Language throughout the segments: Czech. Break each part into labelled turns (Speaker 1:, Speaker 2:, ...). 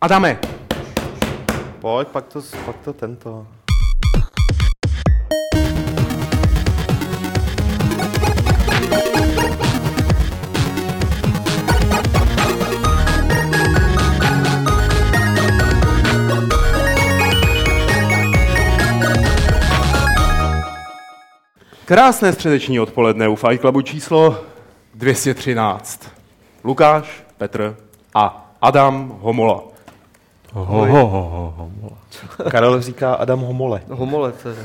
Speaker 1: Adame,
Speaker 2: Pojď, pak to, pak to tento.
Speaker 1: krásné středeční odpoledne u Fight Clubu číslo 213. Lukáš, Petr a Adam Homola.
Speaker 2: Karel říká Adam Homole.
Speaker 3: Homole, to je.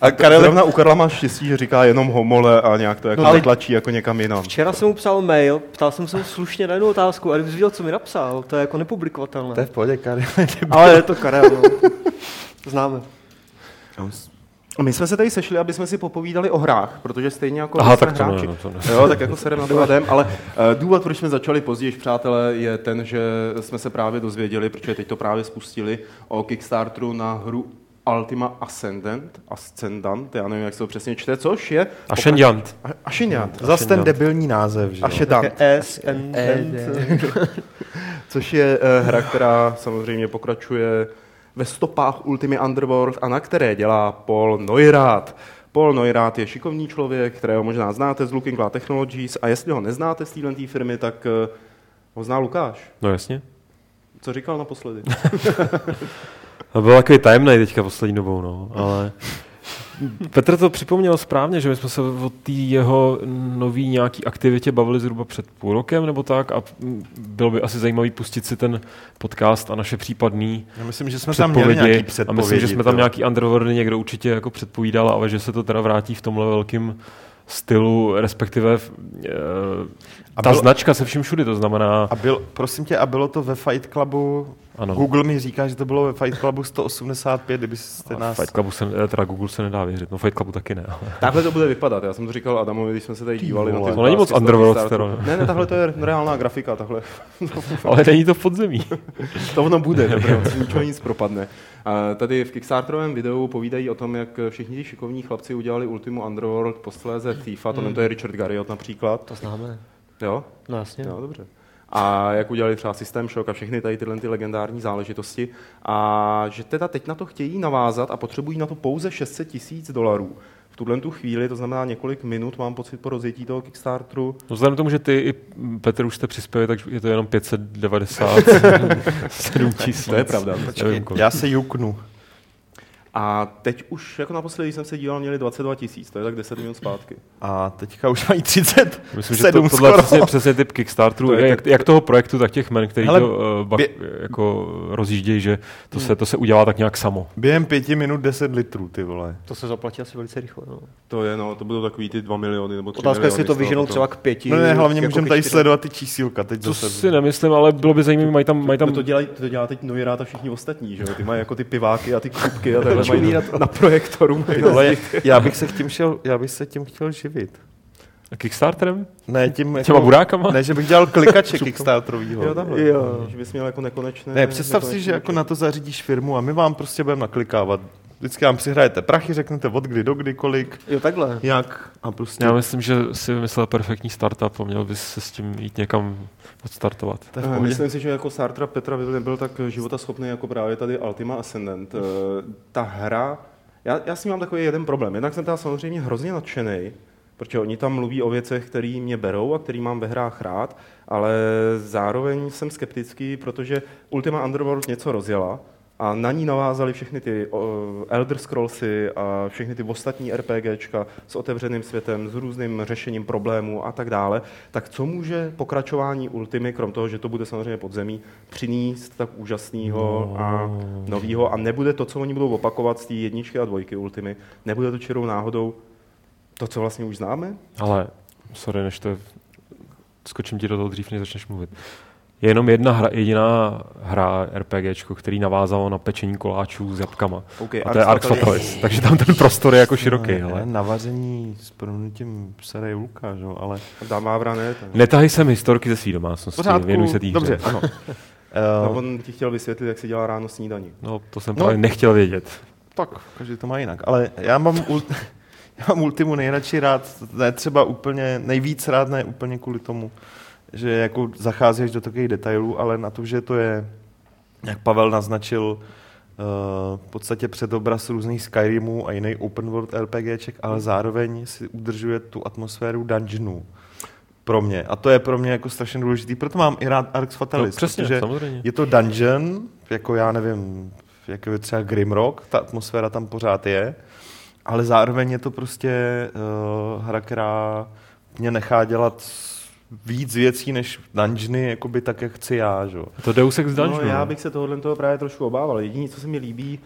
Speaker 1: A Karel... Zrovna u Karla má štěstí, že říká jenom homole a nějak to jako
Speaker 3: No, ale-
Speaker 1: no, tlačí jako někam jinam.
Speaker 3: Včera jsem mu psal mail, ptal jsem se mu slušně na jednu otázku a kdybys viděl, co mi napsal, to je jako nepublikovatelné.
Speaker 2: To je v pohodě, Karel.
Speaker 3: Ale je to Karel, no. Známe.
Speaker 1: My jsme se tady sešli, aby jsme si popovídali o hrách, protože stejně jako
Speaker 4: Aha,
Speaker 1: my jsme
Speaker 4: tak to ne,
Speaker 1: hráči.
Speaker 4: no, to ne.
Speaker 1: Jo, tak jako serem nad vadem, ale eh, důvod, proč jsme začali později, přátelé, je ten, že jsme se právě dozvěděli, protože teď to právě spustili o Kickstarteru na hru Ultima Ascendant, Ascendant, já nevím, jak se to přesně čte, což je...
Speaker 4: A Šendiant.
Speaker 1: A- Ašeňant.
Speaker 2: Zas ten debilní název, že jo?
Speaker 1: Ašedant.
Speaker 3: S, N, N,
Speaker 1: Což je eh, hra, která samozřejmě pokračuje ve stopách Ultimy Underworld a na které dělá Paul Neurath. Paul Neurath je šikovný člověk, kterého možná znáte z Looking Glass Technologies a jestli ho neznáte z téhle firmy, tak eh, ho zná Lukáš.
Speaker 4: No jasně.
Speaker 1: Co říkal naposledy?
Speaker 4: A byl takový tajemný teďka poslední dobou, no, ale... Petr to připomněl správně, že my jsme se o té jeho nový nějaký aktivitě bavili zhruba před půl rokem nebo tak a mm, bylo by asi zajímavý pustit si ten podcast a naše případný
Speaker 2: Já myslím, že jsme tam měli nějaký
Speaker 4: předpovědi. A
Speaker 2: předpovědi.
Speaker 4: myslím, že jsme tam
Speaker 2: to.
Speaker 4: nějaký underworldy někdo určitě jako předpovídal, ale že se to teda vrátí v tomhle velkým stylu, respektive
Speaker 2: A
Speaker 4: a ta
Speaker 2: bylo-
Speaker 4: značka se vším všudy, to znamená...
Speaker 2: A byl, prosím tě, a bylo to ve Fight Clubu?
Speaker 4: Ano.
Speaker 2: Google mi říká, že to bylo ve Fight Clubu 185, kdybyste
Speaker 4: A
Speaker 2: nás...
Speaker 4: Fight Clubu se, eh, teda Google se nedá věřit, no Fight Clubu taky ne. Ale.
Speaker 1: Takhle to bude vypadat. Já jsem to říkal Adamovi, když jsme se tady dívali.
Speaker 2: vole.
Speaker 1: na ty
Speaker 4: To není moc
Speaker 1: obrázky z
Speaker 4: Underworld,
Speaker 1: Kickstarteru.
Speaker 4: teda,
Speaker 1: Ne, ne, tahle to je reálná grafika, tahle.
Speaker 4: ale není to v podzemí.
Speaker 1: To ono bude, dobré, z ničeho nic propadne. A Tady v Kickstarterovém videu povídají o tom, jak všichni ti šikovní chlapci udělali Ultimu Underworld posléze Thiefa, to, to je Richard Garriott například.
Speaker 3: To známe.
Speaker 1: Jo?
Speaker 3: No jasně.
Speaker 1: Jo, dobře. A jak udělali třeba System Shock a všechny tady tyhle ty legendární záležitosti. A že teda teď na to chtějí navázat a potřebují na to pouze 600 tisíc dolarů. V tuhle tu chvíli, to znamená několik minut, mám pocit po rozjetí toho Kickstarteru,
Speaker 4: No, vzhledem k tomu, že ty i Petr už jste přispěli, tak je to jenom 597 tisíc.
Speaker 1: To je pravda.
Speaker 4: Nevím, kolik.
Speaker 2: Já se juknu.
Speaker 1: A teď už, jako naposledy jsem se díval, měli 22 tisíc, to je tak 10 minut zpátky.
Speaker 2: A teďka už mají 30.
Speaker 4: Myslím, že to, tohle je přesně, přesně typ Kickstarteru,
Speaker 1: To je
Speaker 4: jak,
Speaker 1: tak-
Speaker 4: jak, toho projektu, tak těch men, který
Speaker 2: Hele,
Speaker 4: to uh, bak,
Speaker 2: bě-
Speaker 4: jako rozjíždějí, že to
Speaker 1: Hmm.
Speaker 4: se, to se udělá tak nějak samo.
Speaker 2: Během pěti minut 10 litrů, ty vole.
Speaker 3: To se zaplatí asi velice rychle. No.
Speaker 1: To je, no, to budou takový ty 2 miliony nebo 3
Speaker 3: Otázka,
Speaker 1: miliony.
Speaker 3: jestli to
Speaker 1: z toho
Speaker 3: vyženou
Speaker 1: potom.
Speaker 3: třeba k pěti.
Speaker 2: No ne, hlavně
Speaker 3: jako
Speaker 2: můžeme
Speaker 3: ke
Speaker 2: tady
Speaker 3: čtyřem.
Speaker 2: sledovat ty čísílka teď
Speaker 4: To
Speaker 2: zase.
Speaker 4: si nemyslím, ale bylo by zajímavé, mají tam, mají
Speaker 1: No
Speaker 4: tam
Speaker 1: to, dělají, to dělá teď Nojrát a všichni ostatní, že jo? Ty mají jako ty piváky a ty kupky a takhle mají na, na projektoru. Mají
Speaker 2: Ty vole, já bych se k tím šel, já bych se tím chtěl živit.
Speaker 4: Kickstarterem?
Speaker 2: Ne, tím jako,
Speaker 4: Těma burákama?
Speaker 2: Ne, že bych dělal klikače Kickstarterovýho.
Speaker 1: jo, takhle.
Speaker 3: Jo.
Speaker 1: Že bys měl jako nekonečné...
Speaker 2: Ne, představ si,
Speaker 1: nekonečné
Speaker 2: že jako na to zařídíš firmu a my vám prostě budeme naklikávat. Vždycky nám přihrajete prachy, řeknete od kdy do kdy, kolik,
Speaker 3: Jo, takhle.
Speaker 2: jak a prostě.
Speaker 4: Já myslím, že si vymyslel perfektní startup a měl bys se s tím jít někam odstartovat.
Speaker 2: To je v
Speaker 1: Eh,
Speaker 2: pohodě.
Speaker 1: Myslím si, že jako Sartra Petra by nebyl tak životaschopný jako právě tady Ultima Ascendant. Eh, Ta hra, já, já s ní mám takový jeden problém. Jednak jsem tam samozřejmě hrozně nadšený, protože oni tam mluví o věcech, které mě berou a které mám ve hrách rád, ale zároveň jsem skeptický, protože Ultima Underworld něco rozjela a na ní navázali všechny ty o, Elder Scrollsy a všechny ty ostatní RPGčka s otevřeným světem, s různým řešením problémů a tak dále. Tak co může pokračování Ultimy, krom toho, že to bude samozřejmě podzemí, přinést tak úžasného a
Speaker 4: No.
Speaker 1: nového a nebude to, co oni budou opakovat z té jedničky a dvojky Ultimy, nebude to čirou náhodou to, co vlastně už známe?
Speaker 4: Ale, sorry, než to skočím ti do toho dřív, než začneš mluvit. Je jenom jedna hra, jediná hra RPGčko, který navázalo na pečení koláčů s jabkama.
Speaker 1: OK,
Speaker 4: a to je Arxopolis. Takže tam ten prostor je jako široký.
Speaker 2: Ne,
Speaker 4: Ale...
Speaker 2: Na vaření s proměnutím sere Julka, že jo, ale...
Speaker 1: Damávra ne. Ten.
Speaker 4: Netahej sem historky ze své domácnosti, věnuj se té hře.
Speaker 2: dobře, ano.
Speaker 1: No,
Speaker 2: Eh,
Speaker 1: on ti chtěl vysvětlit, jak se dělá ráno snídaní.
Speaker 4: No, to jsem
Speaker 2: No.
Speaker 4: právě nechtěl vědět.
Speaker 2: Tak, každý to má jinak. Ale já mám, ult- já mám Ultimu nejradši rád, ne třeba úplně, nejvíc rád ne úplně kvůli tomu, že jako zacházíš do takových detailů, ale na to, že to je jak Pavel naznačil, eh, v podstatě předobraz různých Skyrimů a jiných open world RPGček,
Speaker 4: Hmm.
Speaker 2: ale zároveň si udržuje tu atmosféru dungeonů pro mě. A to je pro mě jako strašně důležitý. Proto mám i rád Arx Fatalis.
Speaker 4: No, přesně,
Speaker 2: protože
Speaker 4: samozřejmě.
Speaker 2: Je to dungeon, jako já nevím, jako je třeba Grimrock, ta atmosféra tam pořád je, ale zároveň je to prostě uh, hra, která mě nechá dělat víc věcí než dungeony, jakoby tak, jak chci já, že? jo.
Speaker 4: To Deus Ex
Speaker 1: No,
Speaker 4: Dungeon.
Speaker 1: já bych se tohohle toho právě trošku obával. Jediné, co se mi líbí,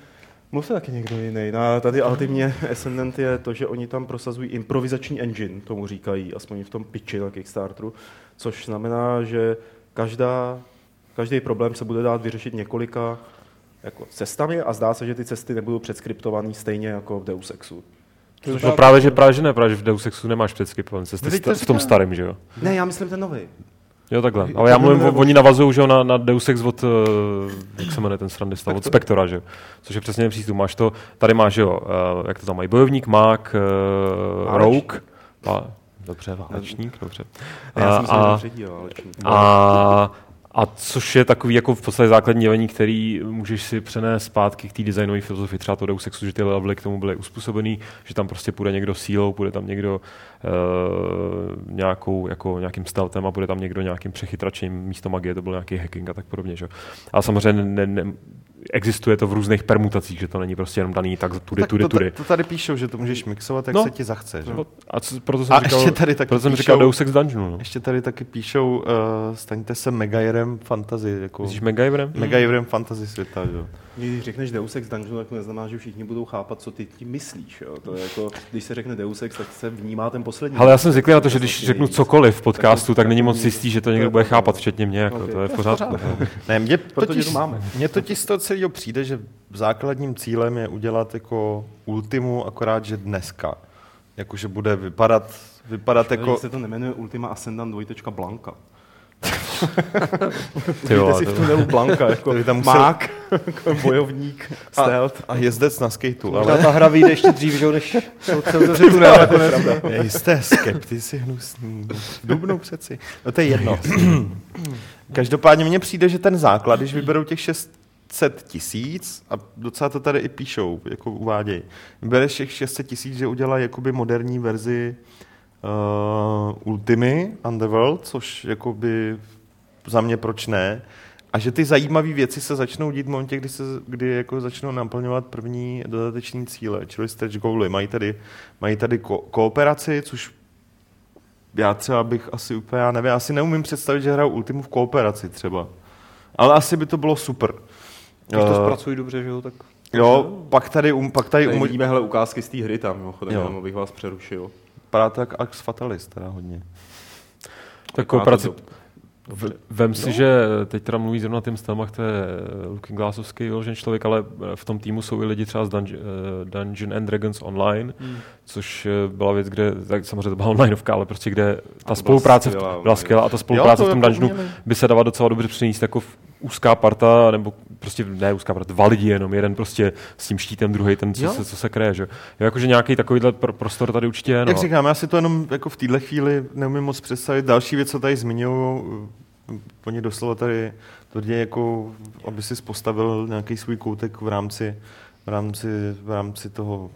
Speaker 1: mluvte taky někdo jiný. Na, tady ultimně Ascendant je to, že oni tam prosazují improvizační engine, tomu říkají, aspoň v tom piči na Kickstarteru, což znamená, že každá, každý problém se bude dát vyřešit několika jako cestami a zdá se, že ty cesty nebudou předskriptované stejně jako v Deus Exu.
Speaker 4: Což no právě, že právě, že ne, právě, že v Deus Exu nemáš předskipovaný cesty
Speaker 2: Vždyť No, to
Speaker 4: v tom
Speaker 2: říkám.
Speaker 4: starém, že jo?
Speaker 1: Ne, já myslím ten nový.
Speaker 4: Jo, takhle. Ale já mluvím, o- oni navazují že jo, na, na Deus Ex od, eh, jak se jmenuje ten srandista, od Spektora, že jo? Což je přesně ten přístup. Máš to, tady máš, že jo, eh, jak to tam mají, bojovník, mák, uh,
Speaker 1: Válečník.
Speaker 4: rogue, a, dobře, válečník, dobře.
Speaker 1: Ne, já jsem
Speaker 4: A- a-
Speaker 1: se třetí, ale
Speaker 4: a, a což je takový jako v podstatě základní jevení, který můžeš si přenést zpátky k té designové filozofii třeba toho Deus Exu, že ty levely k tomu byly uspůsobený, že tam prostě půjde někdo sílou, půjde tam někdo uh, nějakou, jako nějakým stealthem a půjde tam někdo nějakým přechytračím, místo magie to byl nějaký hacking a tak podobně. Že? jo. A samozřejmě ne, ne, existuje to v různých permutacích, že to není prostě jenom daný tak tudy,
Speaker 2: tak
Speaker 4: tudy,
Speaker 2: to,
Speaker 4: tudy.
Speaker 2: To tady píšou, že to můžeš mixovat, jak
Speaker 4: No.
Speaker 2: no. se ti zachce. Že?
Speaker 4: No, A co, proto jsem
Speaker 2: A
Speaker 4: říkal,
Speaker 2: ještě tady taky
Speaker 4: proto jsem
Speaker 2: píšou-
Speaker 4: říkal Deus Ex Dungeonu. No.
Speaker 2: Ještě tady taky píšou, uh, staňte se Megajerem fantasy, jako
Speaker 4: Myslíš MacGyverem?
Speaker 2: Megajerem fantasy světa, že? jo.
Speaker 1: Když řekneš Deus Ex Dungeon, tak to neznamená, že všichni budou chápat, co ty tím myslíš. Jo? To je jako, když se řekne Deus Ex, tak se vnímá ten poslední.
Speaker 4: Ale já jsem zvyklý na to, že
Speaker 1: Tak
Speaker 4: když
Speaker 1: to
Speaker 4: řeknu
Speaker 1: nejvíc.
Speaker 4: cokoliv v podcastu,
Speaker 1: to-
Speaker 4: tak není
Speaker 1: tak to
Speaker 4: moc
Speaker 1: není-
Speaker 4: jistý, že to
Speaker 1: to
Speaker 4: někdo
Speaker 1: je
Speaker 4: bude
Speaker 1: pravda.
Speaker 4: chápat, včetně mě. Jako,
Speaker 1: Ok.
Speaker 4: to je v
Speaker 1: To je v
Speaker 4: pořádku.
Speaker 2: Ne, mně
Speaker 1: Proto
Speaker 2: totiž,
Speaker 1: tě tu máme.
Speaker 2: Mně totiž z toho celého přijde, že základním cílem je udělat jako ultimu, akorát, že dneska. Jakože bude vypadat, vypadat jako...
Speaker 1: Jako... se to nemenuje Ultima Ascendant 2. Blanka.
Speaker 4: Ty jo,
Speaker 1: Vidíte si
Speaker 4: to-
Speaker 1: v tunelu Blanka, jako
Speaker 2: To by tam musel-
Speaker 1: mák, jako bojovník,
Speaker 2: A,
Speaker 1: stealth.
Speaker 2: a jezdec na skateu,
Speaker 3: Ale...
Speaker 2: ale...
Speaker 3: Ta hra vyjde ještě dřív, že jo, než jsou celé tunel.
Speaker 2: Je jisté, skeptici hnusný. V Dubnu přeci. No to je jedno. Každopádně mně přijde, že ten základ, když vyberou těch 600 tisíc, a docela to tady i píšou, jako uvádějí, vybereš těch 600 tisíc, že udělá jakoby moderní verzi uh, Ultimy Underworld, což jakoby za mě proč ne, a že ty zajímavé věci se začnou dít v momentě, kdy, se, kdy jako začnou naplňovat první dodateční cíle, čili stretch goaly. Mají tady, mají tady ko- kooperaci, což já třeba bych asi úplně, já nevím, asi neumím představit, že hraju Ultimu v kooperaci třeba. Ale asi by to bylo super.
Speaker 3: Když to
Speaker 2: Eh,
Speaker 3: zpracují dobře, že jo, tak...
Speaker 2: jo, pak tady, um, pak tady
Speaker 1: Tady
Speaker 2: umož...
Speaker 1: vidíme hele ukázky z té hry tam, mimochodem,
Speaker 2: Jo.
Speaker 1: jenom abych vás přerušil.
Speaker 2: Vypadá to jak Ax Fatalis teda hodně.
Speaker 4: Tak
Speaker 1: Vypadá
Speaker 4: kooperaci...
Speaker 1: to No.
Speaker 4: V- Vem si, že teď teda mluví zrovna Tim Stelmach, to je eh, Looking Glassovský vyložen člověk, ale eh, v tom týmu jsou i lidi třeba z Dunge- eh, Dungeon and Dragons Online,
Speaker 3: Hmm.
Speaker 4: což eh, byla věc, kde, tak samozřejmě to byla onlineovka, ale prostě kde ta
Speaker 1: byla
Speaker 4: spolupráce v-
Speaker 1: skvělá
Speaker 4: byla
Speaker 1: online.
Speaker 4: skvělá a ta spolupráce
Speaker 2: to
Speaker 4: v tom
Speaker 2: jako
Speaker 4: Dungeonu
Speaker 2: uměli.
Speaker 4: by se dala docela dobře přinést jako v- úzká parta, nebo prostě ne úzká parta, dva lidi jenom, jeden prostě s tím štítem, druhý ten, co,
Speaker 3: Jo.
Speaker 4: se, co se kreje, že? jo. Jo, Jakože nějaký takovýhle pr- prostor tady určitě je,
Speaker 2: No. Jak
Speaker 4: no.
Speaker 2: říkám, já si to jenom jako v téhle chvíli neumím moc představit. Další věc, co tady zmiňují, oni doslova tady tvrdí, jako, aby si postavil nějaký svůj koutek v rámci, v rámci, v rámci toho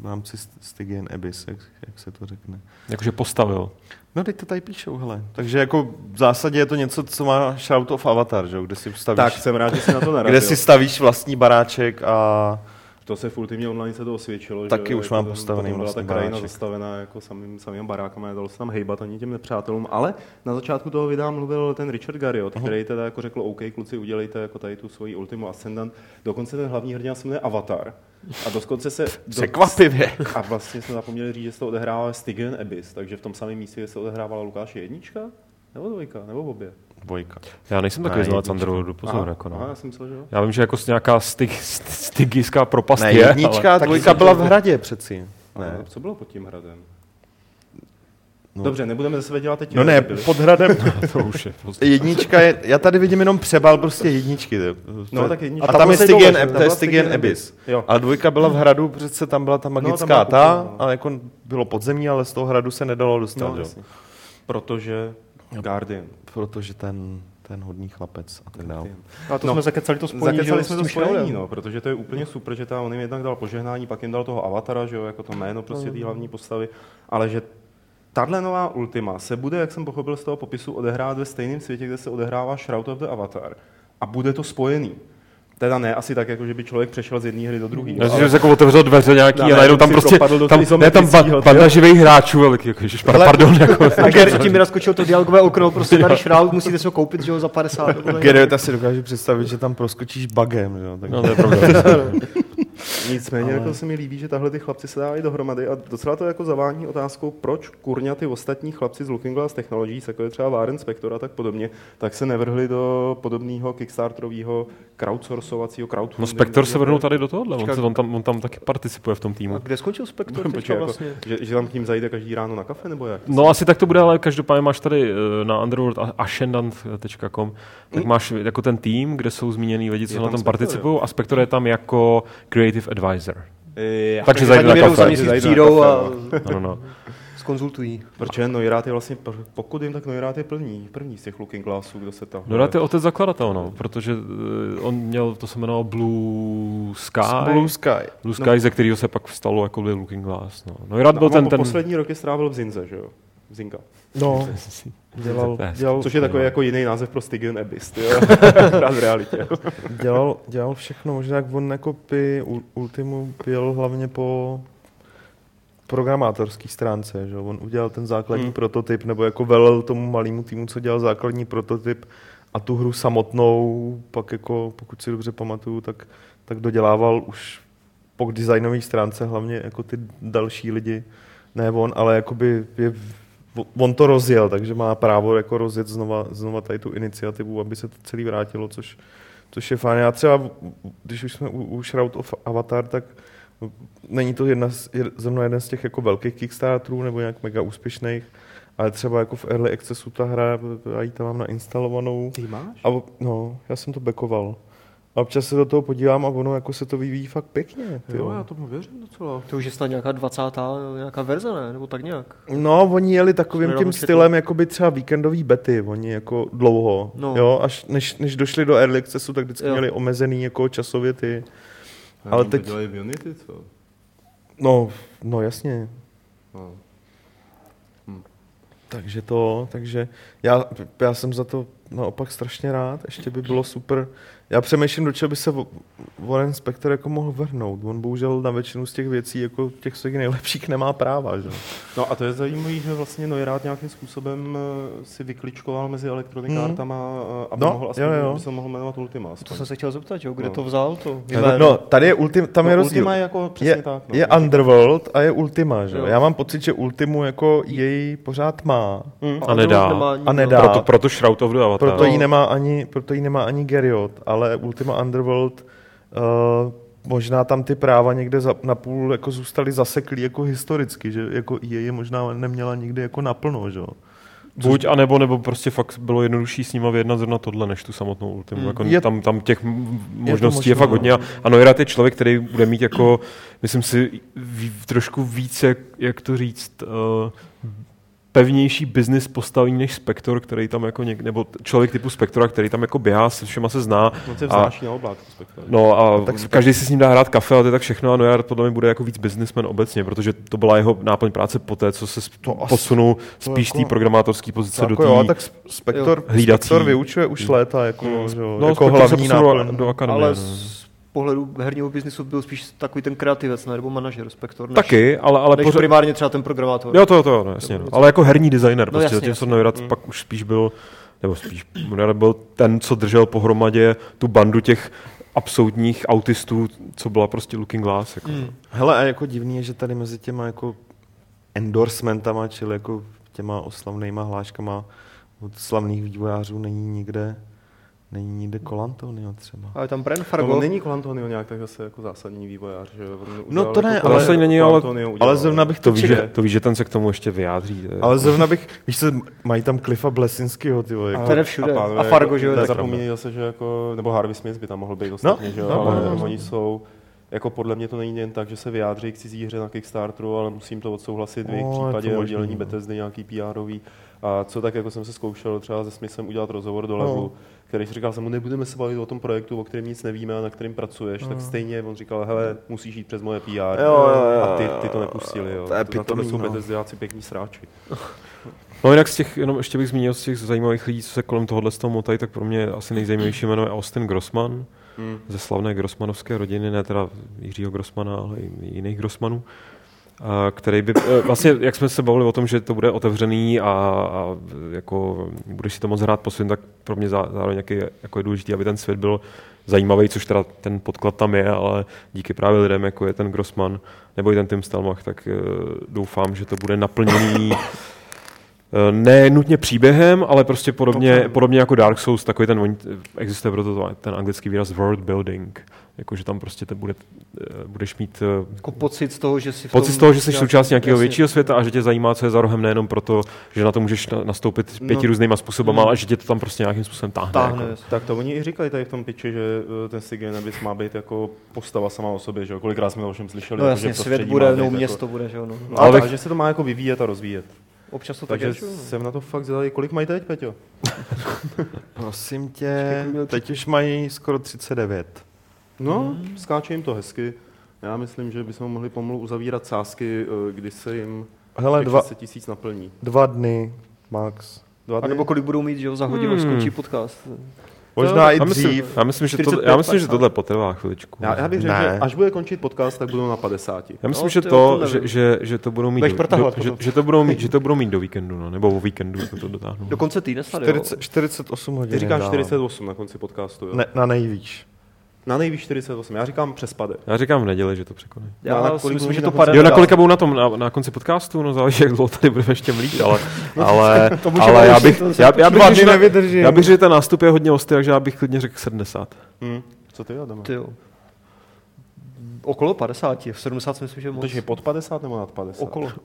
Speaker 2: v rámci St- Stygian Abyss, jak, jak se to řekne.
Speaker 4: Jakože postavil.
Speaker 2: No, teď to tady píšou, hele. Takže jako v zásadě je to něco, co má Shout of Avatar, že? jo, kde si stavíš,
Speaker 1: Tak, jsem rád, že jsi na to narazil.
Speaker 2: kde si stavíš vlastní baráček a
Speaker 1: To se v Ultimě online se to osvědčilo.
Speaker 2: Taky
Speaker 1: že,
Speaker 2: už
Speaker 1: jako
Speaker 2: mám
Speaker 1: to-
Speaker 2: postavený
Speaker 1: to byla ta
Speaker 2: vlastní
Speaker 1: krajina
Speaker 2: baráček.
Speaker 1: zastavená jako samým, samým barákama, nedalo se tam hejbat ani těm nepřátelům, ale na začátku toho videa mluvil ten Richard Garriott, uh-huh. který teda jako řekl, OK, kluci, udělejte jako tady tu svoji Ultimu Ascendant. Dokonce ten hlavní hrdina se jmenuje Avatar. A dokonce se... do-
Speaker 2: překvapivě.
Speaker 1: A vlastně jsme zapomněli říct, že se to odehrává Stygian Abyss, takže v tom samém místě, kde se odehrávala Lukáše jednička, nebo dvojka, nebo obě.
Speaker 2: Dvojka.
Speaker 4: Já nejsem takový
Speaker 2: Ne,
Speaker 4: znalec
Speaker 2: jednička.
Speaker 4: Underworldu, pozor, jako
Speaker 1: aha,
Speaker 4: no.
Speaker 1: já jsem myslel, že jo.
Speaker 4: Já vím, že jako s nějaká styg, st- stygiská propast
Speaker 2: Ne,
Speaker 4: Vlastně je,
Speaker 2: jednička,
Speaker 4: ale...
Speaker 2: ale... dvojka byla v hradě přeci.
Speaker 1: Ne.
Speaker 2: Ne.
Speaker 1: co bylo pod tím hradem?
Speaker 2: No.
Speaker 1: Dobře, nebudeme ze sebe dělat teď.
Speaker 2: No ne,
Speaker 1: hradebily.
Speaker 2: pod hradem.
Speaker 4: to už je prostě.
Speaker 2: Jednička je, já tady vidím jenom přebal prostě jedničky. to je- to je-
Speaker 1: tak jednička.
Speaker 2: A
Speaker 1: A
Speaker 2: tam je
Speaker 1: tam
Speaker 2: Stygian,
Speaker 1: se
Speaker 2: Ab-
Speaker 1: jdou,
Speaker 2: to je
Speaker 1: tam
Speaker 2: Stygian
Speaker 1: Stygian
Speaker 2: Abyss.
Speaker 1: Abyss. Jo. No,
Speaker 2: A dvojka byla v hradu, přece tam byla ta magická
Speaker 1: byla
Speaker 2: ta,
Speaker 1: kupina, no.
Speaker 2: ale jako bylo podzemí, ale z toho hradu se nedalo dostat,
Speaker 1: No,
Speaker 2: jo.
Speaker 1: jasně. Protože Guardian.
Speaker 2: Protože ten ten hodný chlapec a tak dále.
Speaker 3: A to
Speaker 1: No,
Speaker 3: jsme zakecali to spojení, že jo,
Speaker 1: Zakecali
Speaker 3: s
Speaker 1: jsme to
Speaker 3: tím
Speaker 1: spojení,
Speaker 3: Šraulem.
Speaker 1: no, protože to je úplně super, že ta, on jim jednak dal požehnání, pak jim dal toho avatara, že jo, jako to jméno prostě
Speaker 3: Mhm.
Speaker 1: té hlavní postavy, ale že tahle nová Ultima se bude, jak jsem pochopil z toho popisu, odehrát ve stejném světě, kde se odehrává Shroud of the Avatar a bude to spojený. Teda ne asi tak, jako že by člověk přešel z jedné hry do druhé.
Speaker 4: Já jsem si jako otevřel dveře nějaký
Speaker 1: Ne,
Speaker 4: a
Speaker 1: ne,
Speaker 4: najednou tam
Speaker 1: si
Speaker 4: prostě,
Speaker 1: propadl do
Speaker 4: tam, ne, tam ba-
Speaker 1: izometrickýho,
Speaker 4: banda živých hráčů velký, jako, ježišmarja,
Speaker 2: Hele,
Speaker 4: pardon, jako,
Speaker 3: A Gary tím mi naskočil to dialogové okno, prostě tady šraut, musíte si ho koupit, že jo, za 50. nebo tak.
Speaker 2: Gerrit si dokáže představit, že tam proskočíš bagem, že jo? Tak...
Speaker 4: no, to je pravda.
Speaker 1: Nicméně ale... jako se mi líbí, že tahle ty chlapci se dávají dohromady a docela to jako zavání otázkou, proč kurňa ty ostatní chlapci z Looking Glass Technologies, jako je třeba Warren Spector a tak podobně, tak se nevrhli do podobného kickstarterového crowdsourcovacího crowdfundingu.
Speaker 4: No Spektor se vrhnul tady do tohohle, on,
Speaker 3: Počkat.
Speaker 4: se, on, tam, on tam taky participuje v tom týmu.
Speaker 3: A kde skončil Spektor
Speaker 1: Počkej,
Speaker 3: teďka
Speaker 1: jako,
Speaker 3: vlastně?
Speaker 1: že, že, tam k ním zajde každý ráno na kafe, nebo jak?
Speaker 4: No asi tak to bude, ale každopádně máš tady eh, na underworld.ascendant.com tak máš jako ten tým, kde jsou zmíněný lidi, co
Speaker 1: Mm. Je
Speaker 4: na
Speaker 1: tam
Speaker 4: tom
Speaker 1: Spector,
Speaker 4: participují a Spektor je tam jako creative advisor.
Speaker 1: E, já-
Speaker 4: Takže
Speaker 3: Za
Speaker 4: zajde
Speaker 3: ním
Speaker 4: na
Speaker 3: jedou za
Speaker 4: kafe.
Speaker 3: měsíc
Speaker 1: Zajde na
Speaker 3: přijdou
Speaker 1: kafe,
Speaker 3: a
Speaker 4: No, no, no.
Speaker 3: skonzultují.
Speaker 1: Protože Noirát je vlastně, pr- pokud jim, tak Noirát je první, první z těch Looking Glassů, kdo se tam.
Speaker 4: Dodat je otec zakladatel, no, protože eh, on měl, to se jmenovalo Blue Sky.
Speaker 2: Blue Sky.
Speaker 4: Blue Sky, ze kterého se pak vstalo jako by Looking Glass. No, no i rád
Speaker 1: No,
Speaker 4: byl ten, ten...
Speaker 1: poslední roky strávil v Zinze, že jo? Zinka.
Speaker 2: No,
Speaker 4: dělal-
Speaker 2: dělal,
Speaker 4: dělal-
Speaker 2: dělal,
Speaker 1: Což je takový
Speaker 4: jo.
Speaker 1: jako jiný název pro Stygian Abyss, jo? Akorát v realitě.
Speaker 2: dělal, dělal všechno, možná jak on jako by u- Ultimu byl hlavně po programátorský stránce, že jo? on udělal ten základní
Speaker 1: Hmm.
Speaker 2: hmm. prototyp, nebo jako velel tomu malému týmu, co dělal základní prototyp a tu hru samotnou, pak jako, pokud si dobře pamatuju, tak, tak dodělával už po designové stránce hlavně jako ty další lidi, ne on, ale jakoby je, on to rozjel, takže má právo jako rozjet znova, znova tady tu iniciativu, aby se to celý vrátilo, což, což je fajn. Já třeba, když už jsme u, u Shroud of Avatar, tak není to jedna z, je, ze mnou jeden z těch jako velkých Kickstarterů nebo nějak mega úspěšných, ale třeba jako v Early Accessu ta hra, já ji tam mám nainstalovanou.
Speaker 1: Ty máš?
Speaker 2: A, ob- no, já jsem to bekoval. A občas se do toho podívám a ono jako se to vyvíjí fakt pěkně. ty
Speaker 1: Jo, já tomu věřím docela.
Speaker 3: To už je snad nějaká 20. nějaká verze, ne? Nebo tak nějak.
Speaker 2: No, oni jeli takovým
Speaker 3: Jsme
Speaker 2: tím
Speaker 3: dočetli.
Speaker 2: stylem, jako by třeba víkendový bety, oni jako dlouho,
Speaker 3: No.
Speaker 2: no. jo, až než, než došli do early accessu, tak vždycky
Speaker 3: Jo.
Speaker 2: jo. měli omezený jako časově ty, Ale
Speaker 1: Oni to
Speaker 2: teď-
Speaker 1: dělají v Unity, co?
Speaker 2: no, no jasně,
Speaker 1: No.
Speaker 2: takže to, takže já, já jsem za to naopak strašně rád, ještě by bylo super, já přemýšlím, do čeho by se Vo- Warren Spector jako mohl vrhnout, on bohužel na většinu z těch věcí, jako těch svých nejlepších nemá práva, že? jo.
Speaker 1: no a to je zajímavé, že vlastně Noirát nějakým způsobem eh, si vykličkoval mezi Electronic
Speaker 2: Mhm.
Speaker 1: hmm. Artama, eh, aby,
Speaker 2: No,
Speaker 1: mohl, aspoň,
Speaker 2: jo, jo.
Speaker 1: aby se mohl jmenovat Ultima. Aspoň.
Speaker 3: To jsem se chtěl zeptat, jo, kde
Speaker 1: No.
Speaker 3: to vzal to?
Speaker 2: No, tady je ultim, tam je
Speaker 1: no,
Speaker 2: rozdíl.
Speaker 1: Ultima je jako přesně
Speaker 2: Je,
Speaker 1: tak. No.
Speaker 2: je Underworld a je Ultima, že
Speaker 3: Jo.
Speaker 2: jo? Já mám pocit, že Ultimu jako jej pořád má.
Speaker 1: Hmm.
Speaker 4: A nedá.
Speaker 2: A nedá.
Speaker 4: Proto, proto Shroud of the Avatar.
Speaker 2: Proto ji nemá ani, proto ji nemá ani Geriot, ale Ultima Underworld uh, možná tam ty práva někde za, napůl jako zůstaly zaseklý jako historicky, že jako EA je možná neměla nikdy jako naplno, že jo?
Speaker 4: Buď a nebo, nebo prostě fakt bylo jednodušší s nima vyjednat zrovna tohle, než tu samotnou ultimu.
Speaker 2: Mm.
Speaker 4: Jako
Speaker 2: Je-
Speaker 4: tam, tam těch m- možností
Speaker 2: možné,
Speaker 4: je, fakt
Speaker 2: no.
Speaker 4: hodně. A- A Noirat je člověk, který bude mít jako, myslím si, ví, trošku více, jak, jak to říct, uh, pevnější business postavení než Spektor, který tam jako něk, nebo t- člověk typu Spektora, který tam jako běhá, se všema se zná.
Speaker 1: On se
Speaker 4: A-
Speaker 1: vznáší na oblák. respektive.
Speaker 4: No a tak
Speaker 2: tak
Speaker 4: každý si s ním dá hrát kafe, ale to je tak všechno. A Nojar podle mě bude jako víc businessman obecně, protože to byla jeho náplň práce po té, co se sp-
Speaker 2: To asi-
Speaker 4: posunul spíš
Speaker 2: jako-
Speaker 4: z té programátorské pozice
Speaker 2: Co
Speaker 4: do
Speaker 2: jako
Speaker 4: té...
Speaker 2: jo, tak Sp- Spektor,
Speaker 4: Hlídací.
Speaker 2: Spektor vyučuje už léta jako,
Speaker 1: Mm.
Speaker 2: že jo,
Speaker 4: No,
Speaker 2: jako
Speaker 4: Spector se
Speaker 2: hlavní
Speaker 4: posunul
Speaker 2: náplň.
Speaker 4: do akademie. no.
Speaker 3: Ale
Speaker 4: Ale...
Speaker 3: z pohledu herního biznisu byl spíš takový ten kreativec, ne? Nebo manažer, spektor. Než,
Speaker 4: Taky, ale, ale
Speaker 3: než
Speaker 4: pořád...
Speaker 3: primárně třeba ten programátor.
Speaker 4: Jo, to, to, no, jasně. No. Ale jako herní designer,
Speaker 3: No,
Speaker 4: prostě,
Speaker 3: jasně,
Speaker 4: zatímco Neurad pak už spíš byl, nebo spíš, Neurad byl ten, co držel pohromadě tu bandu těch absolutních autistů, co byla prostě Looking Glass. Jako. Mm.
Speaker 2: Hele, a jako divný je, že tady mezi těma jako endorsementama, čili jako těma oslavnýma hláškama od slavných vývojářů není nikde, není nikde Colantonio třeba.
Speaker 3: A je tam Bren Fargo.
Speaker 1: Fargo. No, není Colantonio nějak tak zase jako zásadní vývojář. Že? on
Speaker 2: No,
Speaker 1: udělal
Speaker 2: to ne,
Speaker 1: jako
Speaker 2: ale-
Speaker 1: Colantonio
Speaker 4: není, ale-
Speaker 1: Colantonio udělal.
Speaker 2: ale zrovna bych
Speaker 4: To,
Speaker 2: To
Speaker 4: ví,
Speaker 2: čeká.
Speaker 4: že, to ví, že ten se k tomu ještě vyjádří. eh,
Speaker 2: Ale zrovna bych, víš se, mají tam Cliffa Blesinského, ty vole. Jako.
Speaker 3: To jde všude.
Speaker 1: pánové,
Speaker 3: A Fargo, že jo,
Speaker 1: jako,
Speaker 3: je
Speaker 1: to
Speaker 3: taky
Speaker 1: Zapomíní zase, že jako, nebo Harvey Smith by tam mohl být ostatně, že jo,
Speaker 2: no,
Speaker 1: ale
Speaker 2: no, no.
Speaker 1: oni jsou jako podle mě to není jen tak, že se vyjádří k cizí hře na Kickstarteru, ale musím to odsouhlasit v jejich
Speaker 2: No, je to
Speaker 1: případě
Speaker 2: možný,
Speaker 1: oddělení
Speaker 2: no.
Speaker 1: Bethesdy, nějaký PRový. A co tak, jako jsem se zkoušel třeba se Smithem udělat rozhovor
Speaker 2: No.
Speaker 1: do levelu, který si říkal, že mu nebudeme se bavit o tom projektu, o kterém nic nevíme a na kterém pracuješ, tak stejně on říkal, hele, musíš jít přes moje PR.
Speaker 2: No. jo, jo,
Speaker 1: a ty,
Speaker 2: jo,
Speaker 1: ty to
Speaker 2: jo.
Speaker 1: nepustili, jo.
Speaker 2: To je
Speaker 1: na tohle
Speaker 2: pitomý,
Speaker 1: jsou
Speaker 2: no.
Speaker 1: Bethesdiáci pěkní sráči.
Speaker 4: No jinak z těch, jenom ještě bych zmínil z těch zajímavých lidí, co se kolem tohohle z toho motají, tak pro mě asi nejzajímavější jméno je Austin Grossman,
Speaker 1: Hmm.
Speaker 4: ze slavné grossmanovské rodiny, ne teda Jiřího Grossmana, ale i jiných Grossmanů, a který by, eh, vlastně jak jsme se bavili o tom, že to bude otevřený a, a jako budeš si to moc hrát po svým, tak pro mě zá- zároveň jaký, jako je důležité, aby ten svět byl zajímavý, což teda ten podklad tam je, ale díky právě lidem, jako je ten Grossman nebo i ten Tim Stelmach, tak eh, doufám, že to bude naplněný Eh, ne nutně příběhem, ale prostě podobně,
Speaker 1: Dobře.
Speaker 4: podobně jako Dark Souls, takový ten, oni- existuje proto to- ten anglický výraz world building, jakože tam prostě te bude, eh, budeš mít eh,
Speaker 3: Jako pocit z toho, že jsi v
Speaker 4: pocit
Speaker 3: tom
Speaker 4: z toho, že jsi
Speaker 3: nějak-
Speaker 4: součást nějakého
Speaker 3: jasně.
Speaker 4: většího světa a že tě zajímá, co je za rohem, nejenom proto, že na to můžeš na- nastoupit pěti
Speaker 1: No.
Speaker 4: různýma způsobama,
Speaker 3: Mm.
Speaker 4: ale že tě to tam prostě nějakým způsobem táhne.
Speaker 3: Táhne,
Speaker 4: Jako.
Speaker 3: jasně.
Speaker 1: Tak to oni i říkají tady v tom piči, že eh, ten Sigen Abyss má být jako postava sama o sobě, že jo? Kolikrát jsme to všem slyšeli.
Speaker 3: No
Speaker 1: jako,
Speaker 3: jasně,
Speaker 1: že
Speaker 3: svět
Speaker 1: prostředí
Speaker 3: bude,
Speaker 1: má
Speaker 3: jednou
Speaker 1: být
Speaker 3: město bude, že jo. No.
Speaker 1: Jako, no, ale
Speaker 4: Ale-
Speaker 1: tak, že se to má jako vyvíjet a rozvíjet.
Speaker 3: Občas to No, tak
Speaker 1: Takže
Speaker 3: je.
Speaker 1: jsem na to fakt zvedavý. Kolik mají teď, Peťo?
Speaker 2: Prosím tě, teď už mají skoro 39.
Speaker 1: No, hmm. skáče jim to hezky. Já myslím, že bychom mohli pomalu uzavírat sázky, eh, kdy se jim
Speaker 2: Hele,
Speaker 1: těch
Speaker 2: dva,
Speaker 1: 600 tisíc naplní.
Speaker 2: dva dny max.
Speaker 1: Dva
Speaker 3: A
Speaker 1: dny?
Speaker 3: nebo kolik budou mít, že jo, za hodinu,
Speaker 4: Hmm.
Speaker 3: hmm. skončí podcast.
Speaker 2: Možná i
Speaker 4: já myslím,
Speaker 2: dřív.
Speaker 4: já myslím, že, to,
Speaker 1: 45,
Speaker 4: já myslím, že tohle potrvá chviličku.
Speaker 1: já, já bych řekl,
Speaker 2: Ne.
Speaker 1: že až bude končit podcast, tak budou na 50.
Speaker 4: Já myslím,
Speaker 3: No,
Speaker 4: že
Speaker 3: to jo,
Speaker 4: to,
Speaker 3: to
Speaker 4: že,
Speaker 3: nevím.
Speaker 4: že, že, to budou mít,
Speaker 1: Budeš
Speaker 4: do, do,
Speaker 1: protahovat
Speaker 4: že,
Speaker 1: potom.
Speaker 4: že, to budou mít, že to budou mít do víkendu, no, nebo o víkendu se to dotáhnou.
Speaker 3: Do konce týdne snad, jo.
Speaker 2: 40, 48 hodin.
Speaker 1: Ty říkáš
Speaker 2: dávám.
Speaker 1: 48 na konci podcastu, jo?
Speaker 2: Ne, na nejvýš.
Speaker 1: Na nejvíc 48. Já říkám přespade.
Speaker 4: Já říkám v neděli, že to překonají.
Speaker 1: No, na
Speaker 3: Já
Speaker 1: kolik
Speaker 3: si
Speaker 1: budou
Speaker 3: myslím, že
Speaker 1: mít
Speaker 3: to
Speaker 1: na
Speaker 3: padá.
Speaker 4: Jo,
Speaker 3: dál.
Speaker 4: na kolika budou na tom na, na konci podcastu, no záleží, jak dlouho tady budeme ještě mlít, ale, ale,
Speaker 2: můžeme
Speaker 4: ale já
Speaker 2: řešit,
Speaker 4: bych,
Speaker 2: to se
Speaker 4: já, já bych,
Speaker 2: dva
Speaker 4: řekl,
Speaker 2: dny
Speaker 4: že-
Speaker 2: nevydržím.
Speaker 4: já bych řekl, že ten nástup je hodně ostrý, takže já bych klidně řekl 70.
Speaker 1: Hm. Co ty, Adame?
Speaker 3: Ty jo. Okolo 50, v 70 si myslím, že je moc.
Speaker 1: Takže pod 50 nebo nad 50?
Speaker 3: Okolo.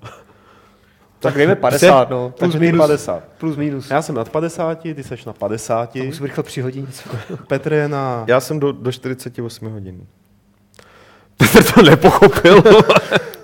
Speaker 3: Tak dejme 50, no. Plus
Speaker 1: Takže ty
Speaker 3: minus.
Speaker 1: 50.
Speaker 3: Plus minus.
Speaker 1: Já jsem nad 50, ty seš na 50,
Speaker 3: To musím rychle přihodit něco.
Speaker 1: Petr je na...
Speaker 2: Já jsem do, do 48 hodin.
Speaker 4: Petr to nepochopil.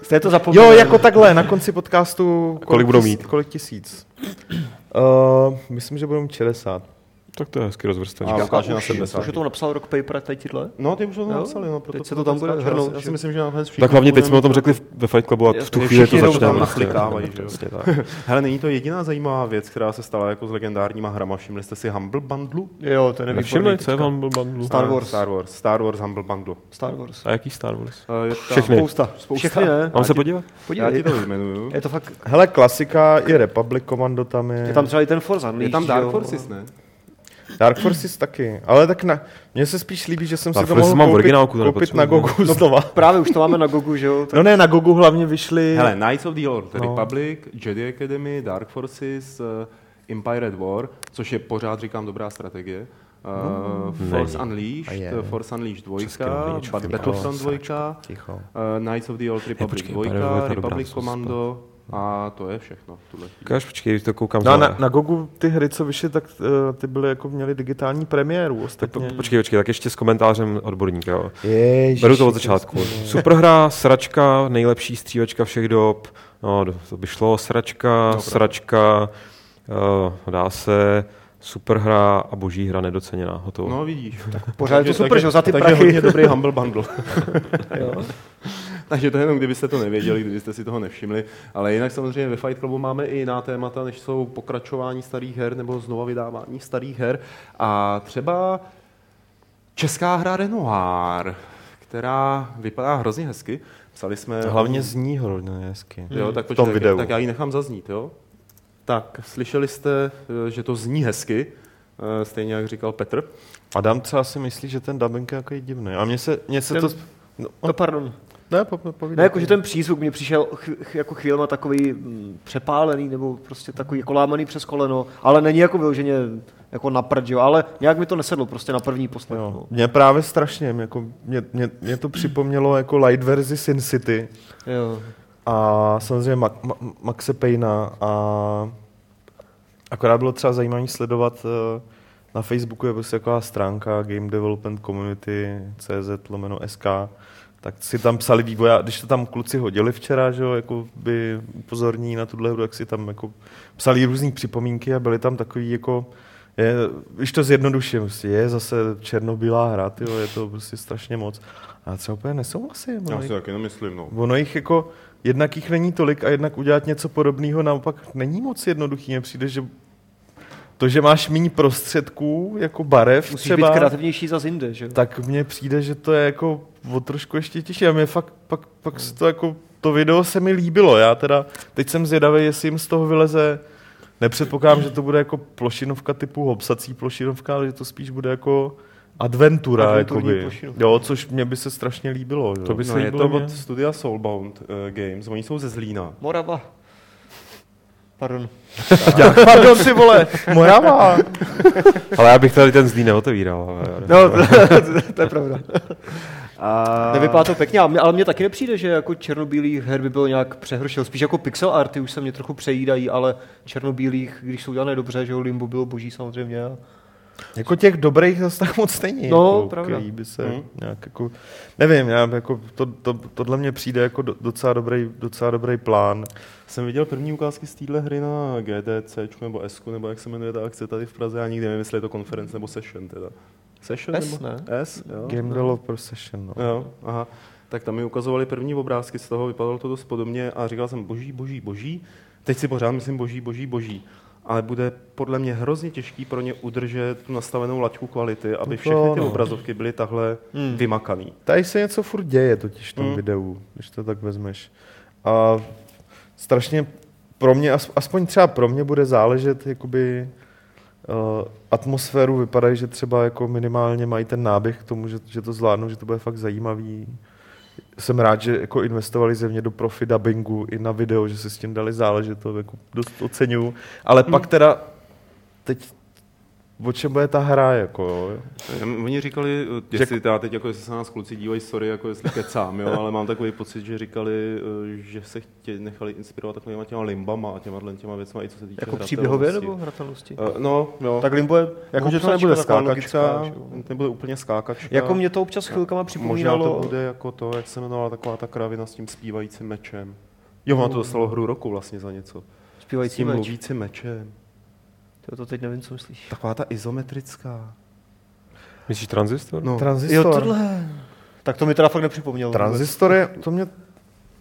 Speaker 3: Jste to zapomněl.
Speaker 2: Jo, jako takhle, na konci podcastu... Kolik,
Speaker 4: budou
Speaker 2: tis-
Speaker 4: mít?
Speaker 2: Kolik tisíc? Uh, myslím, že budou mít 60.
Speaker 4: tak to je hezky rozvrstvený.
Speaker 1: A-
Speaker 3: Jaká
Speaker 1: ukáže na
Speaker 3: už?
Speaker 1: 70.
Speaker 3: Už to napsal Rock Paper teď tyhle?
Speaker 1: No, ty už to
Speaker 3: Jo,
Speaker 1: napsali, no, proto
Speaker 3: teď se to tam bude
Speaker 1: skáče.
Speaker 3: hrnout,
Speaker 1: Já si
Speaker 3: že-
Speaker 1: myslím, že nakonec všichni
Speaker 4: Tak hlavně teď
Speaker 1: budeme-
Speaker 4: jsme o tom řekli v- ve Fight Clubu a v tu
Speaker 3: Jasně,
Speaker 4: chvíli to
Speaker 3: všichni jdou
Speaker 4: začne.
Speaker 3: tam
Speaker 4: prostě.
Speaker 1: naklikávají, že jo.
Speaker 4: Přesně tak.
Speaker 1: Hele, není to jediná zajímavá věc, která se stala jako s legendárníma hrama. Všimli jste si Humble Bundlu?
Speaker 3: Jo, to je
Speaker 4: Nevšimli,
Speaker 3: nevýborný.
Speaker 4: co je vám byl bundle?
Speaker 3: Star Wars.
Speaker 1: Star Wars. Star Wars Humble Bundle.
Speaker 3: Star Wars.
Speaker 4: A jaký Star Wars?
Speaker 1: Eh, je tam-
Speaker 4: Všechny.
Speaker 3: Spousta.
Speaker 1: Spousta.
Speaker 3: Všechny ne.
Speaker 4: Mám se podívat?
Speaker 1: Já ti
Speaker 3: Podívej.
Speaker 1: to vyjmenuju.
Speaker 3: Je to fakt,
Speaker 2: Hele, klasika i Republic Commando tam je.
Speaker 3: je tam třeba i ten Forza.
Speaker 1: Je tam Dark Forces, ne?
Speaker 2: Dark Forces taky, ale tak na, mně se spíš líbí, že jsem si
Speaker 4: Dark
Speaker 2: to
Speaker 4: Forces
Speaker 2: mohl
Speaker 4: mám v
Speaker 2: koupit,
Speaker 4: originálku, to
Speaker 2: koupit na
Speaker 4: nepotřebuji,
Speaker 2: Gogu znova.
Speaker 3: Právě už to máme na Gogu, že jo?
Speaker 2: No ne, na Gogu hlavně vyšly...
Speaker 1: Hele, Knights of the Old
Speaker 2: No.
Speaker 1: Republic, Jedi Academy, Dark Forces, eh, Empire at War, což je pořád, říkám, dobrá strategie. Uh, Force
Speaker 2: A
Speaker 1: Unleashed,
Speaker 2: je.
Speaker 1: eh, Force Unleashed 2,
Speaker 4: noviničky,
Speaker 1: Bad-
Speaker 4: ty
Speaker 1: Battlefront 2,
Speaker 2: Ticho.
Speaker 1: eh, Knights of the Old Republic
Speaker 4: počkej, Empire
Speaker 1: 2,
Speaker 4: War je dobrá,
Speaker 1: Republic
Speaker 4: to jsem
Speaker 1: Commando a to je všechno. v tuhle chvíli.
Speaker 4: Ukáž, počkej, to koukám
Speaker 2: No a
Speaker 4: za-
Speaker 2: na, na Gogu ty hry, co vyšly, tak eh, ty byly jako měly digitální premiéru
Speaker 4: tak po,
Speaker 2: ostatně.
Speaker 4: počkej, počkej, tak ještě s komentářem odborníka. Jo.
Speaker 2: Ježiši,
Speaker 4: Beru to od začátku. Superhra, sračka, nejlepší střívačka všech dob. No, do- to by šlo. Sračka, no, sračka, uh, dá se, superhra a boží hra nedoceněná. Hotovo. No.
Speaker 1: No vidíš.
Speaker 3: Pořád je to
Speaker 1: Takže-
Speaker 3: super,
Speaker 1: takže-
Speaker 3: že jo, za ty
Speaker 1: takže
Speaker 3: prachy.
Speaker 1: hodně dobrý Humble Bundle.
Speaker 3: Jo.
Speaker 1: Takže to jenom, kdybyste to nevěděli, kdybyste si toho nevšimli. Ale jinak samozřejmě ve Fight Clubu máme i jiná témata, než jsou pokračování starých her nebo znova vydávání starých her. A třeba česká hra Renoir, která vypadá hrozně hezky. Psali jsme...
Speaker 2: Hlavně zní hodně hezky.
Speaker 1: jo, tak,
Speaker 2: v
Speaker 1: počkej,
Speaker 2: tom
Speaker 1: tak-
Speaker 2: videu.
Speaker 1: tak já ji nechám zaznít, jo? Tak, slyšeli jste, eh, že to zní hezky, eh, stejně jak říkal Petr.
Speaker 2: Adam třeba si myslí, že ten dubbing je jako je divný. A mně se, mně se
Speaker 3: Ten-
Speaker 2: to... No,
Speaker 3: No pardon.
Speaker 2: ne, jako, po, povídej.
Speaker 3: Ne, jakože ten přízvuk mě přišel ch- ch- jako chvílema takový mm, přepálený nebo prostě takový jako lámaný přes koleno, ale není jako vyloženě jako na prd, jo, ale nějak mi to nesedlo prostě na první poslech.
Speaker 2: Jo.
Speaker 3: Jo.
Speaker 2: Mě právě strašně, mě jako, mě, mě, mě to připomnělo jako light verzi Sin City
Speaker 3: Jo.
Speaker 2: a samozřejmě Ma, Ma, Maxe Payna a akorát bylo třeba zajímavé sledovat eh, na Facebooku je prostě taková stránka Game Development Community CZ lomeno SK, tak si tam psali vývoja, když to tam kluci hodili včera, že jo, jako by upozorní na tuhle hru, tak si tam jako psali různé připomínky a byly tam takový jako, je, když to zjednoduším, prostě je zase černobílá hra, tyjo, je to prostě strašně moc. A já třeba úplně nesouhlasím.
Speaker 1: Já
Speaker 2: ale-
Speaker 1: si taky nemyslím, no.
Speaker 2: Ono jich jako, jednak jich není tolik a jednak udělat něco podobného naopak není moc jednoduchý. Mně přijde, že to, že máš méně prostředků, jako barev
Speaker 3: Musíš
Speaker 2: třeba,
Speaker 3: být kreativnější za jinde, že jo?
Speaker 2: tak mně přijde, že to je jako o trošku ještě těžší. A mě fakt, pak, pak se to jako, to video se mi líbilo. Já teda, teď jsem zvědavý, jestli jim z toho vyleze, nepředpokládám, že to bude jako plošinovka typu hopsací plošinovka, ale že to spíš bude jako adventura,
Speaker 3: Adventurní
Speaker 2: jakoby.
Speaker 3: plošinovka.
Speaker 2: Jo, což mě by se strašně líbilo. Jo.
Speaker 4: To by se
Speaker 1: no je
Speaker 4: líbilo
Speaker 1: to
Speaker 4: mně.
Speaker 1: od studia Soulbound uh, Games, oni jsou ze Zlína.
Speaker 3: Morava. Pardon.
Speaker 2: Pardon, ty vole, Morava.
Speaker 4: Ale já bych tady ten zlý neotevíral. Ale...
Speaker 3: No, to, to je pravda. A... Nevypadá to pěkně, ale mě- ale mně taky nepřijde, že jako černobílých her by bylo nějak přehršel. Spíš jako pixel arty už se mě trochu přejídají, ale černobílých, když jsou udělané dobře, že jo, Limbo bylo boží samozřejmě. a-
Speaker 2: Jako těch dobrých zase tak moc není.
Speaker 3: No,
Speaker 2: jako,
Speaker 3: pravda.
Speaker 2: který by se
Speaker 1: Hmm.
Speaker 2: hmm. nějak jako, nevím, já jako, to, to, tohle mně přijde jako do- docela dobrý, docela dobrý plán.
Speaker 1: Jsem viděl první ukázky z téhle hry na GDC nebo S, nebo jak se jmenuje ta akce tady v Praze, já nikdy nevím, jestli je to konference nebo session teda. Session
Speaker 3: S,
Speaker 1: nebo?
Speaker 3: ne?
Speaker 1: S, jo.
Speaker 2: Game Developer Session, no.
Speaker 1: Jo, aha. Tak tam mi ukazovali první obrázky z toho, vypadalo to dost podobně a říkal jsem boží, boží, boží. Teď si pořád myslím boží, boží, boží. Ale bude podle mě hrozně těžký pro ně udržet tu nastavenou laťku kvality, aby
Speaker 2: To
Speaker 1: všechny ty
Speaker 2: ano.
Speaker 1: obrazovky byly tahle
Speaker 3: Hmm.
Speaker 1: vymakaný.
Speaker 2: Tady se něco furt děje totiž v tom
Speaker 1: Mm.
Speaker 2: hmm. videu, když to tak vezmeš. A strašně pro mě, as- aspoň třeba pro mě bude záležet, jakoby uh, atmosféru vypadají, že třeba jako minimálně mají ten náběh k tomu, že, že to zvládnou, že to bude fakt zajímavý. Jsem rád, že jako investovali země do profi dubbingu i na video, že si s tím dali záležet, to jako dost oceňuju. Ale hmm. pak teda teď o čem bude ta hra, jako jo?
Speaker 1: Em, Oni říkali, eh, jestli já teď jako jestli se na nás kluci dívají, sorry, jako jestli kecám, jo, ale mám takový pocit, že říkali, eh, že se chtě, nechali inspirovat takovýma těma limbama a těma, těma věcma, i co se týče
Speaker 3: Jako
Speaker 1: hratelnosti.
Speaker 3: příběhově nebo hratelnosti?
Speaker 1: Eh, No, jo.
Speaker 3: Tak Limbo je
Speaker 1: jako, že to
Speaker 3: obsačka
Speaker 1: nebude
Speaker 3: taková
Speaker 1: skákačka,
Speaker 3: logická, že jo.
Speaker 1: nebude úplně skákačka.
Speaker 3: Jako mě to občas chvilkama
Speaker 1: Možná
Speaker 3: připomínalo.
Speaker 1: to bude jako to, jak se jmenovala taková ta kravina s tím zpívajícím mečem. Jo, ona to dostalo hru roku vlastně za něco. S
Speaker 3: Zpívající
Speaker 1: tím
Speaker 3: meč.
Speaker 1: mluvícím mečem.
Speaker 3: To, to teď nevím, co myslíš.
Speaker 1: Taková ta izometrická.
Speaker 4: Myslíš transistor?
Speaker 1: No,
Speaker 2: Transistor.
Speaker 3: Jo, tohle. Tak to mi teda fakt nepřipomnělo.
Speaker 2: Transistor je, to mě...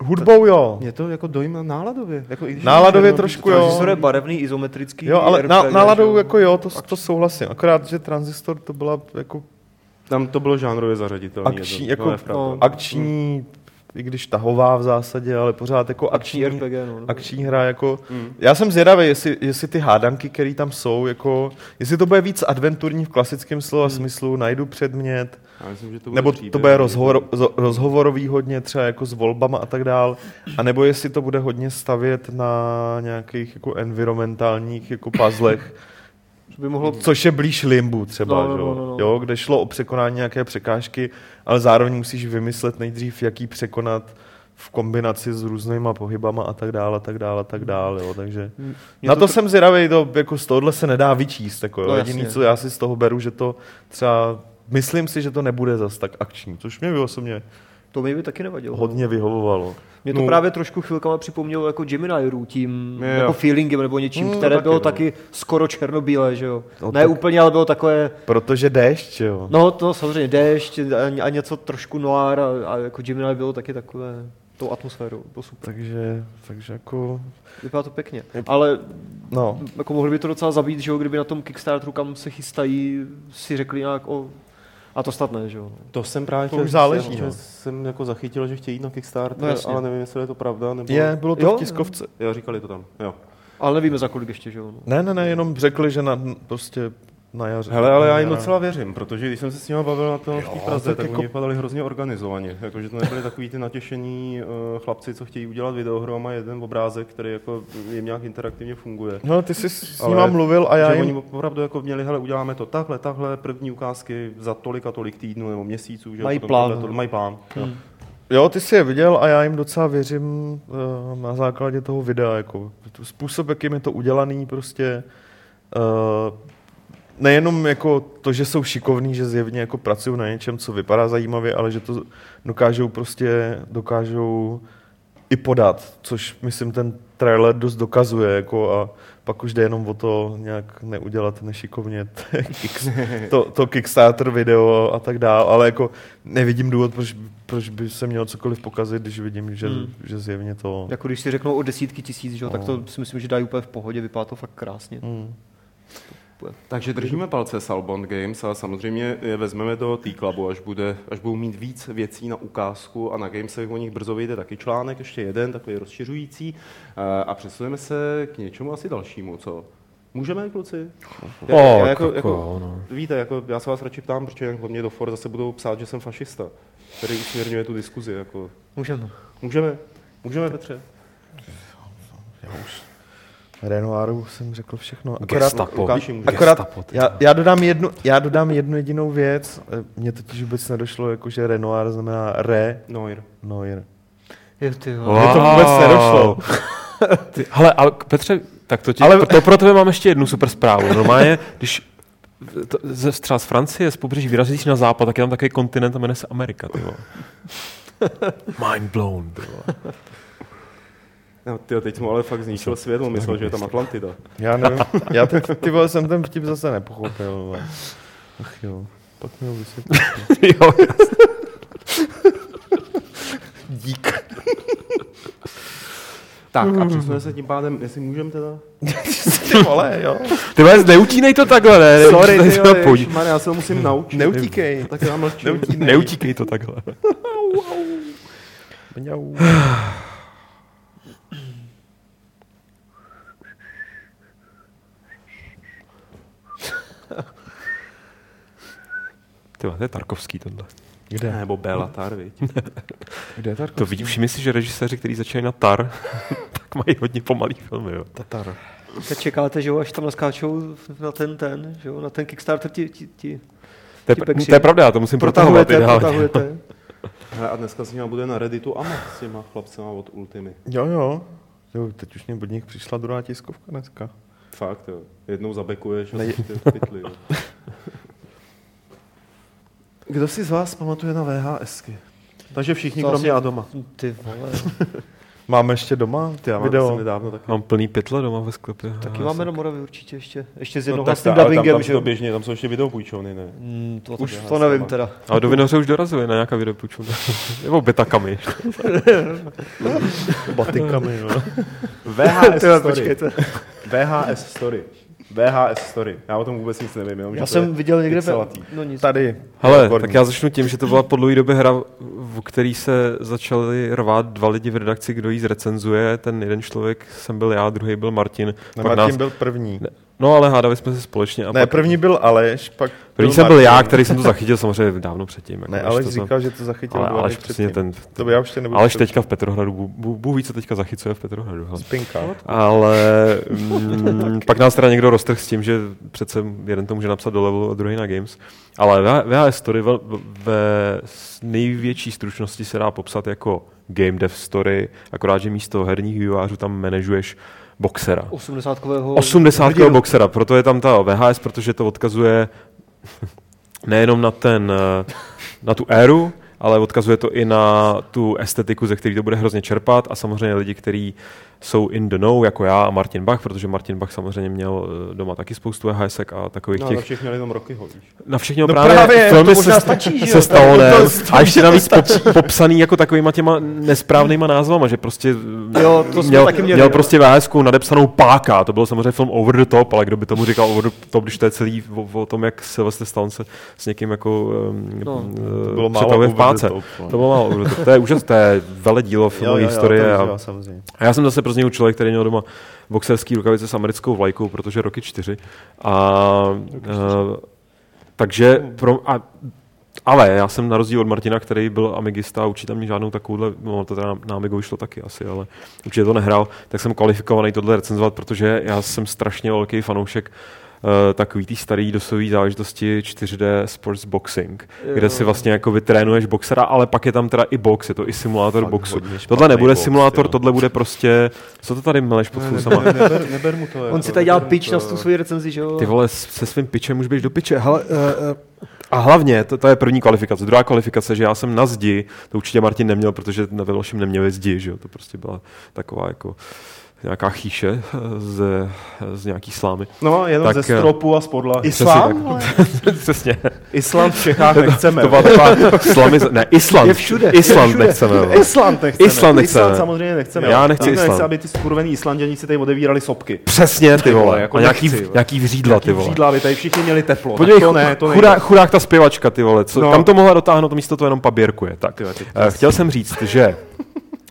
Speaker 2: Hudbou jo.
Speaker 1: mě to jako dojme náladově. Jako, i když
Speaker 2: Náladově
Speaker 1: je to
Speaker 2: trošku,
Speaker 1: jednoduchý,
Speaker 3: Transistor
Speaker 2: jo.
Speaker 3: je barevný, izometrický.
Speaker 2: Jo, ale
Speaker 3: RPG,
Speaker 2: na,
Speaker 3: že
Speaker 2: náladou jako jo, to, to souhlasím. Akorát, že Transistor to byla jako
Speaker 1: Tam to bylo žánrově zařaditelné.
Speaker 2: Akční,
Speaker 1: je to,
Speaker 2: jako-
Speaker 1: no, je pravda.
Speaker 3: no,
Speaker 2: akční, i když tahová v zásadě, ale pořád jako
Speaker 3: Akční
Speaker 2: akční,
Speaker 3: RPG, no. no.
Speaker 2: akční hra. Jako,
Speaker 1: Mm.
Speaker 2: já jsem zvědavý, jestli, jestli ty hádanky, které tam jsou, jako, jestli to bude víc adventurní v klasickém slova smyslu, najdu předmět,
Speaker 1: Já myslím, že to bude
Speaker 2: Nebo to
Speaker 1: příběh.
Speaker 2: bude rozhovor, zo- rozhovorový hodně třeba jako s volbama a tak dál, a nebo jestli to bude hodně stavět na nějakých jako environmentálních jako puzzlech,
Speaker 3: Že by mohlo
Speaker 2: což je blíž limbu třeba,
Speaker 3: No, no,
Speaker 2: že
Speaker 3: no, no, no.
Speaker 2: jo? jo, kde šlo o překonání nějaké překážky, ale zároveň musíš vymyslet nejdřív, jak ji překonat v kombinaci s různýma pohybama a tak dále, a tak dále, a tak dále, jo, takže...
Speaker 3: Mě
Speaker 2: Na to,
Speaker 3: tr-
Speaker 2: jsem zvědavý, to jako z tohohle se nedá vyčíst. Jako,
Speaker 3: No
Speaker 2: no,
Speaker 3: jasně.
Speaker 2: jediný, co já si z toho beru, že to třeba, myslím si, že to nebude zas tak akční, což mě osobně
Speaker 3: To mi by taky nevadilo.
Speaker 2: hodně vyhovovalo.
Speaker 3: Mě to
Speaker 1: No.
Speaker 3: právě trošku chvilkama připomnělo jako Gemini Rue tím
Speaker 1: Jo.
Speaker 3: jako feelingem nebo něčím,
Speaker 2: Mm, to
Speaker 3: které
Speaker 2: taky,
Speaker 3: bylo
Speaker 2: no.
Speaker 3: taky skoro černobílé, že jo.
Speaker 2: No,
Speaker 3: Ne
Speaker 2: tak-
Speaker 3: úplně, ale bylo takové,
Speaker 2: Protože déšť, jo.
Speaker 3: no to samozřejmě déšť a, a něco trošku noir a, a jako Gemini bylo taky takové tou atmosférou, bylo super.
Speaker 2: Takže, takže jako,
Speaker 3: Vypadá to pěkně, ale
Speaker 2: no.
Speaker 3: jako mohli by to docela zabít, že jo, kdyby na tom Kickstarteru, kam se chystají, si řekli nějak o... A to snad ne, že jo. no.
Speaker 1: To jsem právě
Speaker 2: To
Speaker 1: chtěl
Speaker 2: už
Speaker 1: říct,
Speaker 2: záleží,
Speaker 1: já,
Speaker 2: no.
Speaker 1: že jsem jako zachytil, že chtějí jít na
Speaker 3: No
Speaker 1: Kickstarter,
Speaker 3: jasně.
Speaker 1: ale nevím, jestli je to pravda, nebo...
Speaker 2: Je, bylo to
Speaker 3: Jo?
Speaker 2: v tiskovce.
Speaker 1: Jo, říkali to tam, jo.
Speaker 3: Ale nevíme za kolik ještě, že jo. No.
Speaker 2: Ne, ne, ne, jenom řekli, že na, prostě na jaře.
Speaker 1: Hele, ale já jim
Speaker 2: na-
Speaker 1: docela věřím, protože když jsem se s nimi bavil na tom v té Praze, tak,
Speaker 2: tak
Speaker 1: tak
Speaker 2: jako-
Speaker 1: oni vypadali hrozně organizovaně. Jakože to nebyli takový ty natěšení eh, chlapci, co chtějí udělat videohru a mají jeden obrázek, který jako jim nějak interaktivně funguje.
Speaker 2: No, ty jsi s
Speaker 1: Ale-
Speaker 2: ním mluvil a
Speaker 1: A
Speaker 2: já
Speaker 1: já že
Speaker 2: jim...
Speaker 1: oni opravdu jako měli, hele, uděláme to takhle, takhle, první ukázky za tolik a tolik týdnů nebo měsíců, že jo,
Speaker 3: Mají
Speaker 1: potom
Speaker 3: plán.
Speaker 1: tohle, to, mají plán. jo.
Speaker 2: Jo, ty jsi je viděl a já jim docela věřím eh, na základě toho videa. Jako, způsob, jakým je to udělaný, prostě eh, nejenom jako to, že jsou šikovní, že zjevně jako pracují na něčem, co vypadá zajímavě, ale že to dokážou prostě, dokážou i podat, což myslím ten trailer dost dokazuje, jako a pak už jde jenom o to nějak neudělat nešikovně t- kick- to, to Kickstarter video a tak dál, ale jako nevidím důvod, proč, proč by se mělo cokoliv pokazit, když vidím, že,
Speaker 3: Hmm.
Speaker 2: že zjevně to...
Speaker 3: Jako když si řeknou o desítky tisíc, že, jo, tak
Speaker 2: No.
Speaker 3: to si myslím, že dají úplně v pohodě, vypadá to fakt krásně.
Speaker 2: Hmm.
Speaker 1: Takže držíme palce Salbond Games a samozřejmě je vezmeme do T-Clubu, až, bude, až budou mít víc věcí na ukázku a na Gamesech o nich brzo vyjde taky článek, ještě jeden, takový rozšiřující. Eh, A přesuneme se k něčemu asi dalšímu, co? Můžeme, kluci?
Speaker 4: O, jako, jo, no.
Speaker 1: Víte, jako já se vás radši ptám, protože hlavně do For zase budou psát, že jsem fašista, který usměrňuje tu diskuzi. Jako.
Speaker 3: Můžeme.
Speaker 1: Můžeme? Můžeme, Petře?
Speaker 2: Renoiru jsem řekl všechno.
Speaker 4: Gestapo.
Speaker 1: Lukáši, můžeš.
Speaker 2: Akorát,
Speaker 4: Gestapo, ty
Speaker 2: já, já, dodám jednu, já dodám jednu jedinou věc. Eh, Mně totiž vůbec nedošlo, jako, že Renoir znamená re
Speaker 1: Noir.
Speaker 2: Noir.
Speaker 3: Jo, ty
Speaker 4: No.
Speaker 3: jo.
Speaker 2: Mně to vůbec nedošlo.
Speaker 4: Ty, hele, ale k- Petře, tak to, ti,
Speaker 2: Ale-
Speaker 4: ale... to pro tebe mám ještě jednu super zprávu. Normálně, když to, ze, třeba z Francie, z pobřeží vyrazíš na západ, tak je tam takový kontinent a jmenuje se Amerika, ty vole. Mind blown, ty vole.
Speaker 1: No, tyjo, teď jsem ale fakt zničil světlo, myslel, že je tam Atlantida.
Speaker 2: Já nevím, já teď, ty vole, jsem ten vtip zase nepochopil. vole. Ach jo, pak mi ho vysvětlí.
Speaker 4: jo,
Speaker 2: Dík.
Speaker 1: Tak a přesuneme se tím pádem, jestli můžeme teda?
Speaker 2: Ty vole, jo.
Speaker 4: ty vole, neutínej to takhle, ne? ne-
Speaker 1: Sorry, Hmm.
Speaker 4: ne-
Speaker 1: ty
Speaker 4: ne-
Speaker 1: jo,
Speaker 4: použ-
Speaker 1: ježišmarja, já se ho musím naučit. No,
Speaker 2: Neutíkej.
Speaker 1: Tak já mlčím.
Speaker 4: Neutíkej to takhle.
Speaker 2: Mňau.
Speaker 4: Ty vole, to je Tarkovský tohle.
Speaker 2: Kde?
Speaker 1: Nebo Bélatar, viď?
Speaker 2: Kde je Tarko?
Speaker 4: To vidím, všimni si, že režiséři, kteří začínají na Tar, tak mají hodně pomalý filmy, jo.
Speaker 2: Tatar.
Speaker 3: Tak čekáte, že jo, až tam naskáčou na ten ten, že jo, na ten Kickstarter ti, ti, ti
Speaker 4: To je,
Speaker 3: Ti
Speaker 4: pr-
Speaker 3: peksi.
Speaker 4: to je pravda, já to musím protahovat
Speaker 3: protahujete,
Speaker 4: ideálně.
Speaker 3: protahujete.
Speaker 1: Hele, a dneska s ním bude na Redditu Ama s těma chlapcema od Ultimy.
Speaker 2: Jo, jo. Jo, teď už mě od nich přišla druhá tiskovka dneska.
Speaker 1: Fakt, jo. Jednou zabekuješ a
Speaker 2: Ne-
Speaker 1: jsi v pytli, jo. Kdo si z vás pamatuje na VHSky? Takže všichni,
Speaker 3: To
Speaker 1: kromě
Speaker 3: asi-
Speaker 1: Adama.
Speaker 3: Ty vole,
Speaker 2: Máme ještě doma ty
Speaker 1: Já mám
Speaker 2: video.
Speaker 1: asi nedávno taky.
Speaker 4: Mám plný pytle doma ve sklepě.
Speaker 3: taky
Speaker 4: Já
Speaker 3: máme
Speaker 4: jsem-
Speaker 3: na Moravě určitě ještě, ještě s
Speaker 1: No tak
Speaker 3: jednohlasným
Speaker 1: ta- ale tam,
Speaker 3: dubbingem,
Speaker 1: tam,
Speaker 3: že
Speaker 1: že?
Speaker 3: jo.
Speaker 1: Běžně, tam jsou ještě videopůjčovny, ne?
Speaker 3: Hmm, to,
Speaker 1: Už
Speaker 3: Už
Speaker 1: to
Speaker 3: to nevím teda.
Speaker 4: Ale do Vinohře už dorazili na nějaká videopůjčovna. Nebo betakami.
Speaker 2: Batikami, no.
Speaker 1: VHS
Speaker 3: Teda,
Speaker 1: story.
Speaker 3: počkejte.
Speaker 1: VHS story. VHS story. Já o tom vůbec nic nevím, jenom,
Speaker 3: Já
Speaker 1: že to je
Speaker 3: jsem viděl někde...
Speaker 1: pixelatý.
Speaker 3: No nic.
Speaker 2: Tady.
Speaker 4: Hele,
Speaker 2: Výborný.
Speaker 4: tak já začnu tím, že to byla po dlouhé době hra, v který se začali rvát dva lidi v redakci, kdo ji zrecenzuje. Ten jeden člověk jsem byl já, druhý byl Martin.
Speaker 2: Ne,
Speaker 4: Pak
Speaker 2: Martin
Speaker 4: nás-
Speaker 2: byl první.
Speaker 4: Ne, No ale hádali jsme se společně. A
Speaker 2: Ne,
Speaker 4: pak...
Speaker 2: první byl Aleš, pak
Speaker 4: První jsem byl já, který jsem to zachytil samozřejmě dávno předtím. Jako
Speaker 2: Ne,
Speaker 4: než
Speaker 2: Aleš
Speaker 4: to znám.
Speaker 2: říkal, že to zachytil
Speaker 4: ale
Speaker 2: dva dny
Speaker 4: Aleš přesně
Speaker 2: předtím.
Speaker 4: ten...
Speaker 2: To by já už tě nebudu
Speaker 4: Aleš
Speaker 2: před-
Speaker 4: teďka v Petrohradu. Bůh- Bůh bů ví, co teďka zachycuje v Petrohradu. Hele.
Speaker 2: Spinka.
Speaker 4: Ale mm, pak nás teda někdo roztrh s tím, že přece jeden to může napsat do levelu a druhý na games. Ale V- VHS Story ve, ve s- největší stručnosti se dá popsat jako game dev story, akorát, že místo herních vývojářů tam manažuješ boxera.
Speaker 3: 80 kového
Speaker 4: 80 boxera, proto je tam ta VHS, protože to odkazuje nejenom na ten, eh, na tu éru, ale odkazuje to i na tu estetiku, ze který to bude hrozně čerpat a samozřejmě lidi, kteří jsou in the know, jako já a Martin Bach, protože Martin Bach samozřejmě měl eh, doma taky spoustu VHSek a takových
Speaker 1: No,
Speaker 4: těch...
Speaker 1: ale všichni měli jenom roky ho, víš.
Speaker 4: Na všechno
Speaker 2: No
Speaker 4: no
Speaker 2: právě,
Speaker 4: právě,
Speaker 2: to
Speaker 4: filmy
Speaker 2: možná
Speaker 4: se,
Speaker 2: stačí, že
Speaker 4: stačí,
Speaker 2: jo?
Speaker 4: se
Speaker 2: To-
Speaker 4: stalo ne,
Speaker 2: to- to-
Speaker 4: a ještě navíc pop, popsaný jako takovýma těma nesprávnýma názvama, že prostě
Speaker 3: Jo, to jsme
Speaker 4: měl,
Speaker 3: taky měli,
Speaker 4: měl
Speaker 3: no.
Speaker 4: prostě vhs nadepsanou Páka, to byl samozřejmě film Over the Top, ale kdo by tomu říkal Over the Top, když to je celý o, o tom, jak Sylvester Stallone se s někým jako
Speaker 3: No,
Speaker 4: um,
Speaker 2: bylo
Speaker 4: no,
Speaker 2: málo
Speaker 4: přetavuje
Speaker 2: Over
Speaker 4: v
Speaker 2: the
Speaker 4: páce.
Speaker 2: Top, no.
Speaker 4: to bylo málo Over the Top, to je úžasné, to je veledílo filmové historie.
Speaker 2: to
Speaker 4: a-
Speaker 2: už jo, samozřejmě.
Speaker 4: a já jsem zase prostě člověk, který měl doma boxerský rukavice s americkou vlajkou, protože roky čtyři. A, eh, takže pro, a, ale já jsem na rozdíl od Martina, který byl amigista a určitě tam mě žádnou takovouhle, no to teda na- na Amigu vyšlo taky asi, ale určitě to nehrál, tak jsem kvalifikovaný tohle recenzovat, protože já jsem strašně velký fanoušek eh, takový tý starý dosový záležitosti 4D sports boxing, kde si vlastně jako vytrénuješ boxera, ale pak je tam teda i box, je to i simulátor
Speaker 2: Fakt
Speaker 4: boxu.
Speaker 2: hodně špatný
Speaker 4: Tohle nebude
Speaker 2: box,
Speaker 4: simulátor,
Speaker 2: jo.
Speaker 4: tohle bude prostě, co to tady meleš pod flusama?
Speaker 1: ne, neber, neber mu to.
Speaker 3: On si tady dělal pič na tu svoji recenzi, že jo?
Speaker 4: Ty vole, s- se svým pičem už běž do piče. Hele, eh, eh, a hlavně, to, to, je první kvalifikace. Druhá kvalifikace, že já jsem na zdi, to určitě Martin neměl, protože na Velošem neměli zdi, že jo? To prostě byla taková jako nějaká chýše eh, z, z nějaký slámy.
Speaker 1: No, jenom
Speaker 4: Tak,
Speaker 1: ze
Speaker 4: eh,
Speaker 1: stropu a z podlahy.
Speaker 4: Přesně tak.
Speaker 2: Islám? vole?
Speaker 4: Přesně.
Speaker 1: Islám v Čechách nechceme.
Speaker 4: To byla taková slamy, ne, Island.
Speaker 3: Je všude, je
Speaker 4: Island
Speaker 3: všude.
Speaker 4: nechceme. vole.
Speaker 1: Island nechceme.
Speaker 4: Island nechceme.
Speaker 1: Island samozřejmě nechceme.
Speaker 4: Já nechci
Speaker 1: Nikdo
Speaker 4: Island.
Speaker 1: Nechce, aby ty skurvený Islanděni si tady odevírali sopky.
Speaker 4: Přesně, ty
Speaker 1: vole,
Speaker 4: vole.
Speaker 1: jako
Speaker 4: A nějaký,
Speaker 1: nechci, vole.
Speaker 4: nějaký vřídla, ty vole.
Speaker 1: Křídla, aby tady všichni měli teplo.
Speaker 4: Podívej,
Speaker 1: tak to ne, to nejde.
Speaker 4: chudá, chudák ta zpěvačka, ty vole, co,
Speaker 1: No.
Speaker 4: no. tam to mohla dotáhnout, místo to jenom paběrkuje. Tak,
Speaker 1: Ty vole, ty-
Speaker 4: Eh, chtěl jsem říct, že,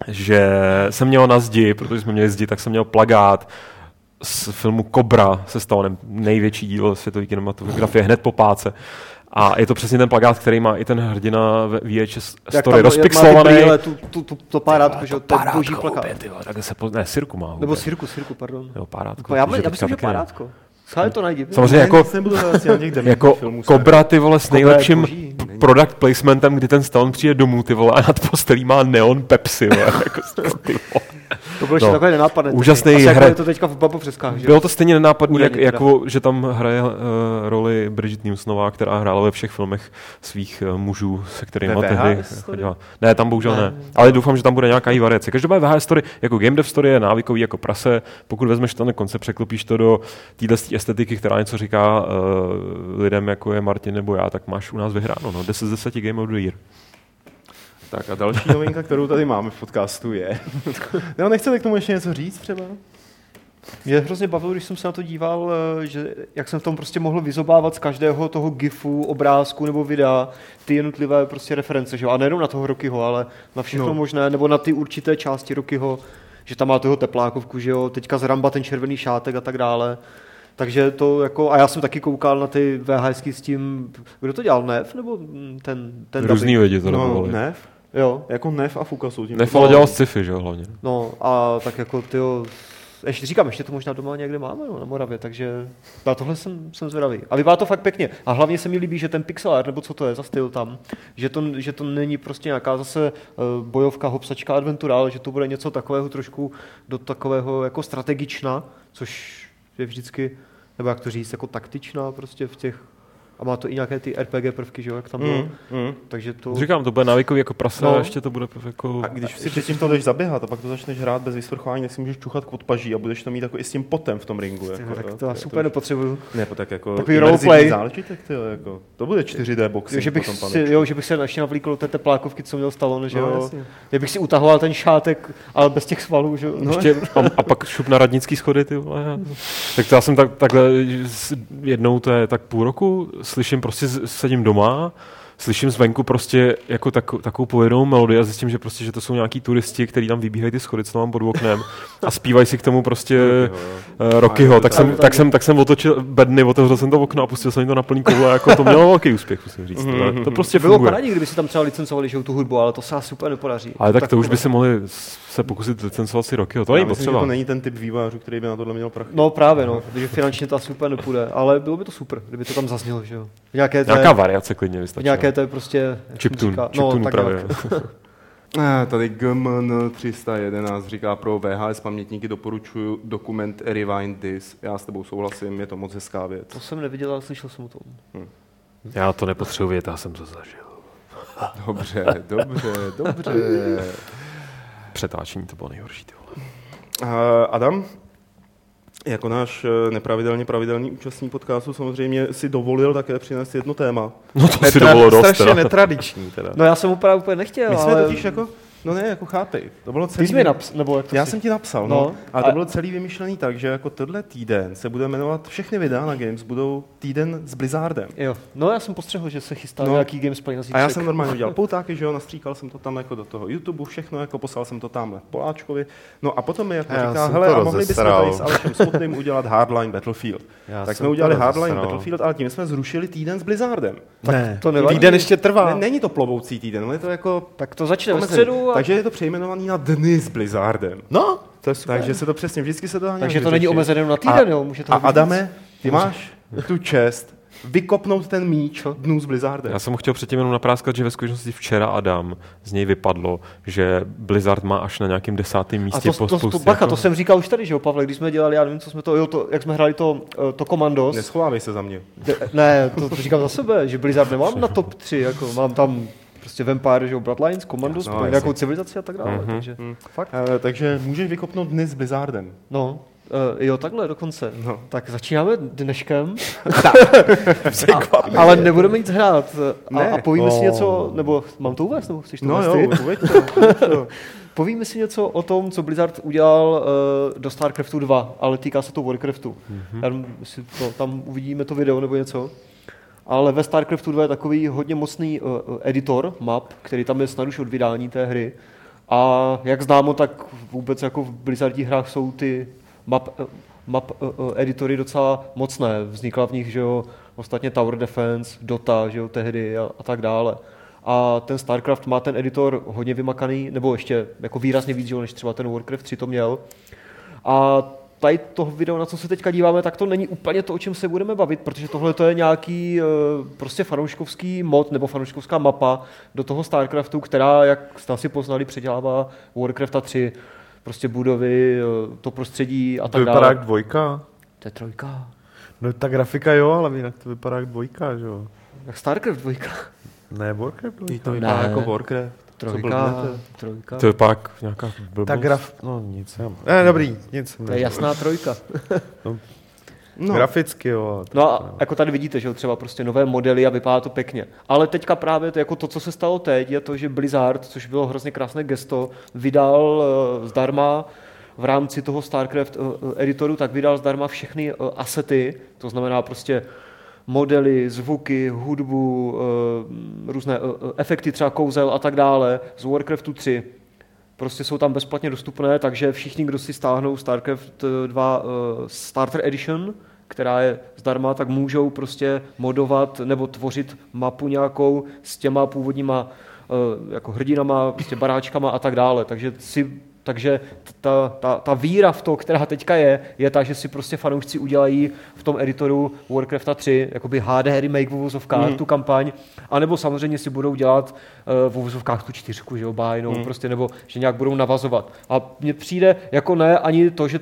Speaker 4: že jsem měl na zdi, protože jsme měli zdi, tak jsem měl plagát z filmu Cobra se stalo nem- největší dílo světové kinematografie hned po páce. A je to přesně ten plagát, který má i ten hrdina ve VHS
Speaker 3: Jak tam-
Speaker 4: story
Speaker 3: jak má ty
Speaker 4: rozpixlovaný.
Speaker 3: brýle, tu, tu, tu, to párátko, že jo, to je boží plakát.
Speaker 4: Opět, ty vole, takhle se poz... Ne, Sirku má.
Speaker 3: Nebo
Speaker 4: vůbec.
Speaker 3: Sirku, Sirku, pardon.
Speaker 4: Jo, párátko.
Speaker 3: Pa- Já,
Speaker 4: protože
Speaker 3: já
Speaker 4: Jako teďka
Speaker 3: myslím, že
Speaker 4: taky ne.
Speaker 3: párátko. Schválně to najdi.
Speaker 4: Samozřejmě
Speaker 1: Ne,
Speaker 4: jako
Speaker 1: nic Nebudu hledat, já těch dementních
Speaker 4: jako
Speaker 1: filmů se-
Speaker 4: Cobra ty vole s
Speaker 3: Cobra je
Speaker 4: nejlepším
Speaker 3: boží, není.
Speaker 4: product placementem, kdy ten Stallone přijde domů ty vole a nad postelí má neon Pepsi. Vole, jako, ty vole.
Speaker 3: To bylo ještě
Speaker 4: No.
Speaker 3: takové nenápadné.
Speaker 4: Úžasný
Speaker 3: Asi jako
Speaker 4: hra-
Speaker 3: je to teďka v Babo Přeskách, že jo?
Speaker 4: Bylo to stejně nenápadné, jak,
Speaker 3: Údajně teda.
Speaker 4: jako, že tam hraje uh, roli Bridget Newsonová, která hrála ve všech filmech svých uh, mužů, se kterými
Speaker 1: To je
Speaker 4: tehdy
Speaker 1: VHS story?
Speaker 4: chodila. Ne, tam bohužel ne. Ale doufám, že tam bude nějaká její variace. Každopádně VHS story, jako Game Dev story je návykový jako prase. Pokud vezmeš ten koncept, překlopíš to do téhle estetiky, která něco říká uh, lidem, jako je Martin nebo já, tak máš u nás vyhráno. No. 10 z 10 Game of the Year.
Speaker 1: Tak a další novinka, kterou tady máme v podcastu je... no, nechcete k tomu ještě něco říct třeba?
Speaker 3: Mě hrozně bavilo, když jsem se na to díval, eh, že jak jsem v tom prostě mohl vyzobávat z každého toho GIFu, obrázku nebo videa ty jednotlivé prostě reference, že jo? A nejenom na toho Rokyho, ale na všechno
Speaker 1: No.
Speaker 3: no. možné, nebo na ty určité části Rokyho, že tam má toho teplákovku, že jo? Teďka z Ramba ten červený šátek a tak dále. Takže to jako, a já jsem taky koukal na ty VHSky s tím, kdo to dělal, Nev, nebo mm, ten, ten
Speaker 4: Různý
Speaker 3: dubbing?
Speaker 4: lidi to
Speaker 1: no,
Speaker 4: no, ne.
Speaker 1: nef,
Speaker 3: Jo,
Speaker 1: jako nef a fuka jsou tím.
Speaker 4: Nefalo dělal sci-fi, že jo, hlavně.
Speaker 3: No a tak jako ty ještě říkám, ještě to možná doma někde máme no, na Moravě, takže na tohle jsem, jsem zvědavý. A vypadá to fakt pěkně. A hlavně se mi líbí, že ten pixel art, nebo co to je za styl tam, že to, že to není prostě nějaká zase eh, bojovka, hopsačka, adventura, ale že to bude něco takového trošku do takového jako strategična, což je vždycky, nebo jak to říct, jako taktičná prostě v těch a má to i nějaké ty RPG prvky, že jo, jak tam bylo.
Speaker 1: Mm, mm.
Speaker 3: Takže to...
Speaker 4: Říkám, to bude návykový jako prase,
Speaker 3: No.
Speaker 4: no. ještě to bude jako...
Speaker 1: A když si předtím to jdeš zaběhat a pak to začneš hrát bez vysprchování, tak si můžeš čuchat k podpaží a budeš to mít jako i s tím potem v tom ringu. Jako,
Speaker 3: tak
Speaker 1: jo.
Speaker 3: to já super nepotřebuju.
Speaker 1: Ne, po tak jako
Speaker 3: Takový
Speaker 1: imerzivní
Speaker 3: roleplay.
Speaker 1: zážitek, ty, jo, jako. To bude 4D boxing
Speaker 3: Jo, že, bych
Speaker 1: potom,
Speaker 3: si,
Speaker 1: pane.
Speaker 3: jo, že bych se ještě navlíkl do té teplákovky, co měl Stallone, že
Speaker 1: No,
Speaker 3: jo.
Speaker 1: jasně.
Speaker 3: Já bych si utahoval ten šátek, ale bez těch svalů, že jo. No,
Speaker 4: Ještě, a, a, pak šup na radnický schody, ty vole. Tak to já jsem tak, takhle s- jednou, to je tak půl roku, slyším prostě, z- sedím doma, slyším zvenku prostě jako tak, takovou povedenou melodii a zjistím, že prostě, že to jsou nějaký turisti, kteří tam vybíhají ty schody, co mám pod oknem a zpívají si k tomu prostě eh, Rockyho. Tak jsem, tak, jsem, tak jsem otočil bedny, otevřel jsem to okno a pustil jsem jim to na plný koule a jako to mělo velký úspěch, musím říct. To, to prostě
Speaker 3: bylo
Speaker 4: funguje.
Speaker 3: parádní, kdyby si tam třeba licencovali že jo, tu hudbu, ale to se asi úplně nepodaří.
Speaker 4: Ale tak, to už
Speaker 3: takové.
Speaker 4: by si mohli s- se pokusit licencovat si roky, to
Speaker 1: Já
Speaker 4: není
Speaker 1: myslím, že
Speaker 4: potřeba.
Speaker 1: to není ten typ vývářů, který by na tohle měl prachy.
Speaker 3: No právě, no, protože finančně to asi úplně nepůjde, ale bylo by to super, kdyby to tam zaznělo, že jo. V nějaké té,
Speaker 4: Nějaká variace klidně
Speaker 3: v
Speaker 4: vystačí.
Speaker 3: nějaké té prostě... jak se
Speaker 4: Chiptune,
Speaker 3: říká- no,
Speaker 4: chiptune
Speaker 3: tak
Speaker 4: právě.
Speaker 3: nějak.
Speaker 1: Eh, Tady GMN 311 říká pro VHS pamětníky doporučuji dokument Rewind This. Já s tebou souhlasím, je to moc hezká věc.
Speaker 3: To jsem neviděl, ale slyšel jsem o tom.
Speaker 4: Já to nepotřebuji vědět, já jsem to zažil.
Speaker 1: Dobře, dobře, dobře.
Speaker 4: Přetáčení to bylo nejhorší, ty vole.
Speaker 1: Eh, Adam, jako náš eh, nepravidelně pravidelný účastník podcastu samozřejmě si dovolil také přinést jedno téma.
Speaker 4: No to si
Speaker 2: Netra-
Speaker 4: dovolilo dost,
Speaker 2: strašně
Speaker 4: teda.
Speaker 2: netradiční teda.
Speaker 3: No já jsem opravdu úplně nechtěl,
Speaker 1: My jsme
Speaker 3: ale...
Speaker 1: totiž jako, no ne, jako chápej, to bylo celý...
Speaker 3: Ty jsi mi naps... nebo jak to
Speaker 1: Já
Speaker 3: jsi-
Speaker 1: jsem ti napsal, no.
Speaker 3: No.
Speaker 1: no. A to
Speaker 3: A-
Speaker 1: bylo celý vymyšlený tak, že jako tenhle týden se bude jmenovat, všechny videa na Games budou týden s Blizzardem.
Speaker 3: Jo, no já jsem postřehl, že se chystá
Speaker 1: No.
Speaker 3: no. nějaký gameplay na zítřek.
Speaker 1: A já jsem normálně udělal poutáky, že jo, nastříkal jsem to tam jako do toho YouTube, všechno, jako poslal jsem to tamhle Poláčkovi. No a potom mi jako
Speaker 2: Já
Speaker 1: říká,
Speaker 2: jsem
Speaker 1: hele,
Speaker 2: to
Speaker 1: a mohli bychom
Speaker 2: rozesral."
Speaker 1: tady s Alešem Smutným udělat Hardline Battlefield. Já
Speaker 2: Já
Speaker 1: tak
Speaker 2: jsem
Speaker 1: jsme
Speaker 2: to
Speaker 1: udělali Hardline
Speaker 2: rozesral.
Speaker 1: Battlefield, ale tím jsme zrušili týden s Blizzardem.
Speaker 2: Ne.
Speaker 3: to nevadí.
Speaker 2: Týden ještě trvá.
Speaker 1: Ne, není to plovoucí týden, ale je to jako
Speaker 3: Tak to začne ve
Speaker 1: omezený.
Speaker 3: středu a...
Speaker 1: Takže je to přejmenovaný na dny s Blizzardem.
Speaker 2: No, to je
Speaker 1: Takže se to přesně, vždycky se to dá nějak
Speaker 3: Takže to není
Speaker 1: vyřešit.
Speaker 3: omezené jenom na týden, jo? Může to
Speaker 1: A
Speaker 3: být víc.
Speaker 1: Adame, ty máš tu čest vykopnout ten míč dnů s Blizzardem.
Speaker 4: Já jsem mu chtěl předtím jenom napráskat, že ve skutečnosti včera Adam z něj vypadlo, že Blizzard má až na nějakém desátém místě
Speaker 3: A to, to, to, to,
Speaker 4: spoustě
Speaker 3: bacha,
Speaker 4: jako-
Speaker 3: to jsem říkal už tady, že jo, Pavle, když jsme dělali, já nevím, co jsme to, jo, to, jak jsme hráli to, eh, to Commandos,
Speaker 1: Neschovávej se za mě.
Speaker 3: Ne, ne, to, to říkám za sebe, že Blizzard nemám na top 3, jako mám tam prostě Vampire, že jo, Bloodlines, Commandos,
Speaker 1: No,
Speaker 3: no,
Speaker 1: jasně.
Speaker 3: nějakou civilizaci a tak dále, mm-hmm. takže fakt.
Speaker 1: Eh, takže můžeš vykopnout dny s Blizzardem.
Speaker 3: No, eh, jo, takhle dokonce.
Speaker 1: No.
Speaker 3: Tak začínáme dneškem. a, ale nebudeme nic hrát. A,
Speaker 1: Ne.
Speaker 3: a povíme si
Speaker 2: Oh.
Speaker 3: něco, nebo mám to uvést, nebo chceš to
Speaker 1: No
Speaker 3: uvést
Speaker 1: jo,
Speaker 3: ty?
Speaker 1: uveď to, uveď to.
Speaker 3: Povíme si něco o tom, co Blizzard udělal uh, do StarCraftu 2, ale týká se to Warcraftu. Mm-hmm. Já nevím, jestli to, tam uvidíme to video nebo něco. Ale ve StarCraftu 2 je takový hodně mocný uh, editor map, který tam je snad už od vydání té hry. A jak známo, tak vůbec jako v Blizzardních hrách jsou ty map, eh, map eh, eh, editory docela mocné. Vznikla v nich, že jo, ostatně Tower Defense, Dota, že jo, tehdy a, a tak dále. A ten StarCraft má ten editor hodně vymakaný, nebo ještě jako výrazně víc, že jo, než třeba ten Warcraft 3 to měl. A tady toho videa, na co se teďka díváme, tak to není úplně to, o čem se budeme bavit, protože tohle to je nějaký eh, prostě fanouškovský mod nebo fanouškovská mapa do toho StarCraftu, která, jak jste asi poznali, předělává Warcrafta 3 prostě budovy, eh, to prostředí a
Speaker 2: To
Speaker 3: tak
Speaker 2: vypadá jak
Speaker 3: dále.
Speaker 2: dvojka.
Speaker 3: To je trojka.
Speaker 2: No ta grafika jo, ale jinak to vypadá jak dvojka, že jo.
Speaker 3: Jak StarCraft dvojka.
Speaker 2: Ne, Warcraft dvojka.
Speaker 1: To vypadá
Speaker 3: Ne.
Speaker 1: jako Warcraft. Co
Speaker 3: Trojka,
Speaker 1: blbnete?
Speaker 3: trojka.
Speaker 4: To je pak nějaká blbost.
Speaker 2: Ta graf... No nic, já... Ne, dobrý, nic.
Speaker 3: To je jasná trojka.
Speaker 2: No. Graficky jo. ale to-
Speaker 3: No a jako tady vidíte, že jo, třeba prostě nové modely a vypadá to pěkně. Ale teďka právě to, jako to, co se stalo teď, je to, že Blizzard, což bylo hrozně krásné gesto, vydal eh, zdarma v rámci toho StarCraft eh, eh, editoru, tak vydal zdarma všechny eh, asety, to znamená prostě modely, zvuky, hudbu, eh, různé eh, eh, efekty třeba kouzel a tak dále z Warcraftu 3 prostě jsou tam bezplatně dostupné, takže všichni, kdo si stáhnou StarCraft 2 uh, Starter Edition, která je zdarma, tak můžou prostě modovat nebo tvořit mapu nějakou s těma původníma uh, jako hrdinama, prostě baráčkama a tak dále. Takže si takže t- ta, ta, ta víra v to, která teďka je, je ta, že si prostě fanoušci udělají v tom editoru Warcrafta 3, jakoby HD remake v uvozovkách, mm. tu kampaň, anebo samozřejmě si budou dělat uh, v uvozovkách tu čtyřku, že jo, bájnou, mm. prostě, nebo že nějak budou navazovat. A mně přijde jako ne ani to, že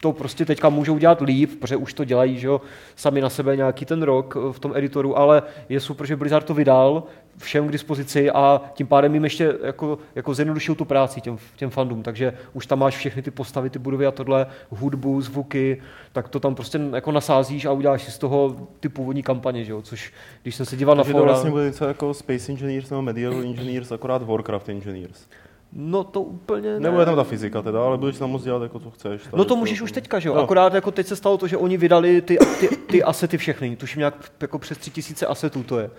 Speaker 3: to prostě teďka můžou dělat líp, protože už to dělají, že jo, sami na sebe nějaký ten rok eh, v tom editoru, ale je super, že Blizzard to vydal všem k dispozici a tím pádem jim ještě jako, jako zjednodušil tu práci těm, těm fandům, takže už tam máš všechny ty postavy, ty budovy a tohle, hudbu, zvuky, tak to tam prostě jako nasázíš a uděláš si z toho ty původní kampaně, že jo, což když jsem se díval
Speaker 1: Takže
Speaker 3: na
Speaker 1: to
Speaker 3: fora,
Speaker 1: vlastně bude něco jako Space Engineers nebo Medieval Engineers, akorát Warcraft Engineers.
Speaker 3: no to úplně ne.
Speaker 1: Nebude tam ta fyzika teda, ale budeš tam moc dělat jako co chceš.
Speaker 3: No
Speaker 1: tady
Speaker 3: to můžeš už teďka, že jo?
Speaker 1: No.
Speaker 3: Akorát jako teď se stalo to, že oni vydali ty, ty, ty asety všechny, tuším nějak jako přes tři tisíce asetů to je.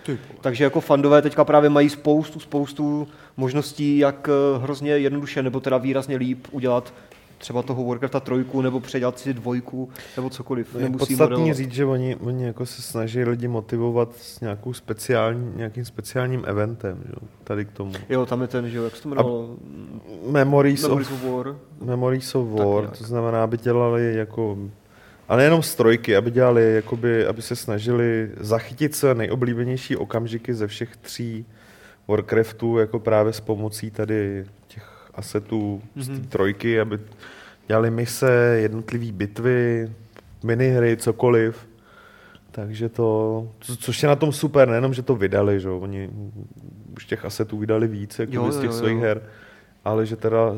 Speaker 3: Takže jako fandové teďka právě mají spoustu, spoustu možností, jak eh, hrozně jednoduše nebo teda výrazně líp udělat třeba toho Warcrafta trojku, nebo předělat si dvojku, nebo cokoliv.
Speaker 2: Je
Speaker 3: Nemusí
Speaker 2: podstatný
Speaker 3: modelovat.
Speaker 2: říct, že oni, oni jako se snaží lidi motivovat s nějakou speciální, nějakým speciálním eventem, že? jo, tady k tomu.
Speaker 3: Jo, tam je ten, že jo, jak se to jmenovalo?
Speaker 2: Memories,
Speaker 3: Memories
Speaker 2: of,
Speaker 3: of War.
Speaker 2: Memories of
Speaker 3: Tak
Speaker 2: War,
Speaker 3: nějak.
Speaker 2: to znamená, aby dělali jako a nejenom strojky, aby dělali, jakoby, aby se snažili zachytit své nejoblíbenější okamžiky ze všech tří Warcraftů, jako právě s pomocí tady těch asetů z
Speaker 3: Mhm.
Speaker 2: té trojky, aby dělali mise, jednotlivé bitvy, minihry, cokoliv. Takže to, co- což je na tom super, nejenom, že to vydali, že jo, oni už těch asetů vydali víc, jako
Speaker 3: Jo,
Speaker 2: z
Speaker 3: jo,
Speaker 2: těch
Speaker 3: jo.
Speaker 2: svých her, ale že teda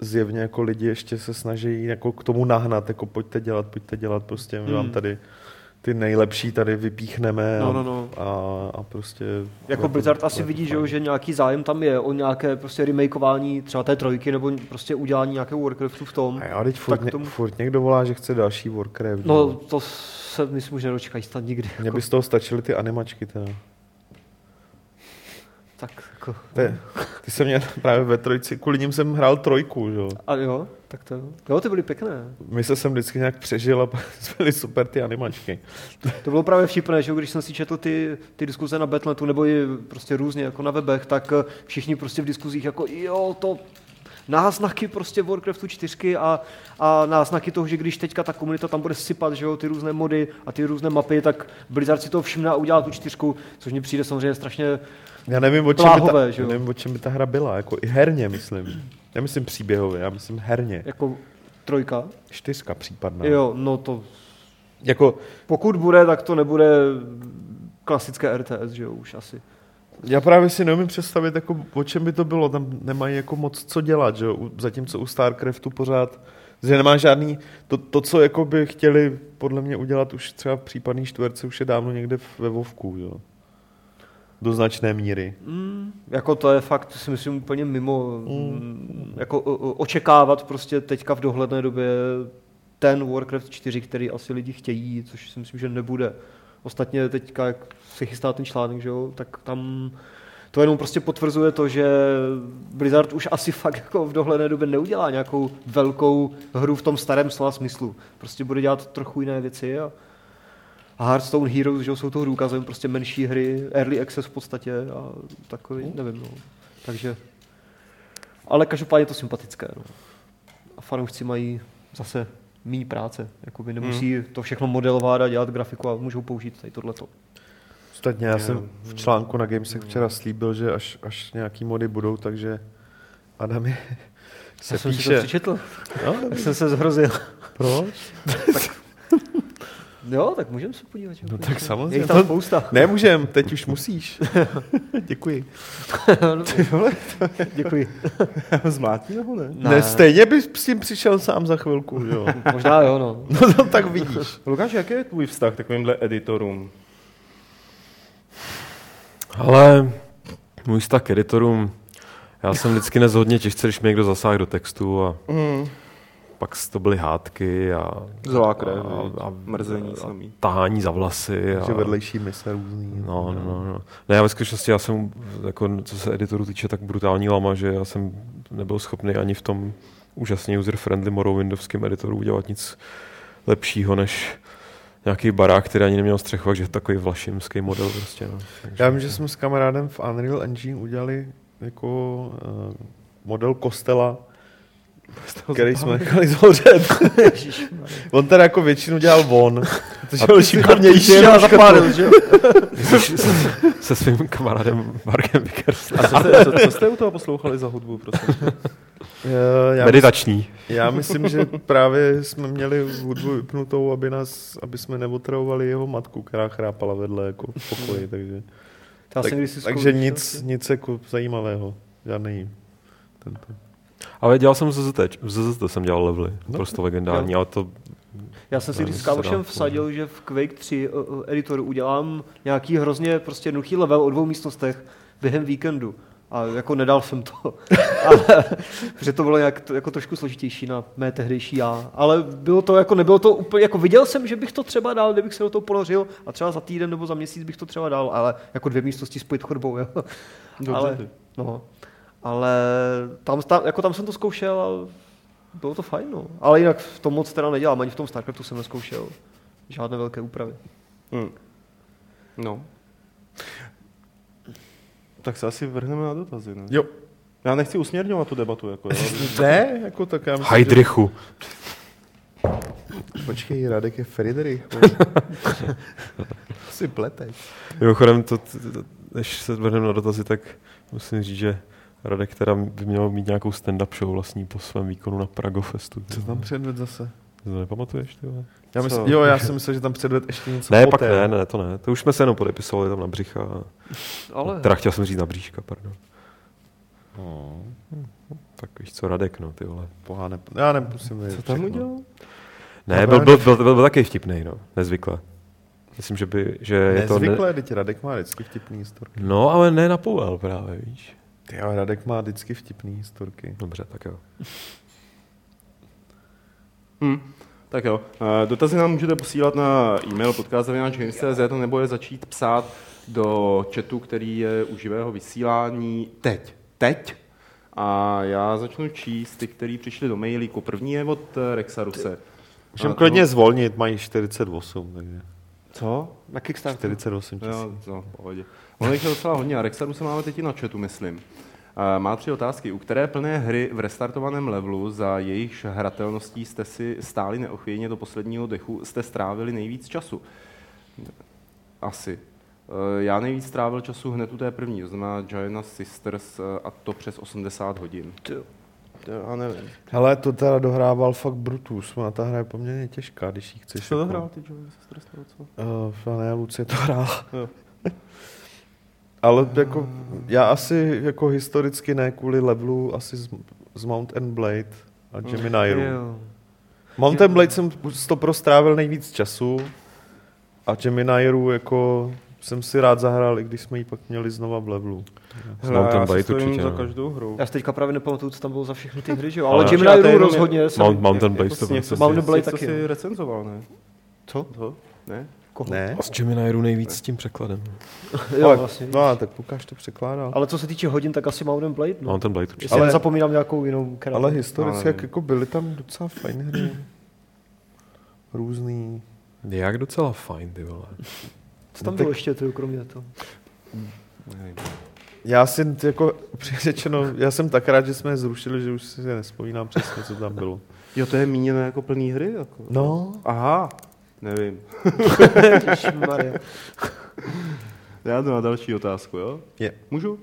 Speaker 2: z- zjevně jako lidi ještě se snaží jako k tomu nahnat, jako pojďte dělat, pojďte dělat, prostě my vám tady ty nejlepší tady vypíchneme
Speaker 3: Hmm. No, no,
Speaker 2: a,
Speaker 3: no.
Speaker 2: A, a prostě...
Speaker 3: Jako Blizzard asi vidí, že, jo, že nějaký zájem tam je o nějaké prostě remakeování třeba té trojky nebo prostě udělání nějakého Warcraftu v tom.
Speaker 2: A já teď furt,
Speaker 3: Tak
Speaker 2: ně,
Speaker 3: tomu-
Speaker 2: furt někdo volá, že chce další Warcraft.
Speaker 3: No,
Speaker 2: že jo.
Speaker 3: to se myslím, že nedočkají snad nikdy. jako
Speaker 2: Mně by z toho stačily ty animačky teda.
Speaker 3: Tak jako...
Speaker 2: Ty, ty jsem měl právě ve trojci, kvůli nim jsem hrál trojku, že jo.
Speaker 3: A jo, tak to jo. Jo, ty byly pěkné.
Speaker 2: My se jsem vždycky nějak přežil a pak byly super ty animačky.
Speaker 3: To bylo právě vtipné, že jo, když jsem si četl ty, ty diskuze na Battle.netu nebo i prostě různě jako na webech, tak eh, všichni prostě v diskuzích jako jo, to náznaky prostě Warcraftu 4 a, a náznaky toho, že když teďka ta komunita tam bude sypat, že jo, ty různé mody a ty různé mapy, tak Blizzard si to všimne a udělá tu čtyřku, což mi přijde samozřejmě strašně
Speaker 2: Já nevím, o čem,
Speaker 3: Pláhové,
Speaker 2: by
Speaker 3: že
Speaker 2: ta,
Speaker 3: jo?
Speaker 2: nevím, o čem by ta hra byla, jako i herně, myslím. Nemyslím příběhově, já myslím herně.
Speaker 3: jako trojka.
Speaker 2: Čtyřka případná.
Speaker 3: No. Jo, no to
Speaker 2: Jako,
Speaker 3: pokud bude, tak to nebude klasické RTS, že jo, už asi.
Speaker 2: já právě si neumím představit, jako, o čem by to bylo. Tam nemají jako moc co dělat, že jo? U- Zatímco u StarCraftu pořád že nemá žádný, to, to, co jako by chtěli podle mě udělat už třeba v případný čtverce, už je dávno někde v- ve Vovku, jo. Do značné míry.
Speaker 3: Jako to je fakt, si myslím, úplně mimo. Mm. Jako o- o- očekávat prostě teďka v dohledné době ten Warcraft 4, který asi lidi chtějí, což si myslím, že nebude. Ostatně teďka, jak se chystá ten článek, že jo, tak tam to jenom prostě potvrzuje to, že Blizzard už asi fakt jako v dohledné době neudělá nějakou velkou hru v tom starém slova smyslu. Prostě bude dělat trochu jiné věci a a Hearthstone Heroes, že jo, jsou toho důkazem, prostě menší hry, early access v podstatě a takový, nevím, no. Takže, ale každopádně je to sympatické, no. A fanoušci mají zase méně práce, jakoby
Speaker 2: Hmm.
Speaker 3: nemusí to všechno modelovat a dělat grafiku a můžou použít tady tohleto.
Speaker 2: Ostatně já jsem v článku na Gamesech včera slíbil, že až, až nějaký mody budou, takže Adami se
Speaker 3: Já jsem si to
Speaker 2: píše.
Speaker 3: přečetl,
Speaker 2: no,
Speaker 3: tak jsem se zhrozil.
Speaker 2: proč?
Speaker 3: Jo, tak můžeme se podívat. No
Speaker 2: Tak
Speaker 3: Je
Speaker 2: samozřejmě.
Speaker 3: jich tam spousta.
Speaker 2: Nemůžem, teď už musíš. Děkuji. No,
Speaker 1: Ty vole,
Speaker 3: Děkuji.
Speaker 1: zmlátí ho, ne?
Speaker 2: Ne. Ne, stejně bys s tím přišel sám za chvilku, že jo.
Speaker 3: Možná jo, no.
Speaker 2: No to tak vidíš.
Speaker 1: Lukáš, jaký je tvůj vztah k takovýmhle editorům?
Speaker 4: Ale můj vztah k editorům, já jsem vždycky dnes hodně těžce, když mi někdo zasáhl do textu a
Speaker 1: Mm.
Speaker 4: pak s- to byly hádky a,
Speaker 1: Zlá krev,
Speaker 4: a,
Speaker 1: a, a, mrzení samý.
Speaker 4: tahání za vlasy. A,
Speaker 2: Že vedlejší mise různý.
Speaker 4: No, no, no. Ne, já ve skutečnosti já jsem, jako, co se editoru týče, tak brutální lama, že já jsem nebyl schopný ani v tom úžasně user-friendly Morrowindovském editoru udělat nic lepšího, než nějaký barák, který ani neměl střechu, takže takový vlašimský model prostě. No. Takže,
Speaker 2: Já vím, že jsme s kamarádem v Unreal Engine udělali jako uh, model kostela, který jsme nechali zhořet. on teda jako většinu dělal on, což je šikovnější.
Speaker 3: Já zapálil, že jo?
Speaker 4: se svým kamarádem Markem Vickers.
Speaker 1: A co jste, co, co jste u toho poslouchali za hudbu, prosím?
Speaker 2: Eh, Já, myslím,
Speaker 4: Meditační.
Speaker 2: já myslím, že právě jsme měli hudbu vypnutou, aby, nás, aby jsme neotravovali jeho matku, která chrápala vedle jako v pokoji. Takže,
Speaker 3: Já
Speaker 2: tak,
Speaker 3: jsem kdysi
Speaker 2: takže
Speaker 3: zkoušel.
Speaker 2: nic, nic jako zajímavého. Žádný tento.
Speaker 4: Ale dělal jsem ZZT, v ZZT jsem dělal levely, prostě legendární,
Speaker 3: No, Jo.
Speaker 4: ale to
Speaker 3: Já jsem si
Speaker 4: Ne,
Speaker 3: když s
Speaker 4: to se dá
Speaker 3: kámošem
Speaker 4: furt.
Speaker 3: vsadil, že v Quake 3 uh, uh, editoru udělám nějaký hrozně prostě jednoduchý level o dvou místnostech během víkendu. A jako nedal jsem to. Ale, protože to bylo nějak, to- jako trošku složitější na mé tehdejší já. Ale bylo to jako, nebylo to úplně, jako viděl jsem, že bych to třeba dal, kdybych se do toho položil a třeba za týden nebo za měsíc bych to třeba dal, ale jako dvě místnosti spojit chodbou, jo.
Speaker 1: Dobře,
Speaker 3: ale,
Speaker 1: ty.
Speaker 3: no, ale tam, tam, jako tam jsem to zkoušel a bylo to fajn, no. Ale jinak v tom moc teda nedělám, ani v tom StarCraftu jsem neskoušel. Žádné velké úpravy.
Speaker 1: Mm. No. Tak se asi vrhneme na dotazy, ne?
Speaker 2: Jo.
Speaker 1: Já nechci usměrňovat tu debatu, jako jo.
Speaker 2: Ne, jako tak já myslím, že...
Speaker 4: Heidrichu.
Speaker 2: Počkej, Radek je Friedrich. si pleteš.
Speaker 4: Mimochodem, to, t- t- než se vrhneme na dotazy, tak musím říct, že Radek teda by měl mít nějakou stand-up show vlastní po svém výkonu na Pragofestu.
Speaker 2: Co tam předved zase?
Speaker 4: To nepamatuješ? Ty vole?
Speaker 2: Já
Speaker 1: Co?
Speaker 2: myslím, jo, já jsem myslel, že tam předved ještě něco
Speaker 4: ne, pak
Speaker 2: poté.
Speaker 4: ne, ne, to ne. To už jsme se jenom podepisovali tam na břicha.
Speaker 3: Ale
Speaker 4: Teda chtěl jsem říct na bříška, pardon.
Speaker 3: No.
Speaker 4: Hm, Tak víš co, Radek, no, ty vole.
Speaker 2: Boha, ne, já nemusím vědět.
Speaker 1: Co tam udělal?
Speaker 4: Ne, byl, byl, byl, byl, byl taky vtipný, no, nezvykle. Myslím, že by, že je to...
Speaker 2: Nezvykle, teď Radek má vždycky vtipný historky.
Speaker 4: No, ale ne na povel právě, víš.
Speaker 2: Ty jo, Radek má vždycky vtipný historky.
Speaker 4: Dobře, tak jo.
Speaker 1: Mm. Tak jo. Eh, Dotazy nám můžete posílat na e-mail podcast.cz nebo je začít psát do chatu, který je u živého vysílání teď. Teď? A já začnu číst ty, který přišli do mailíku. První je od eh, Rexa Ruse. A
Speaker 2: Můžeme
Speaker 1: to-
Speaker 2: klidně zvolnit, mají 48, takže
Speaker 1: Co?
Speaker 3: na Kickstarter.
Speaker 2: 48 tisíc.
Speaker 1: Jo, no, v pohodě. Ono jich je docela hodně. A Rexaru se máme teď i na chatu, myslím. Eh, Má tři otázky. U které plné hry v restartovaném levelu, za jejichž hratelností jste si stáli neochvějně do posledního dechu, jste strávili nejvíc času? Asi. Eh, Já nejvíc strávil času hned u té první, to znamená Giant Sisters eh, a to přes 80 hodin. To Já nevím.
Speaker 2: Hele, to teda dohrával fakt Brutus, má ta hra je poměrně těžká, když ji chceš.
Speaker 1: Jsi to
Speaker 2: jako-
Speaker 1: dohrál ty Giant Sisters nebo co?
Speaker 2: Uh, ne, Lucie to hrál.
Speaker 1: Jo.
Speaker 2: Ale jako, já asi jako historicky ne kvůli levelu, asi z, z Mount and Blade a Geminiru.
Speaker 3: No. Jo.
Speaker 2: Mount and Blade jsem to prostrávil nejvíc času a Geminiru jako jsem si rád zahrál, i když jsme ji pak měli znova v levelu.
Speaker 4: Hele, Mountain já si Blade stojím určitě, za
Speaker 1: za
Speaker 4: no.
Speaker 1: každou hru.
Speaker 3: Já si teďka právě nepamatuju, co tam bylo za všechny ty hry, že jo?
Speaker 4: Ale
Speaker 3: Ale Jim
Speaker 1: já to
Speaker 3: Ryder
Speaker 1: jenom-
Speaker 3: rozhodně jsem... jako
Speaker 4: Mount, Mountain Blade to
Speaker 1: něco,
Speaker 4: prostě.
Speaker 3: Mount-
Speaker 1: Blade
Speaker 3: Blade
Speaker 1: taky.
Speaker 3: taky,
Speaker 1: si
Speaker 3: jo.
Speaker 1: recenzoval, ne?
Speaker 3: Co?
Speaker 1: To? Ne?
Speaker 3: Koho?
Speaker 2: Ne?
Speaker 4: A s Geminiru nejvíc s tím překladem.
Speaker 3: jako- Jo, vlastně.
Speaker 2: no a tak Lukáš to překládal.
Speaker 3: Ale co se týče hodin, tak asi Mount and Blade, no.
Speaker 4: Mountain Blade určitě.
Speaker 3: Jestli
Speaker 2: Ale-
Speaker 3: ale... zapomínám nějakou jinou která.
Speaker 2: Ale historicky,
Speaker 1: Ale-
Speaker 2: jak jako byly tam docela fajn hry. Různý.
Speaker 4: Jak docela fajn, ty vole.
Speaker 3: Co tam bylo ještě, ty, kromě toho?
Speaker 1: Nevím.
Speaker 2: Já si t- jako upřímně řečeno, já jsem tak rád, že jsme je zrušili, že už si je nespomínám přesně, co tam bylo.
Speaker 1: Jo, to je míněno jako plný hry? Jako.
Speaker 2: No.
Speaker 1: Aha, nevím.
Speaker 3: Ježišmarja.
Speaker 1: Já jdu na další otázku, jo?
Speaker 2: Je.
Speaker 1: Můžu?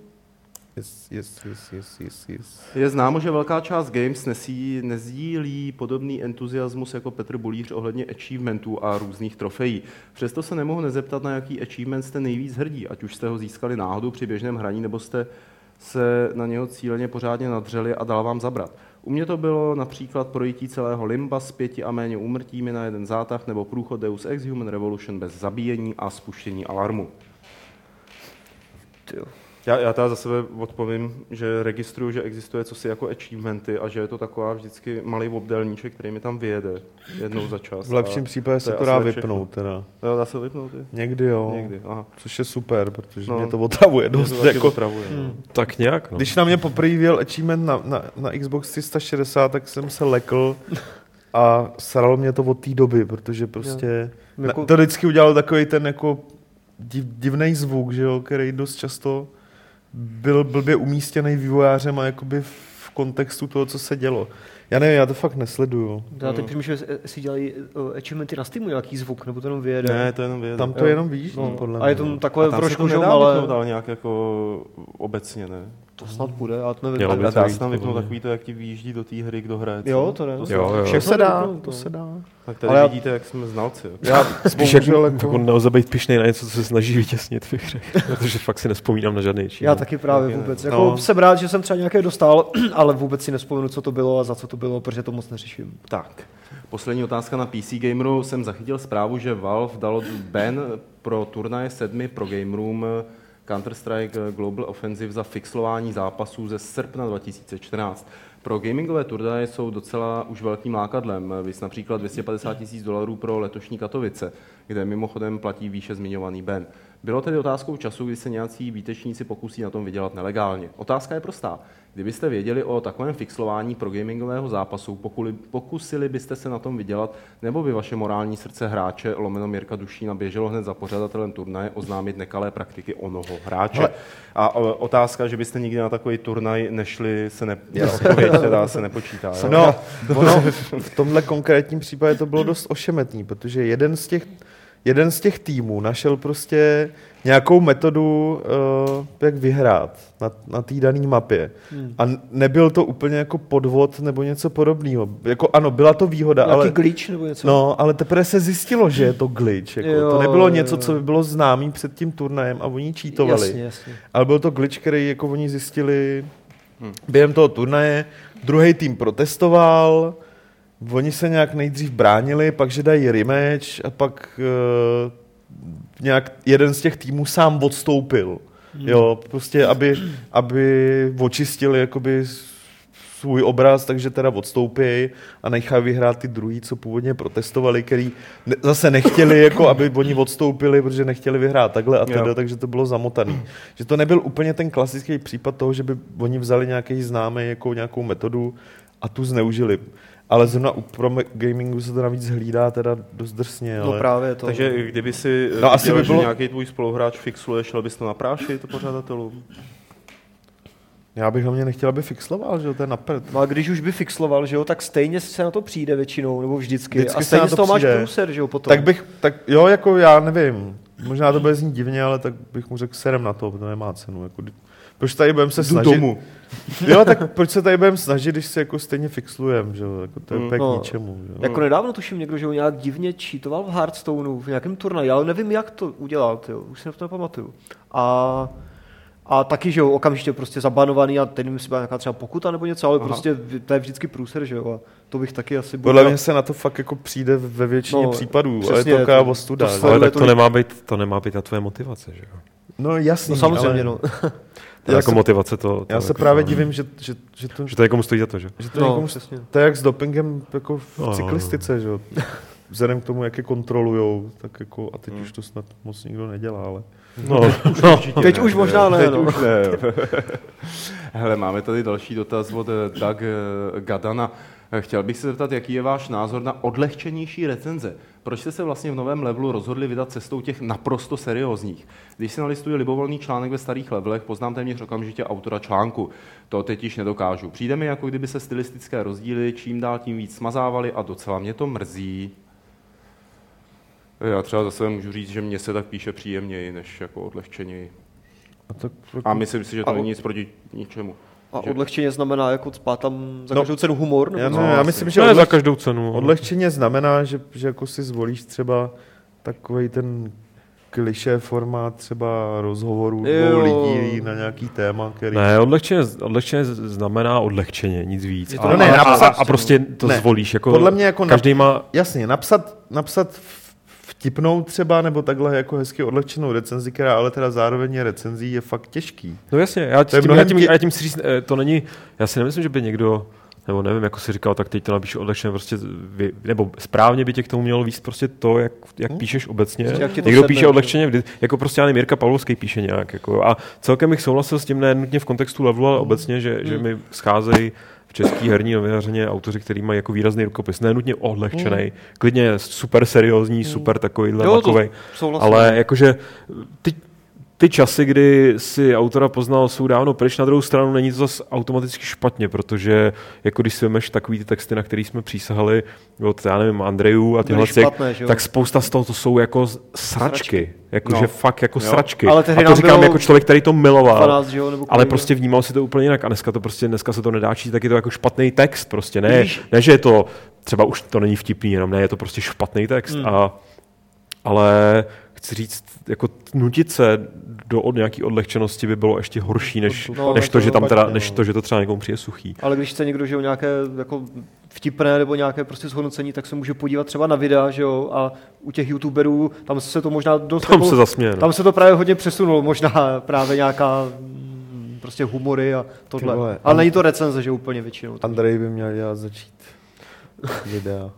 Speaker 2: Yes, yes, yes, yes, yes, yes.
Speaker 1: Je známo, že velká část games nesí, nezdílí podobný entuziasmus jako Petr Bulíř ohledně achievementů a různých trofejí. Přesto se nemohu nezeptat, na jaký achievement jste nejvíc hrdí, ať už jste ho získali náhodou při běžném hraní, nebo jste se na něho cíleně pořádně nadřeli a dal vám zabrat. U mě to bylo například projití celého Limba s pěti a méně úmrtími na jeden zátah, nebo průchod Deus Ex Human Revolution bez zabíjení a spuštění alarmu.
Speaker 3: Ty jo.
Speaker 1: Já, já teda za sebe odpovím, že registruju, že existuje cosi jako achievementy a že je to taková vždycky malý obdelníček, který mi tam vyjede jednou za čas.
Speaker 2: V lepším
Speaker 1: a...
Speaker 2: případě se
Speaker 1: je
Speaker 2: to
Speaker 1: asi
Speaker 2: dá
Speaker 1: tak všechno.
Speaker 2: vypnout teda.
Speaker 1: Jo, dá se vypnout i?
Speaker 2: Někdy
Speaker 3: No.
Speaker 2: jo.
Speaker 1: Někdy, aha.
Speaker 2: Což je super, protože
Speaker 1: No.
Speaker 2: no. mě to otravuje dost.
Speaker 1: Mě to
Speaker 2: jako,
Speaker 1: jako... Otravuje, hmm.
Speaker 4: Tak nějak, no.
Speaker 2: Když na mě poprvé vyjel achievement na, na, na Xbox 360, tak jsem se lekl a sralo mě to od té doby, protože prostě
Speaker 3: Jo.
Speaker 2: na,
Speaker 3: Jako-
Speaker 2: to vždycky udělal takový ten jako div, divný zvuk, že jo, který dost často byl blbě umístěný vývojářem a jakoby v kontextu toho, co se dělo. Já nevím, já to fakt nesleduju.
Speaker 3: Já teď přemýšlím, že si dělají eh, achievementy na Steamu nějaký zvuk, nebo to jenom vyjede.
Speaker 1: Ne, to jenom vyjede.
Speaker 2: Tam to
Speaker 1: Jo.
Speaker 2: jenom vidíš, no,
Speaker 3: No,
Speaker 2: podle mě.
Speaker 3: a je to takové
Speaker 1: a tam se to
Speaker 3: trošku, že jo,
Speaker 1: nedá
Speaker 3: ale
Speaker 1: vypnout, ale nějak jako obecně, ne?
Speaker 3: to snad bude, já to nevím.
Speaker 4: Mělo by
Speaker 1: A
Speaker 4: to
Speaker 1: dá
Speaker 4: jít,
Speaker 1: se tam vypnout
Speaker 4: podle mě.
Speaker 1: takový to, jak ti výjíždí do té hry, kdo hraje. co?
Speaker 3: Jo, to ne.
Speaker 1: To se-
Speaker 4: Jo, jo.
Speaker 2: To se dá,
Speaker 3: Všechno
Speaker 2: to se dá.
Speaker 1: Tak tady
Speaker 3: Ale já-
Speaker 1: vidíte, jak jsme znalci. jo.
Speaker 2: Já
Speaker 4: Spíš jak,
Speaker 2: bohužel
Speaker 4: jako nelze být pišnej na něco, co se snaží vytěsnit v hře. Protože fakt si nespomínám na žádný čin.
Speaker 3: Já taky právě
Speaker 1: Taky ne.
Speaker 3: vůbec.
Speaker 2: No.
Speaker 3: Jako jsem rád, že jsem třeba nějaké dostal, ale vůbec si nespomenu, co to bylo a za co to bylo, protože to moc neřeším.
Speaker 1: Tak, poslední otázka na PC Gameru. Jsem zachytil zprávu, že Valve dalo ban pro turnaje sedmi pro gamerům Counter-Strike Global Offensive za fixlování zápasů ze srpna 2014. Pro gamingové turnaje jsou docela už velkým lákadlem, vys například 250 tisíc dolarů pro letošní Katovice, kde mimochodem platí výše zmiňovaný ban. Bylo tedy otázkou času, kdy se nějací výtečníci pokusí na tom vydělat nelegálně. Otázka je prostá. Kdybyste věděli o takovém fixlování pro gamingového zápasu, pokuli, pokusili byste se na tom vydělat, nebo by vaše morální srdce hráče Lomeno Mirka Dušína běželo hned za pořadatelem turnaje oznámit nekalé praktiky onoho hráče? Hele. A o, otázka, že byste nikdy na takový turnaj nešli, se ne, je odpověď, teda se nepočítá. jo?
Speaker 2: No, ono, v tomhle konkrétním případě to bylo dost ošemetný, protože jeden z těch, jeden z těch týmů našel prostě nějakou metodu, uh, jak vyhrát na, na té dané mapě. Hmm. A n- nebyl to úplně jako podvod nebo něco podobného. Jako ano, byla to výhoda,
Speaker 3: Nějaký
Speaker 2: ale...
Speaker 3: glitch nebo něco?
Speaker 2: No, ale teprve se zjistilo, že je to glitch. Jako.
Speaker 3: Jo,
Speaker 2: to nebylo
Speaker 3: jo,
Speaker 2: něco,
Speaker 3: jo.
Speaker 2: co by bylo známý před tím turnajem a oni čítovali.
Speaker 3: Jasně, jasně.
Speaker 2: Ale byl to glitch, který jako oni zjistili během toho turnaje. Druhý tým protestoval, oni se nějak nejdřív bránili, pak že dají rematch a pak uh, nějak jeden z těch týmů sám odstoupil. Jo, prostě, aby, aby očistili jakoby svůj obraz, takže teda odstoupějí a nechají vyhrát ty druhý, co původně protestovali, který ne, zase nechtěli, jako aby oni odstoupili, protože nechtěli vyhrát takhle a teda,
Speaker 1: Jo.
Speaker 2: takže to bylo zamotaný. Že to nebyl úplně ten klasický případ toho, že by oni vzali nějaký známý, jako nějakou metodu a tu zneužili. Ale zrovna u pro gamingu se to navíc hlídá teda dost drsně,
Speaker 3: No
Speaker 2: ale...
Speaker 3: právě to.
Speaker 1: Takže kdyby si no,
Speaker 2: No,
Speaker 1: viděl,
Speaker 2: asi
Speaker 1: asi
Speaker 2: by
Speaker 1: by že
Speaker 2: bylo-
Speaker 1: nějaký tvůj spoluhráč fixuje, šel bys to naprášit pořadatelům?
Speaker 2: Já bych hlavně nechtěl, aby fixloval, že jo, to je napřed.
Speaker 3: No a když už by fixloval, že jo, tak stejně se na to přijde většinou, nebo vždycky.
Speaker 2: Vždycky
Speaker 3: a
Speaker 2: se
Speaker 3: stejně
Speaker 2: na
Speaker 3: z
Speaker 2: to
Speaker 3: toho máš
Speaker 2: přijde.
Speaker 3: průser, že jo, potom.
Speaker 2: Tak bych, tak jo, jako já nevím, možná to bude znít divně, ale tak bych mu řekl serem na to, to nemá cenu. Jako, kdy- proč tady budeme se
Speaker 1: Jdu
Speaker 2: snažit?
Speaker 1: domů.
Speaker 2: Jo, tak proč se tady budeme snažit, když se jako stejně fixlujem, že jo, jako to je
Speaker 1: Mm,
Speaker 2: úplně
Speaker 3: no.
Speaker 2: k ničemu. Že jo.
Speaker 3: Jako nedávno tuším někdo, že ho nějak divně čítoval v Hearthstoneu, v nějakém turnaji, ale nevím, jak to udělal, tyjo, už si na to nepamatuju. A, a taky, že jo, okamžitě prostě zabanovaný a ten si byla nějaká třeba pokuta nebo něco, ale Aha. prostě to je vždycky průser, že jo, a to bych taky asi
Speaker 2: Podle mě se na to fakt jako přijde ve většině
Speaker 3: No,
Speaker 2: no, případů, přesně, ale
Speaker 3: přesně,
Speaker 2: je to taková
Speaker 3: to-
Speaker 2: ostuda.
Speaker 3: to
Speaker 2: že?
Speaker 3: sleduje
Speaker 4: Ale tak to
Speaker 3: tolik-
Speaker 4: nemá být, to nemá být na tvoje motivace, že jo?
Speaker 2: no jasný,
Speaker 3: No samozřejmě,
Speaker 2: ale
Speaker 3: no.
Speaker 4: To
Speaker 2: Já
Speaker 4: jako
Speaker 2: se-
Speaker 4: motivace to... to
Speaker 2: Já se
Speaker 4: jako-
Speaker 2: právě divím, že, že, že to,
Speaker 4: Že to někomu stojí za to, že?
Speaker 2: že to
Speaker 3: No,
Speaker 2: někomu,
Speaker 3: přesně.
Speaker 2: to je jak s dopingem jako v
Speaker 4: No, no, no.
Speaker 2: cyklistice, že jo. Vzhledem k tomu, jak je kontrolujou, tak jako, a teď už to snad moc nikdo nedělá, ale...
Speaker 4: No, no.
Speaker 3: Teď už možná ne,
Speaker 1: Teď
Speaker 3: no.
Speaker 1: už ne. jo. Hele, máme tady další dotaz od eh, Doug eh, Gadana. Eh, Chtěl bych se zeptat, jaký je váš názor na odlehčenější recenze. Proč jste se vlastně v novém levelu rozhodli vydat cestou těch naprosto seriózních? Když si nalistuji libovolný článek ve starých levelech, poznám téměř okamžitě autora článku. To teď již nedokážu. Přijde mi, jako kdyby se stylistické rozdíly čím dál tím víc smazávaly a docela mě to mrzí. Já třeba zase můžu říct, že mně se tak píše příjemněji, než jako odlehčeněji.
Speaker 2: A tak,
Speaker 1: A myslím si, že
Speaker 3: A
Speaker 1: to
Speaker 3: o-
Speaker 1: není nic proti ničemu.
Speaker 3: A
Speaker 1: Že-
Speaker 3: odlehčeně znamená, jako spát tam za
Speaker 2: No.
Speaker 3: každou cenu humor?
Speaker 2: já,
Speaker 3: Nebo
Speaker 2: no,
Speaker 1: no,
Speaker 2: já
Speaker 1: asi.
Speaker 2: myslím, že
Speaker 4: Ne za
Speaker 2: odlehčení,
Speaker 4: každou cenu. ale-
Speaker 2: odlehčeně znamená, že, že jako si zvolíš třeba takový ten kliše formát třeba rozhovorů dvou
Speaker 3: Jo.
Speaker 2: lidí na nějaký téma, který...
Speaker 4: Ne, odlehčeně, odlehčeně znamená odlehčeně, nic víc.
Speaker 3: Je to-
Speaker 4: a,
Speaker 2: No ne,
Speaker 4: a, a,
Speaker 2: napsat-
Speaker 4: a prostě to
Speaker 2: ne.
Speaker 4: zvolíš. Jako,
Speaker 2: Podle mě jako na-
Speaker 4: Každý má...
Speaker 2: Jasně, napsat, napsat v- vtipnou třeba, nebo takhle jako hezky odlehčenou recenzi, která ale teda zároveň je recenzí, je fakt těžký.
Speaker 4: No jasně, já
Speaker 2: To je
Speaker 4: tím, já
Speaker 2: mnohem
Speaker 4: tím,
Speaker 2: tě-
Speaker 4: já tím si říct, eh, to není, já si nemyslím, že by někdo, nebo nevím, jako si říkal, tak teď to napíšu odlehčeně, prostě, vy- nebo správně by tě k tomu mělo víc prostě to, jak, jak píšeš obecně.
Speaker 3: Prostě jak ti to
Speaker 4: Někdo
Speaker 3: sedne, že
Speaker 4: píše
Speaker 3: jo.
Speaker 4: odlehčeně, vždy- jako prostě, já nevím, Jirka Pavlovský píše nějak. Jako, a celkem bych souhlasil s tím, ne nutně v kontextu levelu,
Speaker 3: Hm.
Speaker 4: ale obecně, že, že mi scházejí v český herní novinařině autoři, který mají jako výrazný rukopis, ne nutně odlehčený, klidně super seriózní, super
Speaker 3: Hm.
Speaker 4: takovýhle,
Speaker 3: Jo, to
Speaker 4: makovej,
Speaker 3: souhlasím.
Speaker 4: ale jakože ty, ty časy, kdy si autora poznal, jsou dávno pryč. Na druhou stranu není to zase automaticky špatně, protože jako když si vemeš takový ty texty, na který jsme přísahali od, já nevím, Andrejů a těchhle, těch,
Speaker 3: špatné, že jo?
Speaker 4: tak spousta z toho to jsou jako z- sračky. Jakože
Speaker 1: No.
Speaker 4: fakt jako
Speaker 1: Jo.
Speaker 4: sračky.
Speaker 3: Ale
Speaker 4: a
Speaker 3: tehdy
Speaker 4: to
Speaker 3: nám
Speaker 4: říkám
Speaker 3: bylo
Speaker 4: jako člověk, který to miloval,
Speaker 3: 12, že jo, nebo
Speaker 4: ale
Speaker 3: kolik,
Speaker 4: prostě vnímal si to úplně jinak. A dneska to prostě, dneska se to nedá číst, tak je to jako špatný text prostě. Ne,
Speaker 3: Víš-
Speaker 4: ne že je to, třeba už to není vtipný, jenom ne, je to prostě špatný text. A ale chci říct, jako t- nutit se do od nějaké odlehčenosti by bylo ještě horší, než,
Speaker 3: No,
Speaker 4: než, to,
Speaker 2: to
Speaker 4: že tam teda,
Speaker 2: rozhodně,
Speaker 4: než
Speaker 2: no.
Speaker 4: to, že to třeba někomu přijde suchý.
Speaker 3: Ale když chce někdo, že jo, nějaké jako vtipné nebo nějaké prostě zhodnocení, tak se může podívat třeba na videa, že jo, a u těch youtuberů, tam se to možná dost... jako-
Speaker 4: Tam se zasměje, no.
Speaker 3: Tam se to právě hodně přesunulo, možná právě nějaká mm, prostě humory a tohle.
Speaker 2: Ty vole.
Speaker 3: Ale není to recenze, že úplně většinou.
Speaker 2: Andrej by měl dělat začít videa.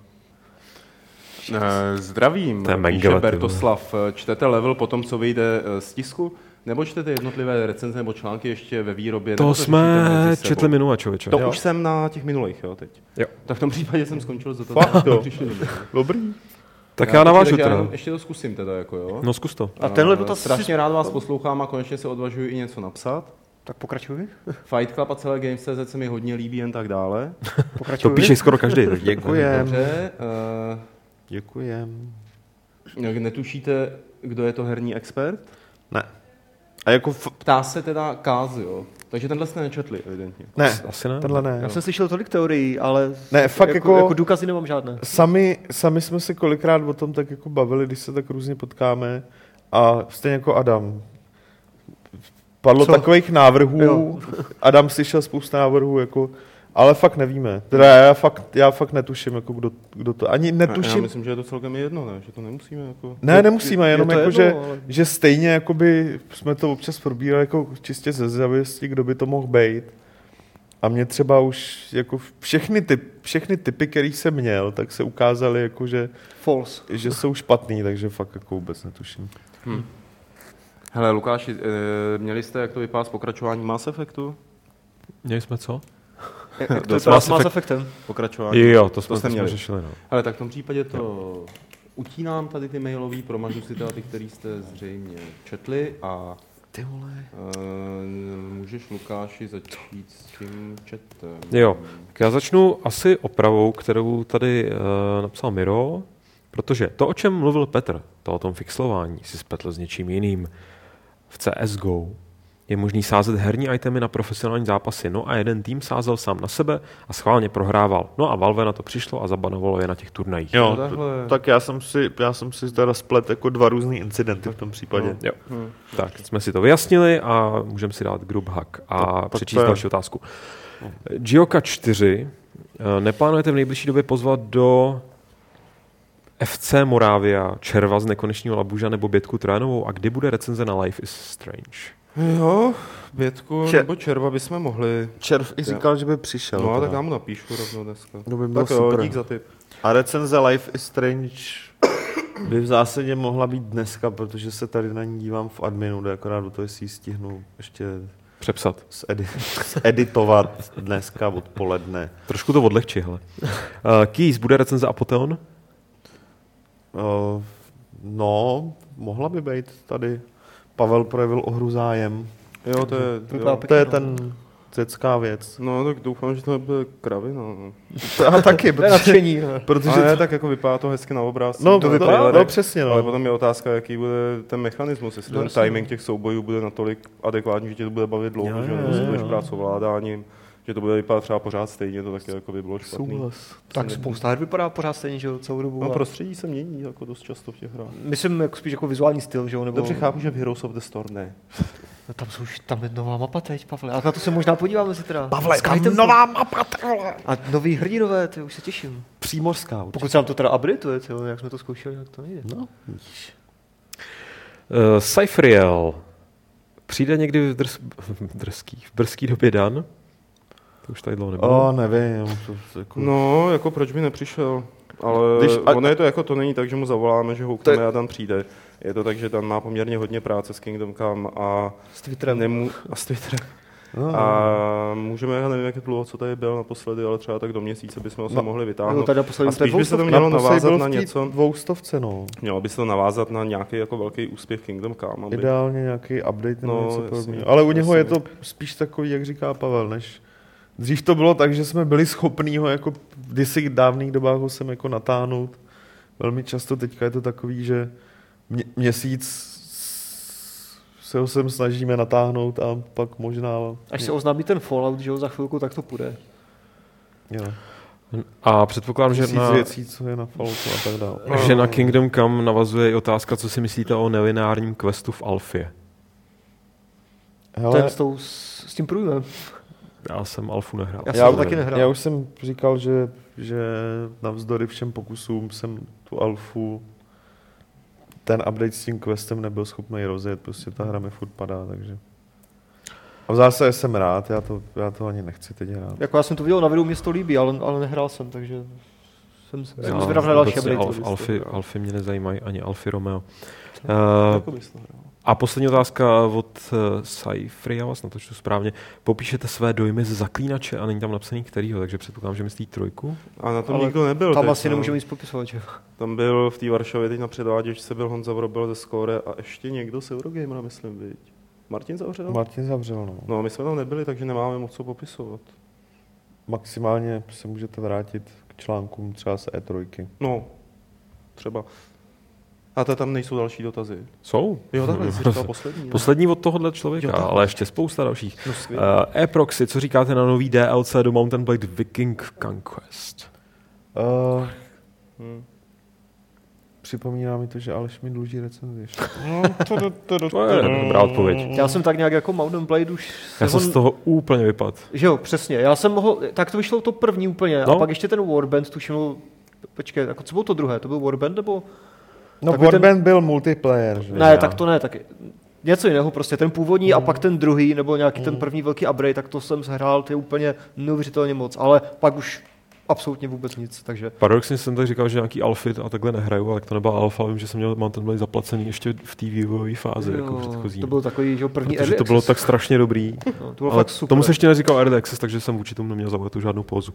Speaker 1: Eh, Zdravím,
Speaker 4: To je
Speaker 1: píše
Speaker 4: Mengele, ty
Speaker 1: Bertoslav. Eh, Čtete level po tom, co vyjde eh, z tisku? Nebo čtete jednotlivé recenze nebo články ještě ve výrobě?
Speaker 4: To
Speaker 1: Nebo
Speaker 4: jsme
Speaker 1: řešíte mezi sebou?
Speaker 4: četli minule, člověče.
Speaker 1: To
Speaker 4: Jo.
Speaker 1: už jsem na těch minulých, jo, teď.
Speaker 4: Jo.
Speaker 1: Tak v tom případě jsem skončil za to.
Speaker 2: Fakt, jo.
Speaker 1: Přišli dobře.
Speaker 2: Dobrý.
Speaker 4: Tak já navážu
Speaker 1: tak já
Speaker 4: teda.
Speaker 1: jenom Ještě to zkusím teda, jako jo.
Speaker 4: No zkus to.
Speaker 3: A tenhle
Speaker 1: Eh,
Speaker 3: dotaz si-
Speaker 1: Strašně rád vás poslouchám a konečně se odvažuji i něco napsat.
Speaker 3: Tak pokračuji?
Speaker 1: Fight Club a celé Games.cz se mi hodně líbí jen tak dále.
Speaker 4: To
Speaker 3: Pokračuji?
Speaker 4: píše skoro každý. tak-
Speaker 2: Děkujem.
Speaker 1: Dobře. eh,
Speaker 2: Děkujem.
Speaker 1: Netušíte, kdo je to herní expert?
Speaker 2: Ne. A jako... F-
Speaker 1: Ptá se teda Kázy, jo. Takže tenhle jste nečetli, evidentně.
Speaker 2: ne,
Speaker 4: Asi ne.
Speaker 2: tenhle ne.
Speaker 3: Já jsem slyšel tolik teorií, ale
Speaker 2: Ne, fakt
Speaker 3: jako,
Speaker 2: jako-
Speaker 3: jako důkazy nemám žádné.
Speaker 2: Sami, sami jsme se kolikrát o tom tak jako bavili, když se tak různě potkáme a stejně jako Adam. Padlo
Speaker 3: Co?
Speaker 2: Co? takových návrhů,
Speaker 3: Jo.
Speaker 2: jo. Adam slyšel spoustu návrhů, jako, ale fakt nevíme. Teda já fakt, já fakt netuším, jako kdo, kdo to, ani
Speaker 1: A Já
Speaker 2: netuším.
Speaker 1: myslím, že je to celkem jedno, ne? Že to nemusíme jako...
Speaker 2: Ne, nemusíme,
Speaker 3: je- je
Speaker 2: jenom
Speaker 3: to
Speaker 2: jako,
Speaker 3: jedno,
Speaker 2: že,
Speaker 3: ale-
Speaker 2: že stejně jakoby jsme to občas probírali jako čistě ze zavěsti, kdo by to mohl být. A mě třeba už jako všechny, typ, všechny typy, který jsem měl, tak se ukázaly jako, že
Speaker 3: False.
Speaker 2: že jsou špatný, takže fakt jako vůbec netuším.
Speaker 1: Hele, Lukáši, eh, měli jste, jak to vypadá s pokračováním Mass Effectu?
Speaker 4: Měli jsme co?
Speaker 3: Jak
Speaker 1: Eh,
Speaker 3: jak to
Speaker 4: Dost
Speaker 3: vypadá s
Speaker 4: Mass
Speaker 3: Mass
Speaker 4: Effect.
Speaker 3: Effectem?
Speaker 1: Pokračování.
Speaker 4: Jo, to jsme,
Speaker 1: jste
Speaker 4: to jsme
Speaker 1: měli.
Speaker 4: řešili. No.
Speaker 1: Hele, tak v tom případě to utínám tady ty mailový, promažu si teda ty, který jste zřejmě četli a
Speaker 2: Ty vole.
Speaker 1: Eh, můžeš Lukáši začít s tím chatem.
Speaker 4: Jo, tak já začnu asi opravou, kterou tady uh, napsal Miro, protože to, o čem mluvil Petr, to o tom fixlování, si spletl s něčím jiným. V CSGO je možný sázet herní itemy na profesionální zápasy, no a jeden tým sázel sám na sebe a schválně prohrával. No a Valve na to přišlo a zabanovalo je na těch turnajích.
Speaker 2: Jo,
Speaker 1: takhle.
Speaker 2: t- tak já jsem si, já jsem si teda splet jako dva různý incidenty v tom případě.
Speaker 4: Jo. Tak, jsme si to vyjasnili a můžeme si dát group hack a
Speaker 2: tak
Speaker 4: přečíst
Speaker 2: to je-
Speaker 4: další otázku. Gioka 4. eh, Neplánujete v nejbližší době pozvat do FC Moravia, Červa z nekonečního Labuža nebo Bětku Tránovou a kdy bude recenze na Life is Strange?
Speaker 1: Jo, Bětku
Speaker 2: Čer-
Speaker 1: nebo Červa bychom mohli.
Speaker 2: Červ i říkal, že by přišel.
Speaker 1: No, tak
Speaker 2: teda.
Speaker 1: já mu napíšu rovnou dneska.
Speaker 2: To by bylo
Speaker 1: tak jo,
Speaker 2: super.
Speaker 1: dík za tip.
Speaker 2: A recenze Life is Strange by v zásadě mohla být dneska, protože se tady na ní dívám v adminu, kde akorát do toho si ji stihnu ještě
Speaker 4: Přepsat.
Speaker 2: zedi- editovat dneska odpoledne.
Speaker 4: Trošku to odlehčí, hele. Eh, Keys, bude recenze Apoteon?
Speaker 2: Uh, no, mohla by být tady. Pavel projevil o hru zájem.
Speaker 1: Jo, to je...
Speaker 3: To vypadá
Speaker 1: Jo.
Speaker 3: pěkně.
Speaker 2: To je ten cecká věc.
Speaker 1: No, tak doufám, že to nebude kravina. No.
Speaker 2: To já taky,
Speaker 3: To je nadšení. no. hele.
Speaker 1: Ale
Speaker 2: protože...
Speaker 1: ne, tak jako vypadá to hezky na obrázku.
Speaker 2: No,
Speaker 1: to
Speaker 2: no,
Speaker 1: vypadá,
Speaker 2: no, přesně,
Speaker 1: Ale
Speaker 2: no.
Speaker 1: potom je otázka, jaký bude ten mechanismus, jestli
Speaker 3: No,
Speaker 1: ten
Speaker 3: jasně.
Speaker 1: timing těch soubojů bude natolik adekvátní, že tě to bude bavit dlouho,
Speaker 2: Jo,
Speaker 1: že
Speaker 2: jo,
Speaker 1: jo,
Speaker 2: jo,
Speaker 1: budeš
Speaker 2: jo.
Speaker 1: brát s ovládáním, že to bude vypadat třeba pořád stejně, to taky jako by bylo špatný.
Speaker 3: Tak spousta her vypadá pořád stejně, že jo, celou dobu.
Speaker 1: No,
Speaker 3: a-
Speaker 1: prostředí se mění jako dost často v těch
Speaker 2: No.
Speaker 1: hrách.
Speaker 3: Myslím jako spíš jako vizuální styl, že jo? Nebo...
Speaker 1: Dobře chápu, že v Heroes of the Storm ne.
Speaker 3: No, tam jsou už tam je nová mapa teď, Pavle. A na to se možná podíváme si teda.
Speaker 2: Pavle, tam
Speaker 3: Skytempo.
Speaker 2: nová mapa, ty vole.
Speaker 3: A nový hrdinové, ty už se těším.
Speaker 2: Přímořská určitě.
Speaker 3: Pokud se nám to teda updateuje, ty vole, jak jsme to zkoušeli, tak to nejde.
Speaker 2: No,
Speaker 4: Uh, Cyfriel. Přijde někdy v, drs, v, drský, v brzký době Dan? To už tady dlouho nebylo.
Speaker 2: O, nevím. To, to, jako...
Speaker 1: No, jako proč by nepřišel? Ale
Speaker 2: Když-
Speaker 1: Když,
Speaker 2: a-
Speaker 1: a, ono je to jako, to není tak, že mu zavoláme, že houkneme a Dan přijde. Je to tak, že Dan má poměrně hodně práce s Kingdom Come a
Speaker 3: S Twitterem.
Speaker 1: Nemu, a s Twitterem.
Speaker 2: No.
Speaker 1: A můžeme, já nevím, jak dlouho, co tady byl naposledy, ale třeba tak do měsíce bychom ho sem
Speaker 2: No,
Speaker 1: mohli
Speaker 3: No,
Speaker 1: vytáhnout.
Speaker 3: tady naposledy
Speaker 1: a
Speaker 3: jsme
Speaker 1: spíš by se to
Speaker 3: dvoustovky.
Speaker 1: mělo
Speaker 2: Naposledy
Speaker 1: navázat
Speaker 2: byl
Speaker 1: na
Speaker 2: v té
Speaker 1: něco,
Speaker 2: Dvoustovce, no.
Speaker 1: mělo by se to navázat na nějaký jako velký úspěch Kingdom Come, aby
Speaker 2: Ideálně nějaký update nebo
Speaker 1: No,
Speaker 2: něco
Speaker 1: jasně,
Speaker 2: podobného. Ale u něho je
Speaker 1: jasně.
Speaker 2: to spíš takový, jak říká Pavel, než Dřív to bylo tak, že jsme byli schopní ho jako v kdysi dávných dobách ho sem jako natáhnout. Velmi často teďka je to takový, že mě, měsíc s- se ho sem snažíme natáhnout a pak možná...
Speaker 3: Až se oznámí ten Fallout, že jo, za chvilku, tak to půjde.
Speaker 2: jo,
Speaker 4: A předpokládám, že
Speaker 2: tisíc na...
Speaker 4: na, No,
Speaker 2: věcí, co je na Falloutu a tak dále.
Speaker 4: že na Kingdom Come navazuje i otázka, co si myslíte o nelineárním questu v Alfě.
Speaker 3: Ale...
Speaker 2: Hele,
Speaker 3: Ten s, tou, s, s tím průjmem.
Speaker 4: Já jsem Alfu nehrál.
Speaker 3: Já
Speaker 2: Já,
Speaker 3: jsem
Speaker 2: už-
Speaker 3: to taky nehrál.
Speaker 2: já už jsem říkal, že, že navzdory všem pokusům jsem tu alfu ten update s tím questem nebyl schopný rozjet, prostě ta hra mi furt padá, takže. A v zásadě jsem rád, já to, já to ani nechci teď hrát.
Speaker 3: Jako já jsem to viděl na videu, mě to líbí, ale, ale nehrál jsem, takže jsem, jsem
Speaker 4: Já
Speaker 3: zvědav na další
Speaker 4: vůbec
Speaker 3: update.
Speaker 4: Alf, Alfy, Alfy mě nezajímají, ani Alfy Romeo. Eh,
Speaker 1: jako bys to hrál.
Speaker 4: a poslední otázka od eh, Cyfry, já vás natočtu správně. Popíšete své dojmy z zaklínače a není tam napsaný kterýho, takže předpokládám, že myslí trojku.
Speaker 1: A na tom
Speaker 3: Ale
Speaker 1: nikdo nebyl.
Speaker 3: Tam
Speaker 1: teď,
Speaker 3: asi
Speaker 1: no.
Speaker 3: nemůžeme nic popisovat, že jo.
Speaker 1: Tam byl v té Varšavě teď na předváděčce, byl Honza Vrobil ze Skóre a ještě někdo z Eurogamera, myslím, viď. Martin Zavřel?
Speaker 2: Martin zavřel, no.
Speaker 1: no, my jsme tam nebyli, takže nemáme moc co popisovat.
Speaker 2: Maximálně se můžete vrátit k článkům třeba z E E3.
Speaker 1: No, třeba. A ta tam nejsou další dotazy.
Speaker 4: Jsou?
Speaker 1: Jo, takhle jsi říkal poslední. ne?
Speaker 4: Hm, Poslední od tohohle člověka,
Speaker 1: Jo,
Speaker 4: jo,
Speaker 1: tak.
Speaker 4: ale ještě spousta dalších.
Speaker 1: No, skvělý.
Speaker 4: Uh, e-proxy, co říkáte na nový DLC do Mountain Blade Viking Conquest?
Speaker 2: Uh,
Speaker 1: Hm.
Speaker 2: připomíná mi to, že Aleš mi dluží recenzi. ještě.
Speaker 4: To je Hmm. dobrá odpověď.
Speaker 3: Já jsem tak nějak jako Mountain Blade už...
Speaker 4: Mm. Já jsem
Speaker 3: on-
Speaker 4: z toho úplně vypad.
Speaker 3: Že jo, přesně. Já jsem mohl, tak to vyšlo to první úplně, no.
Speaker 4: No.
Speaker 3: a pak ještě ten Warband, tuším, byl- počkej, jako co bylo to druhé, to byl Warband nebo?
Speaker 2: No,
Speaker 3: Takový ten-
Speaker 2: Warband ten... byl multiplayer, že?
Speaker 3: Ne,
Speaker 4: já. Mm.
Speaker 3: tak to ne, tak něco jiného prostě, ten původní a pak ten druhý, nebo nějaký ten první velký upgrade, tak to jsem zhrál, to je úplně neuvěřitelně moc, ale pak už absolutně vůbec nic, takže
Speaker 4: Paradoxně jsem tak říkal, že nějaký alfit a takhle nehraju, ale tak to nebyla alfa, vím, že jsem měl Mountain Blade zaplacený ještě v té vývojové fázi,
Speaker 3: jo,
Speaker 4: jako předchozí.
Speaker 3: to byl takový, že jo, první
Speaker 4: Protože
Speaker 3: early
Speaker 4: to bylo
Speaker 3: access.
Speaker 4: tak strašně dobrý.
Speaker 3: no, to bylo
Speaker 4: Ale
Speaker 3: fakt super.
Speaker 4: tomu se ještě neříkal Early Access, takže jsem vůči tomu neměl zavolat tu žádnou pózu.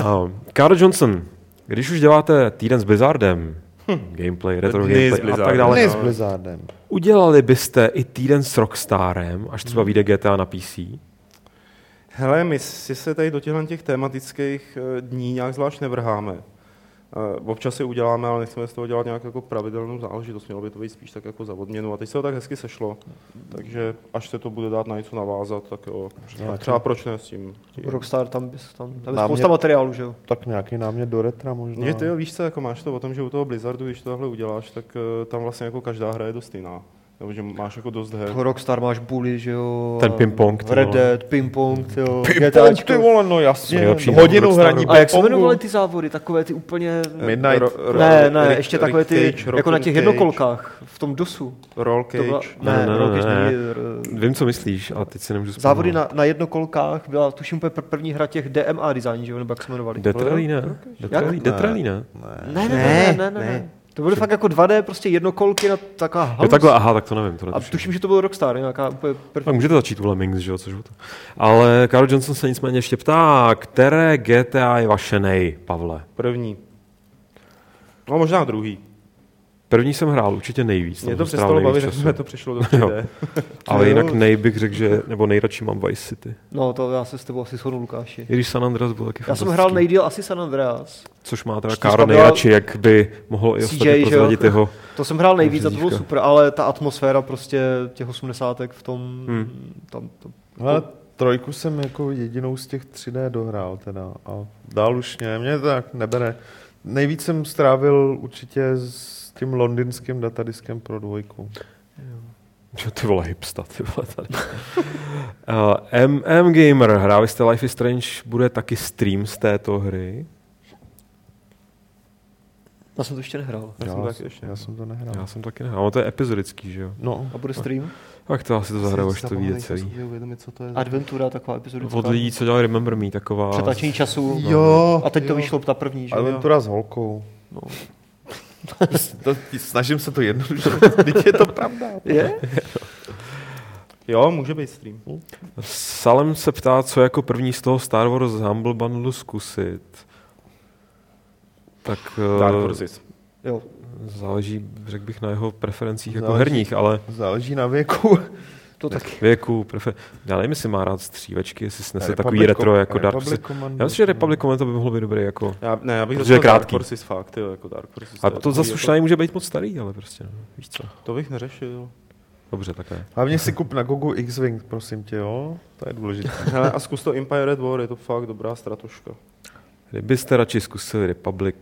Speaker 4: Uh, Karl Johnson, když už děláte týden s Blizzardem, gameplay, retro
Speaker 3: Hm.
Speaker 1: Dny s
Speaker 4: gameplay a tak
Speaker 1: Blizzardem.
Speaker 4: dále,
Speaker 2: Ne s Blizzardem.
Speaker 4: Udělali byste i týden s Rockstarem, až
Speaker 3: Hm.
Speaker 4: třeba vyjde GTA na PC?
Speaker 1: Hele, my si se tady do těchto těch tematických eh, dní nějak zvlášť nevrháme. Eh, Občas si uděláme, ale nechceme z toho dělat nějak jako pravidelnou záležitost. Mělo by to být spíš tak jako za odměnu. A teď se to tak hezky sešlo. Takže až se to bude dát na něco navázat, tak jo. A třeba proč ne s tím.
Speaker 3: Rockstar, tam, bys- tam, tam je
Speaker 2: Nám
Speaker 3: spousta
Speaker 2: mě-
Speaker 3: materiálu, že jo?
Speaker 2: Tak nějaký námět do retra možná.
Speaker 1: Mě ty jo, víš co, jako máš to o tom, že u toho Blizzardu, když to takhle uděláš, tak eh, tam vlastně jako každá hra je dost jiná. Nebo že máš jako dost her.
Speaker 3: Toho Rockstar máš Bully, že jo?
Speaker 4: Ten ping-pong, ty
Speaker 3: Eh, Red
Speaker 4: vole.
Speaker 3: Dead, ping-pong, jo,
Speaker 2: Ping-pong, ty vole, no
Speaker 4: To
Speaker 2: jasně.
Speaker 4: je lepší
Speaker 2: Hodinu
Speaker 4: než Rockstar.
Speaker 2: hraní
Speaker 3: A jak se
Speaker 2: ping-pongu.
Speaker 3: jmenovaly ty závody, takové ty úplně...
Speaker 2: Midnight.
Speaker 3: Ne, ne, ještě takové ty,
Speaker 1: Rick Cage,
Speaker 3: jako na těch
Speaker 1: Rock and
Speaker 3: jednokolkách, v tom DOSu.
Speaker 1: Cage, Roll
Speaker 3: To byla,
Speaker 1: Cage.
Speaker 4: Ne,
Speaker 3: ne, no,
Speaker 4: ne, ne,
Speaker 3: Roll Cage
Speaker 4: ne.
Speaker 3: není, eh,
Speaker 4: Vím, co myslíš, ale teď si nemůžu vzpomenout.
Speaker 3: Závody na, na jednokolkách byla tuším úplně pr- první hra těch DMA design, že jo, nebo jak se jmenovali.
Speaker 4: Death Rally ne? Death Rally- Death Rally ne?
Speaker 3: Ne, ne, ne, ne, ne, ne. To byly fakt jako 2D, prostě jednokolky na taková
Speaker 4: Jo,
Speaker 3: halus.
Speaker 4: takhle, aha, tak to nevím. Tohle
Speaker 3: A tuším, že to byl Rockstar, nějaká úplně první.
Speaker 4: Tak můžete začít u Lemmings, že jo, což to. Ale Karl Johnson se nicméně ještě ptá, které GTA je vaše nej, Pavle?
Speaker 1: První. No možná druhý.
Speaker 4: První jsem hrál určitě nejvíc. tam
Speaker 1: Mě to
Speaker 4: jsem strávil
Speaker 1: přestalo bavit,
Speaker 4: nejvíc času.
Speaker 1: že jsme to přišlo do
Speaker 4: Jo.
Speaker 1: 3D. Jo.
Speaker 4: Ale jinak nej bych řekl, že, nebo nejradši mám Vice City.
Speaker 3: No, to já se s tebou asi shodnu, Lukáši.
Speaker 4: I když San Andreas byl taky
Speaker 3: Já jsem
Speaker 4: fantastický,
Speaker 3: hrál nejdíl asi San Andreas.
Speaker 4: Což má teda
Speaker 3: Čtyřka
Speaker 4: Kára
Speaker 3: byla-
Speaker 4: nejradši, jak by mohlo i
Speaker 3: CJ,
Speaker 4: ostatně
Speaker 3: že jo?
Speaker 4: prozradit jeho.
Speaker 3: To jsem hrál nejvíc a to bylo
Speaker 4: Řízka.
Speaker 3: super, ale ta atmosféra prostě těch osmdesátek v tom, tam, to,
Speaker 2: No, Ale trojku jsem jako jedinou z těch 3D dohrál teda a dál už ne, mě to tak nebere. Nejvíc jsem strávil určitě s tím londýnským datadiskem pro dvojku.
Speaker 4: Čo ty vole hipsta, ty vole tady. Uh, MM Gamer, hráli jste Life is Strange, bude taky stream z této hry.
Speaker 3: já jsem to ještě nehrál.
Speaker 1: Já jsem to taky ještě
Speaker 2: já jsem to nehrál.
Speaker 4: Já jsem taky nehrál, no to je epizodický, že jo.
Speaker 2: No,
Speaker 3: A bude stream?
Speaker 4: Tak to asi to zahraju, až to vyjde celý.
Speaker 1: co to je.
Speaker 3: Adventura, taková epizodická.
Speaker 4: Od lidí, co dělali Remember Me, taková...
Speaker 3: Přetačení času.
Speaker 2: Jo,
Speaker 3: A teď to
Speaker 2: jo.
Speaker 3: vyšlo ta první, že jo?
Speaker 2: aventura s holkou.
Speaker 3: No.
Speaker 2: to, snažím se to jednoduše, teď je to pravda.
Speaker 3: Je?
Speaker 1: Jo, může být stream.
Speaker 4: Salem se ptá, co jako první z toho Star Wars Humble Bundle zkusit. Tak eh,
Speaker 1: Dark Forces.
Speaker 3: Jo.
Speaker 4: záleží, řekl bych, na jeho preferencích jako
Speaker 2: Záleží.
Speaker 4: herních, ale
Speaker 2: Záleží na věku.
Speaker 3: To taky.
Speaker 4: věku, prefer... Já nevím, jestli má rád střívečky, jestli snese takový
Speaker 2: Republic-
Speaker 4: retro jako Dark Forces.
Speaker 2: Republic Commando.
Speaker 4: Já myslím, že Republic Commando by mohlo být dobrý jako...
Speaker 1: Já, ne, já bych
Speaker 4: Protože
Speaker 1: řekl
Speaker 4: je
Speaker 1: Dark
Speaker 4: krátký.
Speaker 1: Forces fakt, jo, jako Dark Forces.
Speaker 4: A
Speaker 1: je
Speaker 4: to
Speaker 1: takový
Speaker 4: zase
Speaker 1: jako-
Speaker 4: už na něj může být moc starý, ale prostě, no, víš co.
Speaker 1: To bych neřešil.
Speaker 4: Dobře, tak ne.
Speaker 2: Hlavně si kup na Gogu X-Wing, prosím tě, jo? To je důležité.
Speaker 1: Hele, a zkus to Empire Red War, je to fakt dobrá stratoška.
Speaker 4: Kdybyste radši zkusili Republic,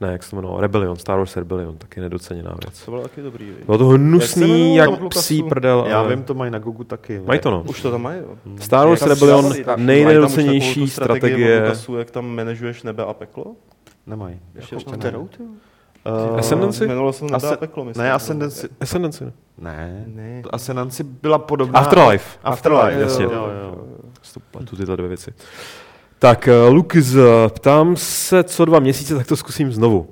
Speaker 4: ne, jak se to jmenovalo, Rebellion, Star Wars Rebellion, taky nedoceněná věc.
Speaker 1: To bylo taky dobrý, viď?
Speaker 4: Bylo to hnusný,
Speaker 1: Jak se
Speaker 4: jak,
Speaker 1: jmenovalo,
Speaker 4: psí
Speaker 1: Lukasu?
Speaker 4: prdel.
Speaker 2: Já
Speaker 4: ale-
Speaker 2: vím, to mají na Gogu taky.
Speaker 4: Mají to no.
Speaker 1: Už to tam mají, jo.
Speaker 4: Star Wars
Speaker 1: Tam
Speaker 4: Rebellion,
Speaker 1: strategii- tam- mají tam
Speaker 4: nejnedocenější
Speaker 1: už takovou tu strategii od
Speaker 4: strategie.
Speaker 1: Lukasu, jak tam manažuješ nebe a peklo?
Speaker 2: Nemají.
Speaker 1: Ještě
Speaker 3: Jako
Speaker 1: to
Speaker 3: kterou, ty? jo?
Speaker 2: Uh,
Speaker 4: Ascendancy?
Speaker 1: Jmenovalo se to nebe
Speaker 2: Ascen-
Speaker 1: a peklo, myslím.
Speaker 2: Ne, Ascendancy.
Speaker 4: Ascendancy. no. ne?
Speaker 2: Ne.
Speaker 1: Ne.
Speaker 2: To Ascendancy byla podobná.
Speaker 4: Afterlife.
Speaker 2: Afterlife,
Speaker 4: jasně.
Speaker 2: Jo, jo.
Speaker 4: Stopa, tu Prostě tyhle dvě věci. Tak, eh, Lukis, eh, ptám se co dva měsíce, tak to zkusím znovu.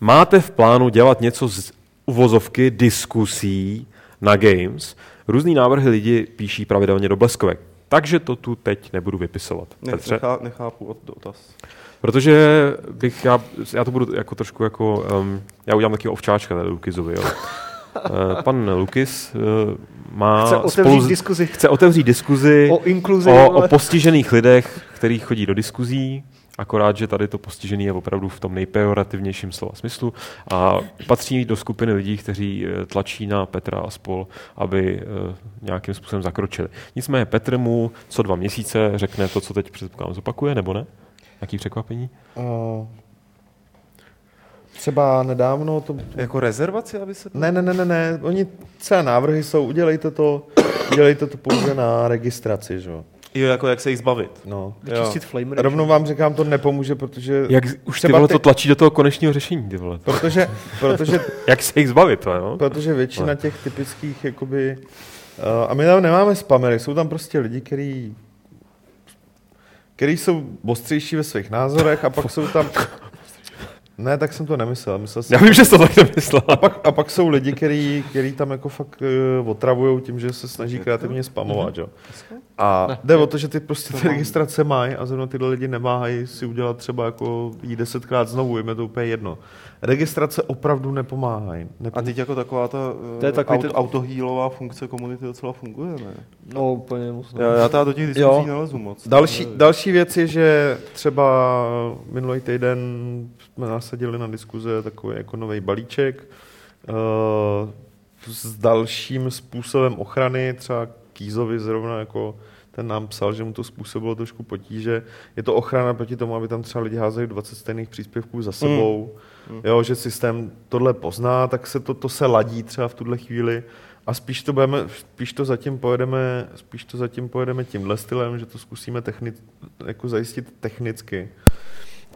Speaker 4: Máte v plánu dělat něco z uvozovky diskusí na Games? Různý návrhy lidi píší pravidelně do bleskovek. Takže to tu teď nebudu vypisovat.
Speaker 1: Ne,
Speaker 4: Petře,
Speaker 1: nechá, nechápu od dotaz.
Speaker 4: protože bych já, já to budu jako trošku jako, um, já udělám taky ovčáčka tady Lukizovi, jo. Eh, Pan Lukis eh, má
Speaker 3: Chce otevřít
Speaker 4: s-
Speaker 3: diskuzi.
Speaker 4: chce otevřít diskuzi
Speaker 3: O inkluzi,
Speaker 4: o,
Speaker 3: vole.
Speaker 4: o postižených lidech, který chodí do diskuzí, akorát, že tady to postižený je opravdu v tom nejpejorativnějším slova smyslu a patří do skupiny lidí, kteří eh, tlačí na Petra a spol, aby eh, nějakým způsobem zakročili. Nicméně Petr mu co dva měsíce řekne to, co teď předpokládám zopakuje, nebo ne? Jaký překvapení?
Speaker 2: Uh, třeba nedávno to...
Speaker 1: Jako rezervaci, aby se...
Speaker 2: Ne, ne, ne, ne, ne. Oni celé návrhy jsou, udělejte to, udělejte to pouze na registraci, že jo.
Speaker 1: Jo, jako jak se jich zbavit.
Speaker 2: No.
Speaker 3: Vyčistit flame rage.
Speaker 2: Rovnou vám říkám, to nepomůže, protože...
Speaker 4: Jak z- už ty
Speaker 2: třeba
Speaker 4: vole to tlačí do toho konečného řešení, ty vole.
Speaker 2: Protože, protože
Speaker 4: Jak se jich zbavit, no? to, jo?
Speaker 2: Protože většina těch typických, jakoby... Uh, a my tam nemáme spamery, jsou tam prostě lidi, kteří který jsou ostřejší ve svých názorech a pak jsou tam... Ne, tak jsem to nemyslel. Myslel jsem,
Speaker 4: Já vím, že jsi to tak nemyslel.
Speaker 2: a, pak, a pak jsou lidi, který, který tam jako fakt uh, otravují tím, že se snaží kreativně spamovat, jo. A jde o to, že ty prostě ty registrace mají a zrovna tyhle lidi nemáhají si udělat třeba jako jí desetkrát znovu, jim je to úplně jedno. Registrace opravdu nepomáhají.
Speaker 1: A
Speaker 2: Nepom-
Speaker 1: teď jako taková ta
Speaker 3: To je takový
Speaker 1: auto,
Speaker 3: ten-
Speaker 1: autohýlová funkce komunity docela funguje, ne?
Speaker 3: No, úplně moc ne.
Speaker 1: Já, já teda do těch
Speaker 2: Jo.
Speaker 1: diskuzí nelezu moc.
Speaker 2: Další, další věc je, že třeba minulý týden jsme nasadili na diskuze takový jako nový balíček eh, s dalším způsobem ochrany, třeba Kýzovi zrovna jako ten nám psal, že mu to způsobilo trošku potíže. Je to ochrana proti tomu, aby tam třeba lidi házeli 20 stejných příspěvků za sebou. Mm. Jo, že systém tohle pozná, tak se to, to se ladí třeba v tuhle chvíli. A spíš to, budeme, spíš to zatím pojedeme, spíš to zatím pojedeme tímhle stylem, že to zkusíme techni- jako zajistit technicky.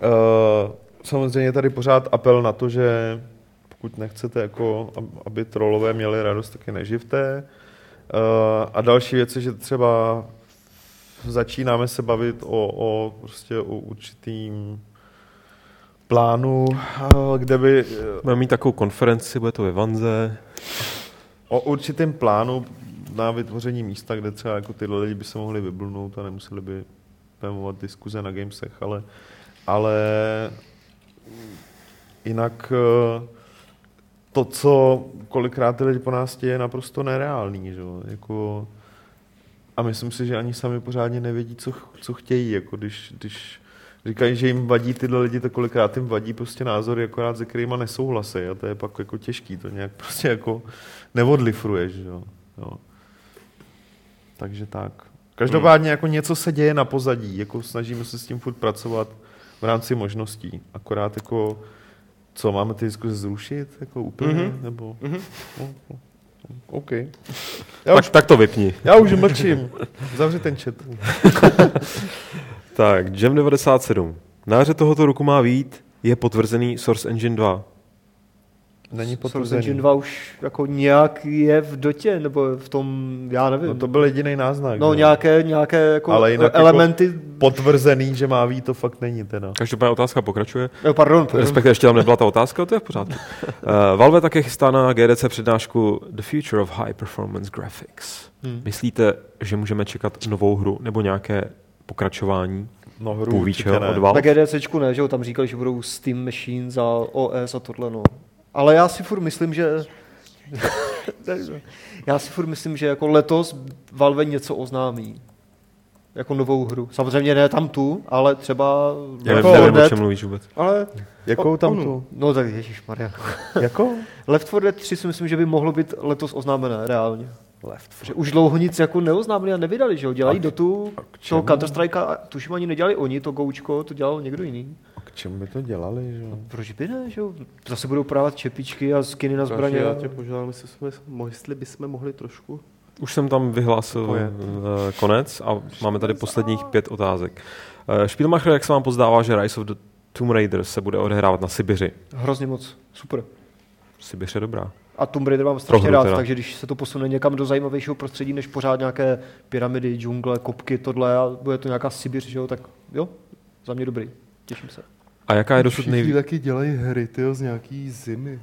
Speaker 2: Eh, samozřejmě je tady pořád apel na to, že pokud nechcete, jako, ab- aby trolové měli radost, tak je neživte. Eh, A další věc je, že třeba začínáme se bavit o, o, prostě o určitým plánu, eh, kde by, eh,
Speaker 4: Budeme mít takovou konferenci, bude to ve Vanze.
Speaker 2: o určitém plánu na vytvoření místa, kde třeba jako tyhle lidi by se mohli vyblnout a nemuseli by pemovat diskuze na gamesech, ale, ale jinak eh, to, co kolikrát ty lidi po nás chtějí, je naprosto nereálný. Že? jo. Jako, a myslím si, že ani sami pořádně nevědí, co, ch- co chtějí. Jako když, když říkají, že jim vadí tyhle lidi, tak kolikrát jim vadí prostě názory, akorát se kterýma nesouhlasí. A to je pak jako těžký, to nějak prostě jako neodlifruješ. Že? jo. Jo. Takže tak.
Speaker 3: Hmm.
Speaker 2: Každopádně jako něco se děje na pozadí, jako snažíme se s tím furt pracovat v rámci možností. Akorát jako, co, máme ty diskuze zrušit? Jako úplně?
Speaker 3: Mhm.
Speaker 2: Mm-hmm. Nebo? Mm-hmm. OK. Já
Speaker 4: Tak,
Speaker 2: už,
Speaker 4: tak to vypni.
Speaker 2: já už mlčím. Zavři ten chat.
Speaker 4: Tak, Jam 97. Na jaře tohoto roku má být, je potvrzený Source Engine 2.
Speaker 2: Není
Speaker 3: Source
Speaker 2: potvrzený.
Speaker 3: Engine 2 už jako nějak je v dotě, nebo v tom, já nevím.
Speaker 2: No to byl jediný náznak.
Speaker 3: No
Speaker 2: že?
Speaker 3: nějaké, nějaké jako
Speaker 2: Ale jinak
Speaker 3: elementy...
Speaker 2: Potvrzený, že má ví, to fakt není teda.
Speaker 4: Každopádně otázka pokračuje.
Speaker 3: No, pardon, pardon.
Speaker 4: Respektive ještě tam nebyla ta otázka, ale to je v pořádku. Uh, Valve také chystá na GDC přednášku The Future of High Performance Graphics.
Speaker 3: Hmm.
Speaker 4: Myslíte, že můžeme čekat novou hru nebo nějaké pokračování?
Speaker 2: No hru
Speaker 4: Půl
Speaker 2: určitě
Speaker 4: víčeho
Speaker 2: ne.
Speaker 4: od Valve?
Speaker 3: Na GDCčku ne, že jo, tam říkali, že budou Steam Machines a OS a tohle, no. Ale já si furt myslím, že... já si furt myslím, že jako letos Valve něco oznámí. Jako novou hru. Samozřejmě ne tam tu, ale třeba...
Speaker 4: Já
Speaker 3: Left
Speaker 4: nevím,
Speaker 3: 4
Speaker 2: jako
Speaker 4: nevím o
Speaker 3: Dead.
Speaker 4: čem mluvíš vůbec.
Speaker 1: Ale
Speaker 2: Jakou tam
Speaker 1: Onu.
Speaker 2: tu?
Speaker 3: No tak ježišmarja.
Speaker 2: Jakou?
Speaker 3: Left 4 Dead 3 si myslím, že by mohlo být letos oznámené, reálně. Left že už dlouho nic jako neoznámili a nevydali, že jo? Dělají dotu, toho Counter-Strike, tuším ani nedělali oni, to goučko, to dělal někdo jiný.
Speaker 2: A k čemu by to dělali, že? jo?
Speaker 3: Proč by ne, že jo? Zase budou právat čepičky a skiny na
Speaker 1: zbraně, já
Speaker 3: zbraně.
Speaker 1: tě požádám, jestli, jsme, mo- jestli bychom mohli trošku...
Speaker 4: Už jsem tam vyhlásil
Speaker 1: To je.
Speaker 4: eh, konec a máme tady posledních pět otázek. Eh, Spielmacher, jak se vám pozdává, že Rise of the Tomb Raider se bude odehrávat na Sibiři?
Speaker 3: Hrozně moc, super.
Speaker 4: Sibiř je Prostě dobrá.
Speaker 3: A Tomb Raider mám strašně
Speaker 4: hru
Speaker 3: rád,
Speaker 4: teda.
Speaker 3: takže když se to posune někam do zajímavějšího prostředí, než pořád nějaké pyramidy, džungle, kopky, tohle, a bude to nějaká Sibiř, že jo, tak jo, za mě dobrý, těším se.
Speaker 4: A jaká je dosud nejvíc?
Speaker 1: taky dělají hry, tyjo, z nějaký zimy.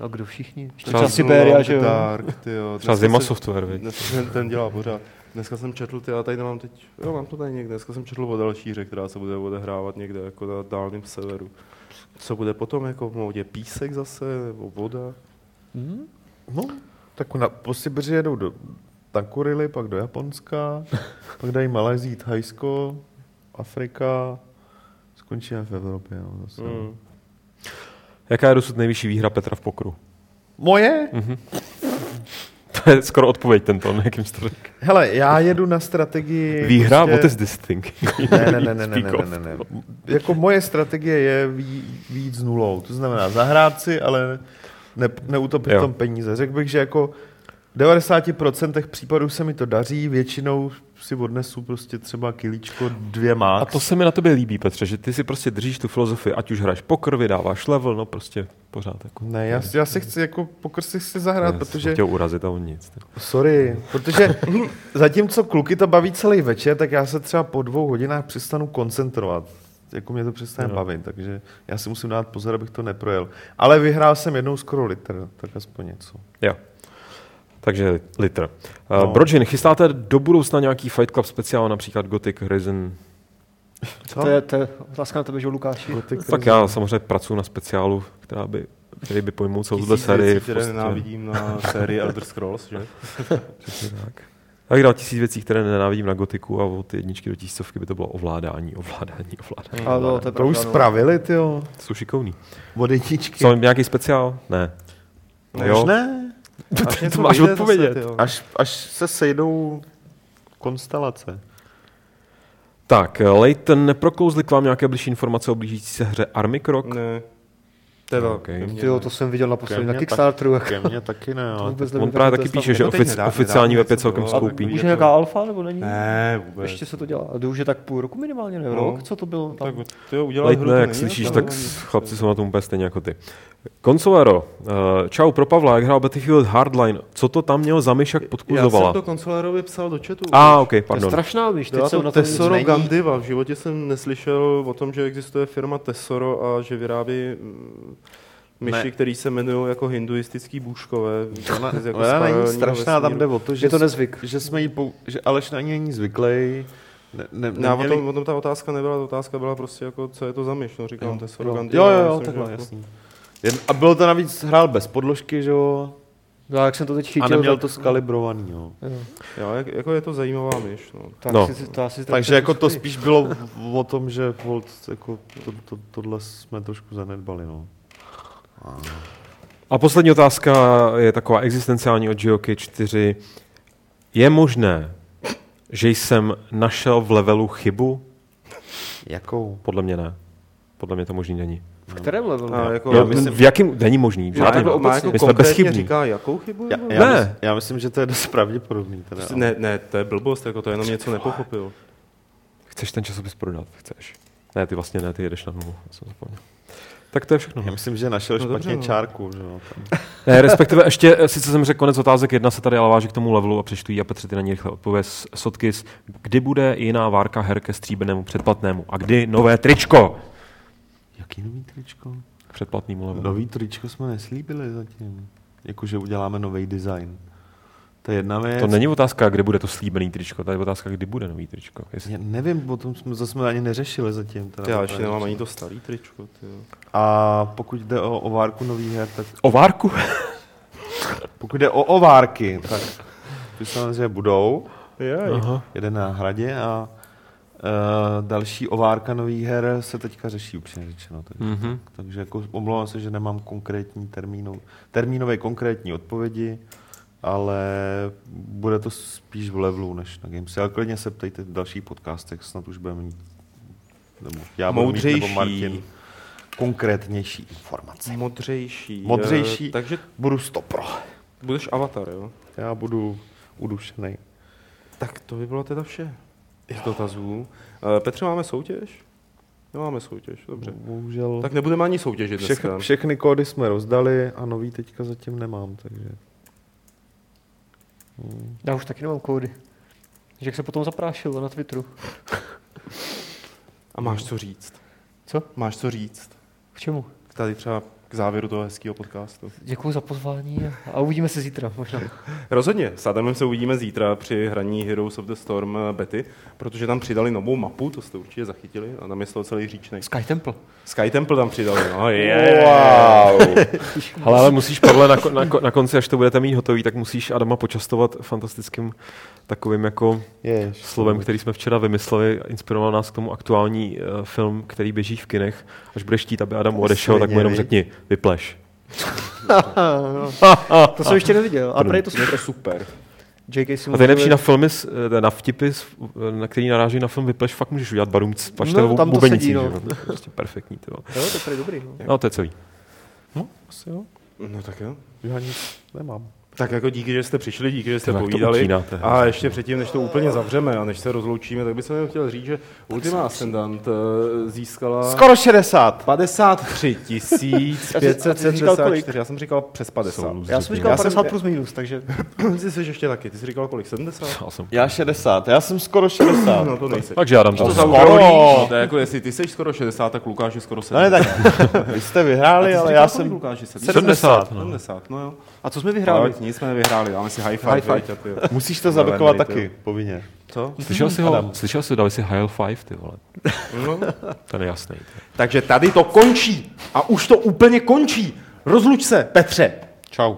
Speaker 3: A kdo všichni? Ještě
Speaker 4: Třeba
Speaker 3: Třeba
Speaker 1: no,
Speaker 3: Siberia, že jo.
Speaker 1: Dark, tyjo.
Speaker 4: Třeba
Speaker 1: Dneska
Speaker 4: Zima
Speaker 1: se-
Speaker 4: Software, viď?
Speaker 1: Dneska jsem ten dělá pořád. Dneska jsem četl, ty, já tady nemám teď, jo, mám to tady někde, dneska jsem četl o další hře, která se bude odehrávat někde jako na dálném severu. Co bude potom, jako v modě písek zase, nebo voda?
Speaker 3: Hm?
Speaker 2: No, tak na, po Sibiři jedou do Tankurily, pak do Japonska, pak dají Malajzii, Thajsko, Afrika, skončíme v Evropě. No, zase. Mm.
Speaker 1: Hmm.
Speaker 4: Jaká je dosud nejvyšší výhra Petra v pokru?
Speaker 2: Moje?
Speaker 4: Hmm. To je skoro odpověď tento, jakým jste to řekl.
Speaker 2: Hele, já jedu na strategii...
Speaker 4: Výhra?
Speaker 2: prostě-
Speaker 4: What is this thing?
Speaker 2: ne, ne, ne, ne, ne,
Speaker 4: Speak
Speaker 2: ne,
Speaker 4: of.
Speaker 2: ne, ne. Jako moje strategie je ví- víc s nulou. To znamená zahrát si, ale ne, neutopit
Speaker 4: Jo.
Speaker 2: jo. tam peníze. Řekl bych, že jako v 90% případů se mi to daří, většinou si odnesu prostě třeba kilíčko dvě max.
Speaker 4: A to se mi na tobě líbí, Petře, že ty si prostě držíš tu filozofii, ať už hraješ pokr, vydáváš level, no prostě pořád jako.
Speaker 2: Ne, já, já si chci jako poker si chci zahrát,
Speaker 4: Já jsem
Speaker 2: protože...
Speaker 4: Chtěl urazit a on nic.
Speaker 2: Sorry, protože zatímco kluky to baví celý večer, tak já se třeba po dvou hodinách přestanu koncentrovat. jako mě to přestane
Speaker 4: Jo.
Speaker 2: no. bavit, takže já si musím dát pozor, abych to neprojel. Ale vyhrál jsem jednou skoro litr, tak aspoň něco.
Speaker 4: Jo. Takže litr. No.
Speaker 2: No.
Speaker 4: Brojin, chystáte do budoucna nějaký Fight Club speciál, například Gothic Horizon?
Speaker 2: Co?
Speaker 3: To je, to je otázka na tebe, že jo, Lukáši.
Speaker 4: Tak já samozřejmě pracuji na speciálu, která by, který by pojmul celou tuhle sérii. prostě- v
Speaker 1: které
Speaker 4: podstatě.
Speaker 1: nenávidím na sérii Elder Scrolls, že?
Speaker 4: Přesně tak. Tak dál tisíc věcí, které nenávidím na gotiku a od jedničky do tisícovky by to bylo ovládání, ovládání, ovládání.
Speaker 1: Hmm.
Speaker 3: A to, to, je
Speaker 2: To už
Speaker 3: pravda, no.
Speaker 2: spravili, ty jo.
Speaker 4: Jsou šikovný.
Speaker 2: Od jedničky.
Speaker 4: Jsou nějaký speciál? Ne.
Speaker 1: No
Speaker 2: Už
Speaker 4: No Jo.
Speaker 2: ne?
Speaker 1: Až něco
Speaker 4: to máš
Speaker 1: vyjde
Speaker 4: odpovědět.
Speaker 1: Zase, tyjo.
Speaker 2: Až, až se sejdou konstelace.
Speaker 4: Tak, Leighton, neprokouzli k vám nějaké blížší informace o blížící se hře Army Krok?
Speaker 1: ne. Teda,
Speaker 4: Okay.
Speaker 1: okay.
Speaker 3: Ty jo, to jsem viděl naposledy
Speaker 2: Ke
Speaker 3: na
Speaker 2: mně
Speaker 3: Kickstarteru.
Speaker 2: tak- Ke mně taky ne, ale
Speaker 3: vůbec
Speaker 4: On
Speaker 3: nevím,
Speaker 4: právě
Speaker 3: jak to
Speaker 4: taky
Speaker 3: je
Speaker 4: píše,
Speaker 3: stav.
Speaker 4: že
Speaker 1: No teď
Speaker 4: ofic,
Speaker 1: nedávno,
Speaker 4: oficiální
Speaker 1: nedávno
Speaker 4: web je
Speaker 1: něco
Speaker 4: celkem
Speaker 1: bylo.
Speaker 4: skoupý.
Speaker 3: Už
Speaker 1: Víte
Speaker 3: je
Speaker 1: to?
Speaker 3: nějaká alfa, nebo není?
Speaker 1: Ne, vůbec.
Speaker 3: Ještě se to dělá. A to už je tak půl roku minimálně, ne?
Speaker 1: No.
Speaker 3: Rok? Co to bylo? Tam?
Speaker 1: Tak ty jo, udělali hru,
Speaker 4: Leitne,
Speaker 1: to
Speaker 4: jak
Speaker 1: není
Speaker 4: slyšíš,
Speaker 1: jako-
Speaker 4: tak s- chlapci jsou na tom úplně stejně jako ty. Konsolero, uh, čau pro Pavla, jak hrál Battlefield Hardline, co to tam měl za myšak
Speaker 1: Já jsem
Speaker 4: podkuzovala?
Speaker 1: to konsolerovi psal do chatu.
Speaker 4: A, ok,
Speaker 3: to je
Speaker 4: pardon.
Speaker 3: strašná myš, teď
Speaker 1: Byla
Speaker 3: jsem
Speaker 1: to
Speaker 3: na tom nic
Speaker 1: Tesoro
Speaker 3: není.
Speaker 1: Gandiva. V životě jsem neslyšel o tom, že existuje firma Tesoro a že vyrábí mm, myši,
Speaker 2: Ne.
Speaker 1: které se jmenují jako hinduistický bůžkové.
Speaker 2: Ona,
Speaker 1: z- jako
Speaker 2: ona není
Speaker 1: spirálního
Speaker 2: strašná, tam
Speaker 1: vesmíru.
Speaker 2: jde o to, že,
Speaker 3: Je to nezvyk.
Speaker 2: že jsme jí pou, že Aleš na ní není zvyklý. Ne, ne,
Speaker 1: Ne, a o
Speaker 2: neměli-
Speaker 1: tom, o tom ta otázka nebyla, ta otázka byla prostě jako, co je to za myš, no říkám, Tesoro
Speaker 2: jo,
Speaker 1: Gandiva.
Speaker 2: jo, jo,
Speaker 1: myslím,
Speaker 2: jo
Speaker 1: že
Speaker 2: takhle,
Speaker 1: jako-
Speaker 2: jasný. Jen, a bylo to navíc, hrál bez podložky, že jo,
Speaker 3: No, jak jsem to teď chytil,
Speaker 2: a neměl
Speaker 3: tak-
Speaker 2: to skalibrovaný, jo.
Speaker 3: Jo.
Speaker 1: Jo, jak, jako je to zajímavá myš, no.
Speaker 3: Tak
Speaker 4: No.
Speaker 3: si, to asi
Speaker 2: Takže jako to spíš bylo o tom, že volt, jako to, to, tohle jsme trošku zanedbali, no.
Speaker 4: A poslední otázka je taková existenciální od Geoky 4. Je možné, že jsem našel v levelu chybu?
Speaker 2: Jakou?
Speaker 4: Podle mě ne. Podle mě to možný není.
Speaker 3: V kterém levelu?
Speaker 1: A jako,
Speaker 4: Jo,
Speaker 1: myslím,
Speaker 4: v jakým není možný?
Speaker 1: má
Speaker 4: žádný.
Speaker 1: jako, má jako
Speaker 4: My jsme
Speaker 1: konkrétně
Speaker 4: bezchybní.
Speaker 1: říká, jakou chybu?
Speaker 2: Já,
Speaker 1: nebo-
Speaker 2: já,
Speaker 4: Ne.
Speaker 2: ne. Myslím, já myslím, že to je dost pravděpodobný. Teda,
Speaker 1: Prostě
Speaker 2: ale-
Speaker 1: Ne, ne, to je blbost, jako to jenom něco nepochopil.
Speaker 4: Chceš ten časopis prodat? Chceš. Ne, ty vlastně ne, ty jedeš na nulu. Já jsem zapomněl. Tak to je všechno.
Speaker 2: Já myslím, že našel
Speaker 1: No
Speaker 2: no,
Speaker 1: dobře,
Speaker 2: špatně
Speaker 1: no.
Speaker 2: dobře, čárku, že jo.
Speaker 4: Ne, respektive ještě, eh, sice jsem řekl konec otázek jedna se tady ale váží k tomu levelu a přečtu ji a Petře, ty na ní rychle odpověz. Sotkis, kdy bude jiná várka her ke stříbenému předplatnému a kdy nové tričko?
Speaker 2: Jaký nový tričko?
Speaker 4: K Předplatnému
Speaker 1: No.
Speaker 3: No,
Speaker 4: levelu.
Speaker 2: Nový tričko jsme neslíbili zatím. Jakože uděláme nový design. To je jedna věc.
Speaker 4: To není otázka, kdy bude to slíbený tričko, to je otázka, kdy bude nový tričko. Jestli...
Speaker 2: Já nevím, o tom jsme zase jsme ani neřešili zatím. Teda
Speaker 1: Já
Speaker 2: to
Speaker 1: ještě
Speaker 2: tady.
Speaker 1: nemám ani to starý tričko, ty jo.
Speaker 2: A pokud jde o ovárku nových her, tak
Speaker 4: Ovárku?
Speaker 2: pokud jde o ovárky, tak ty samozřejmě budou.
Speaker 4: Aha.
Speaker 2: Jeden na hradě a uh, další ovárka nových her se teďka řeší, upřímně řečeno. Takže,
Speaker 4: Mhm.
Speaker 2: takže jako omlouvám se, že nemám konkrétní termínov, termínové konkrétní odpovědi, ale bude to spíš v levelu než na Gamesy. Ale klidně se ptejte v dalších podcastech, snad už budeme mít, nebo já budu mít, nebo
Speaker 1: Moudřejší.
Speaker 2: Martin, konkrétnější informace.
Speaker 1: Modřejší.
Speaker 2: Modřejší.
Speaker 1: Eh, takže
Speaker 2: Budu stopro.
Speaker 1: budeš avatar, jo?
Speaker 2: Já budu udušený.
Speaker 1: Tak to by bylo teda vše z dotazů. Eh, Petře, máme soutěž? Nemáme soutěž, dobře.
Speaker 2: Bohužel.
Speaker 1: Tak nebudeme ani soutěžit
Speaker 2: Všech,
Speaker 1: dneska.
Speaker 2: všechny kódy jsme rozdali a nový teďka zatím nemám, takže... Hmm.
Speaker 3: Já už taky nemám kódy. Že jak se potom zaprášilo na Twitteru.
Speaker 1: A máš co říct?
Speaker 3: Co?
Speaker 1: Máš co říct?
Speaker 3: K čemu?
Speaker 1: Tady třeba k závěru toho hezkého podcastu.
Speaker 3: Děkuji za pozvání a, a uvidíme se zítra možná.
Speaker 1: Rozhodně. S Adamem se uvidíme zítra při hraní Heroes of the Storm eh, bety, protože tam přidali novou mapu, to jste určitě zachytili, a tam je z toho celý říčnej.
Speaker 3: Sky Temple.
Speaker 1: Sky Temple tam přidali, no je.
Speaker 2: Wow!
Speaker 4: Hele, ale musíš, Pavle, na, ko- na, ko- na, konci, až to budete mít hotový, tak musíš Adama počastovat fantastickým takovým jako
Speaker 2: Jež.
Speaker 4: slovem, který jsme včera vymysleli, inspiroval nás k tomu aktuální eh, film, který běží v kinech. Až budeš chtít, aby Adam odešel, tak mu jenom
Speaker 2: viď?
Speaker 4: řekni, vypleš.
Speaker 1: no.
Speaker 3: to jsem ještě neviděl. A tady
Speaker 1: Je
Speaker 3: to super.
Speaker 1: to super.
Speaker 3: J.K. si
Speaker 4: A tady nejlepší na filmy, s- eh, na vtipy, s- eh, na který naráží na film Vypleš, fakt můžeš udělat barům pač
Speaker 3: No, tam to
Speaker 4: bubenicí,
Speaker 3: sedí,
Speaker 4: že
Speaker 3: no.
Speaker 4: jo? To je Prostě perfektní, ty vole.
Speaker 3: Jo, to je tady dobrý. No.
Speaker 4: No, to je celý. No, asi jo.
Speaker 1: No tak jo.
Speaker 2: Já nic nemám.
Speaker 1: Tak jako díky, že jste přišli, díky, že jste
Speaker 4: Ty, jak to
Speaker 1: povídali.
Speaker 4: utínáte.
Speaker 1: A ještě předtím, než to úplně zavřeme a než se rozloučíme, tak bych se jenom chtěl říct, že Ultima Ascendant eh, získala
Speaker 2: Skoro 60.
Speaker 1: 53
Speaker 3: říkal kolik?
Speaker 1: 574. Já jsem říkal přes 50.
Speaker 3: Já jsem říkal
Speaker 1: Já jsem-
Speaker 3: 50 plus minus, takže
Speaker 1: Ty jsi ještě taky, ty jsi říkal kolik? 70?
Speaker 4: Já jsem...
Speaker 2: Já 60. Já jsem skoro 60.
Speaker 1: No to nejsi.
Speaker 4: Tak žádám to.
Speaker 2: za-
Speaker 1: Skoro. To je jako jestli ty jsi skoro 60, tak Lukáš je skoro 70.
Speaker 2: No ne, tak vy jste vyhráli, ale já jsem...
Speaker 1: Lukáši,
Speaker 4: 70, no.
Speaker 1: 70, no jo.
Speaker 3: A co jsme vyhráli?
Speaker 1: Ale nic jsme nevyhráli, dáme si high five.
Speaker 3: High five.
Speaker 1: veď, a ty jo.
Speaker 2: Musíš to
Speaker 1: zabekovat
Speaker 2: zabekovat
Speaker 1: taky,
Speaker 2: taky, povinně.
Speaker 1: Co?
Speaker 4: Slyšel jsi ho?
Speaker 2: Adam.
Speaker 4: Slyšel jsi, dali si High Five, ty vole.
Speaker 1: No.
Speaker 4: Ten je jasný. ty.
Speaker 1: Takže tady to končí. A už to úplně končí. Rozluč se, Petře. Čau.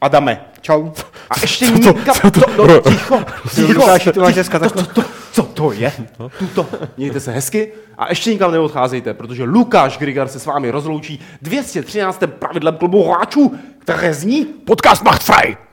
Speaker 1: Adame. Čau. A ještě nikam... To, to, no, ticho, ticho.
Speaker 3: Lukáši, ty máš dneska
Speaker 1: to, to, to, co to je? Tuto. Mějte se hezky a ještě nikam neodcházejte, protože Lukáš Grigar se s vámi rozloučí 213. pravidlem klubu hráčů, které zní Podcast macht frei!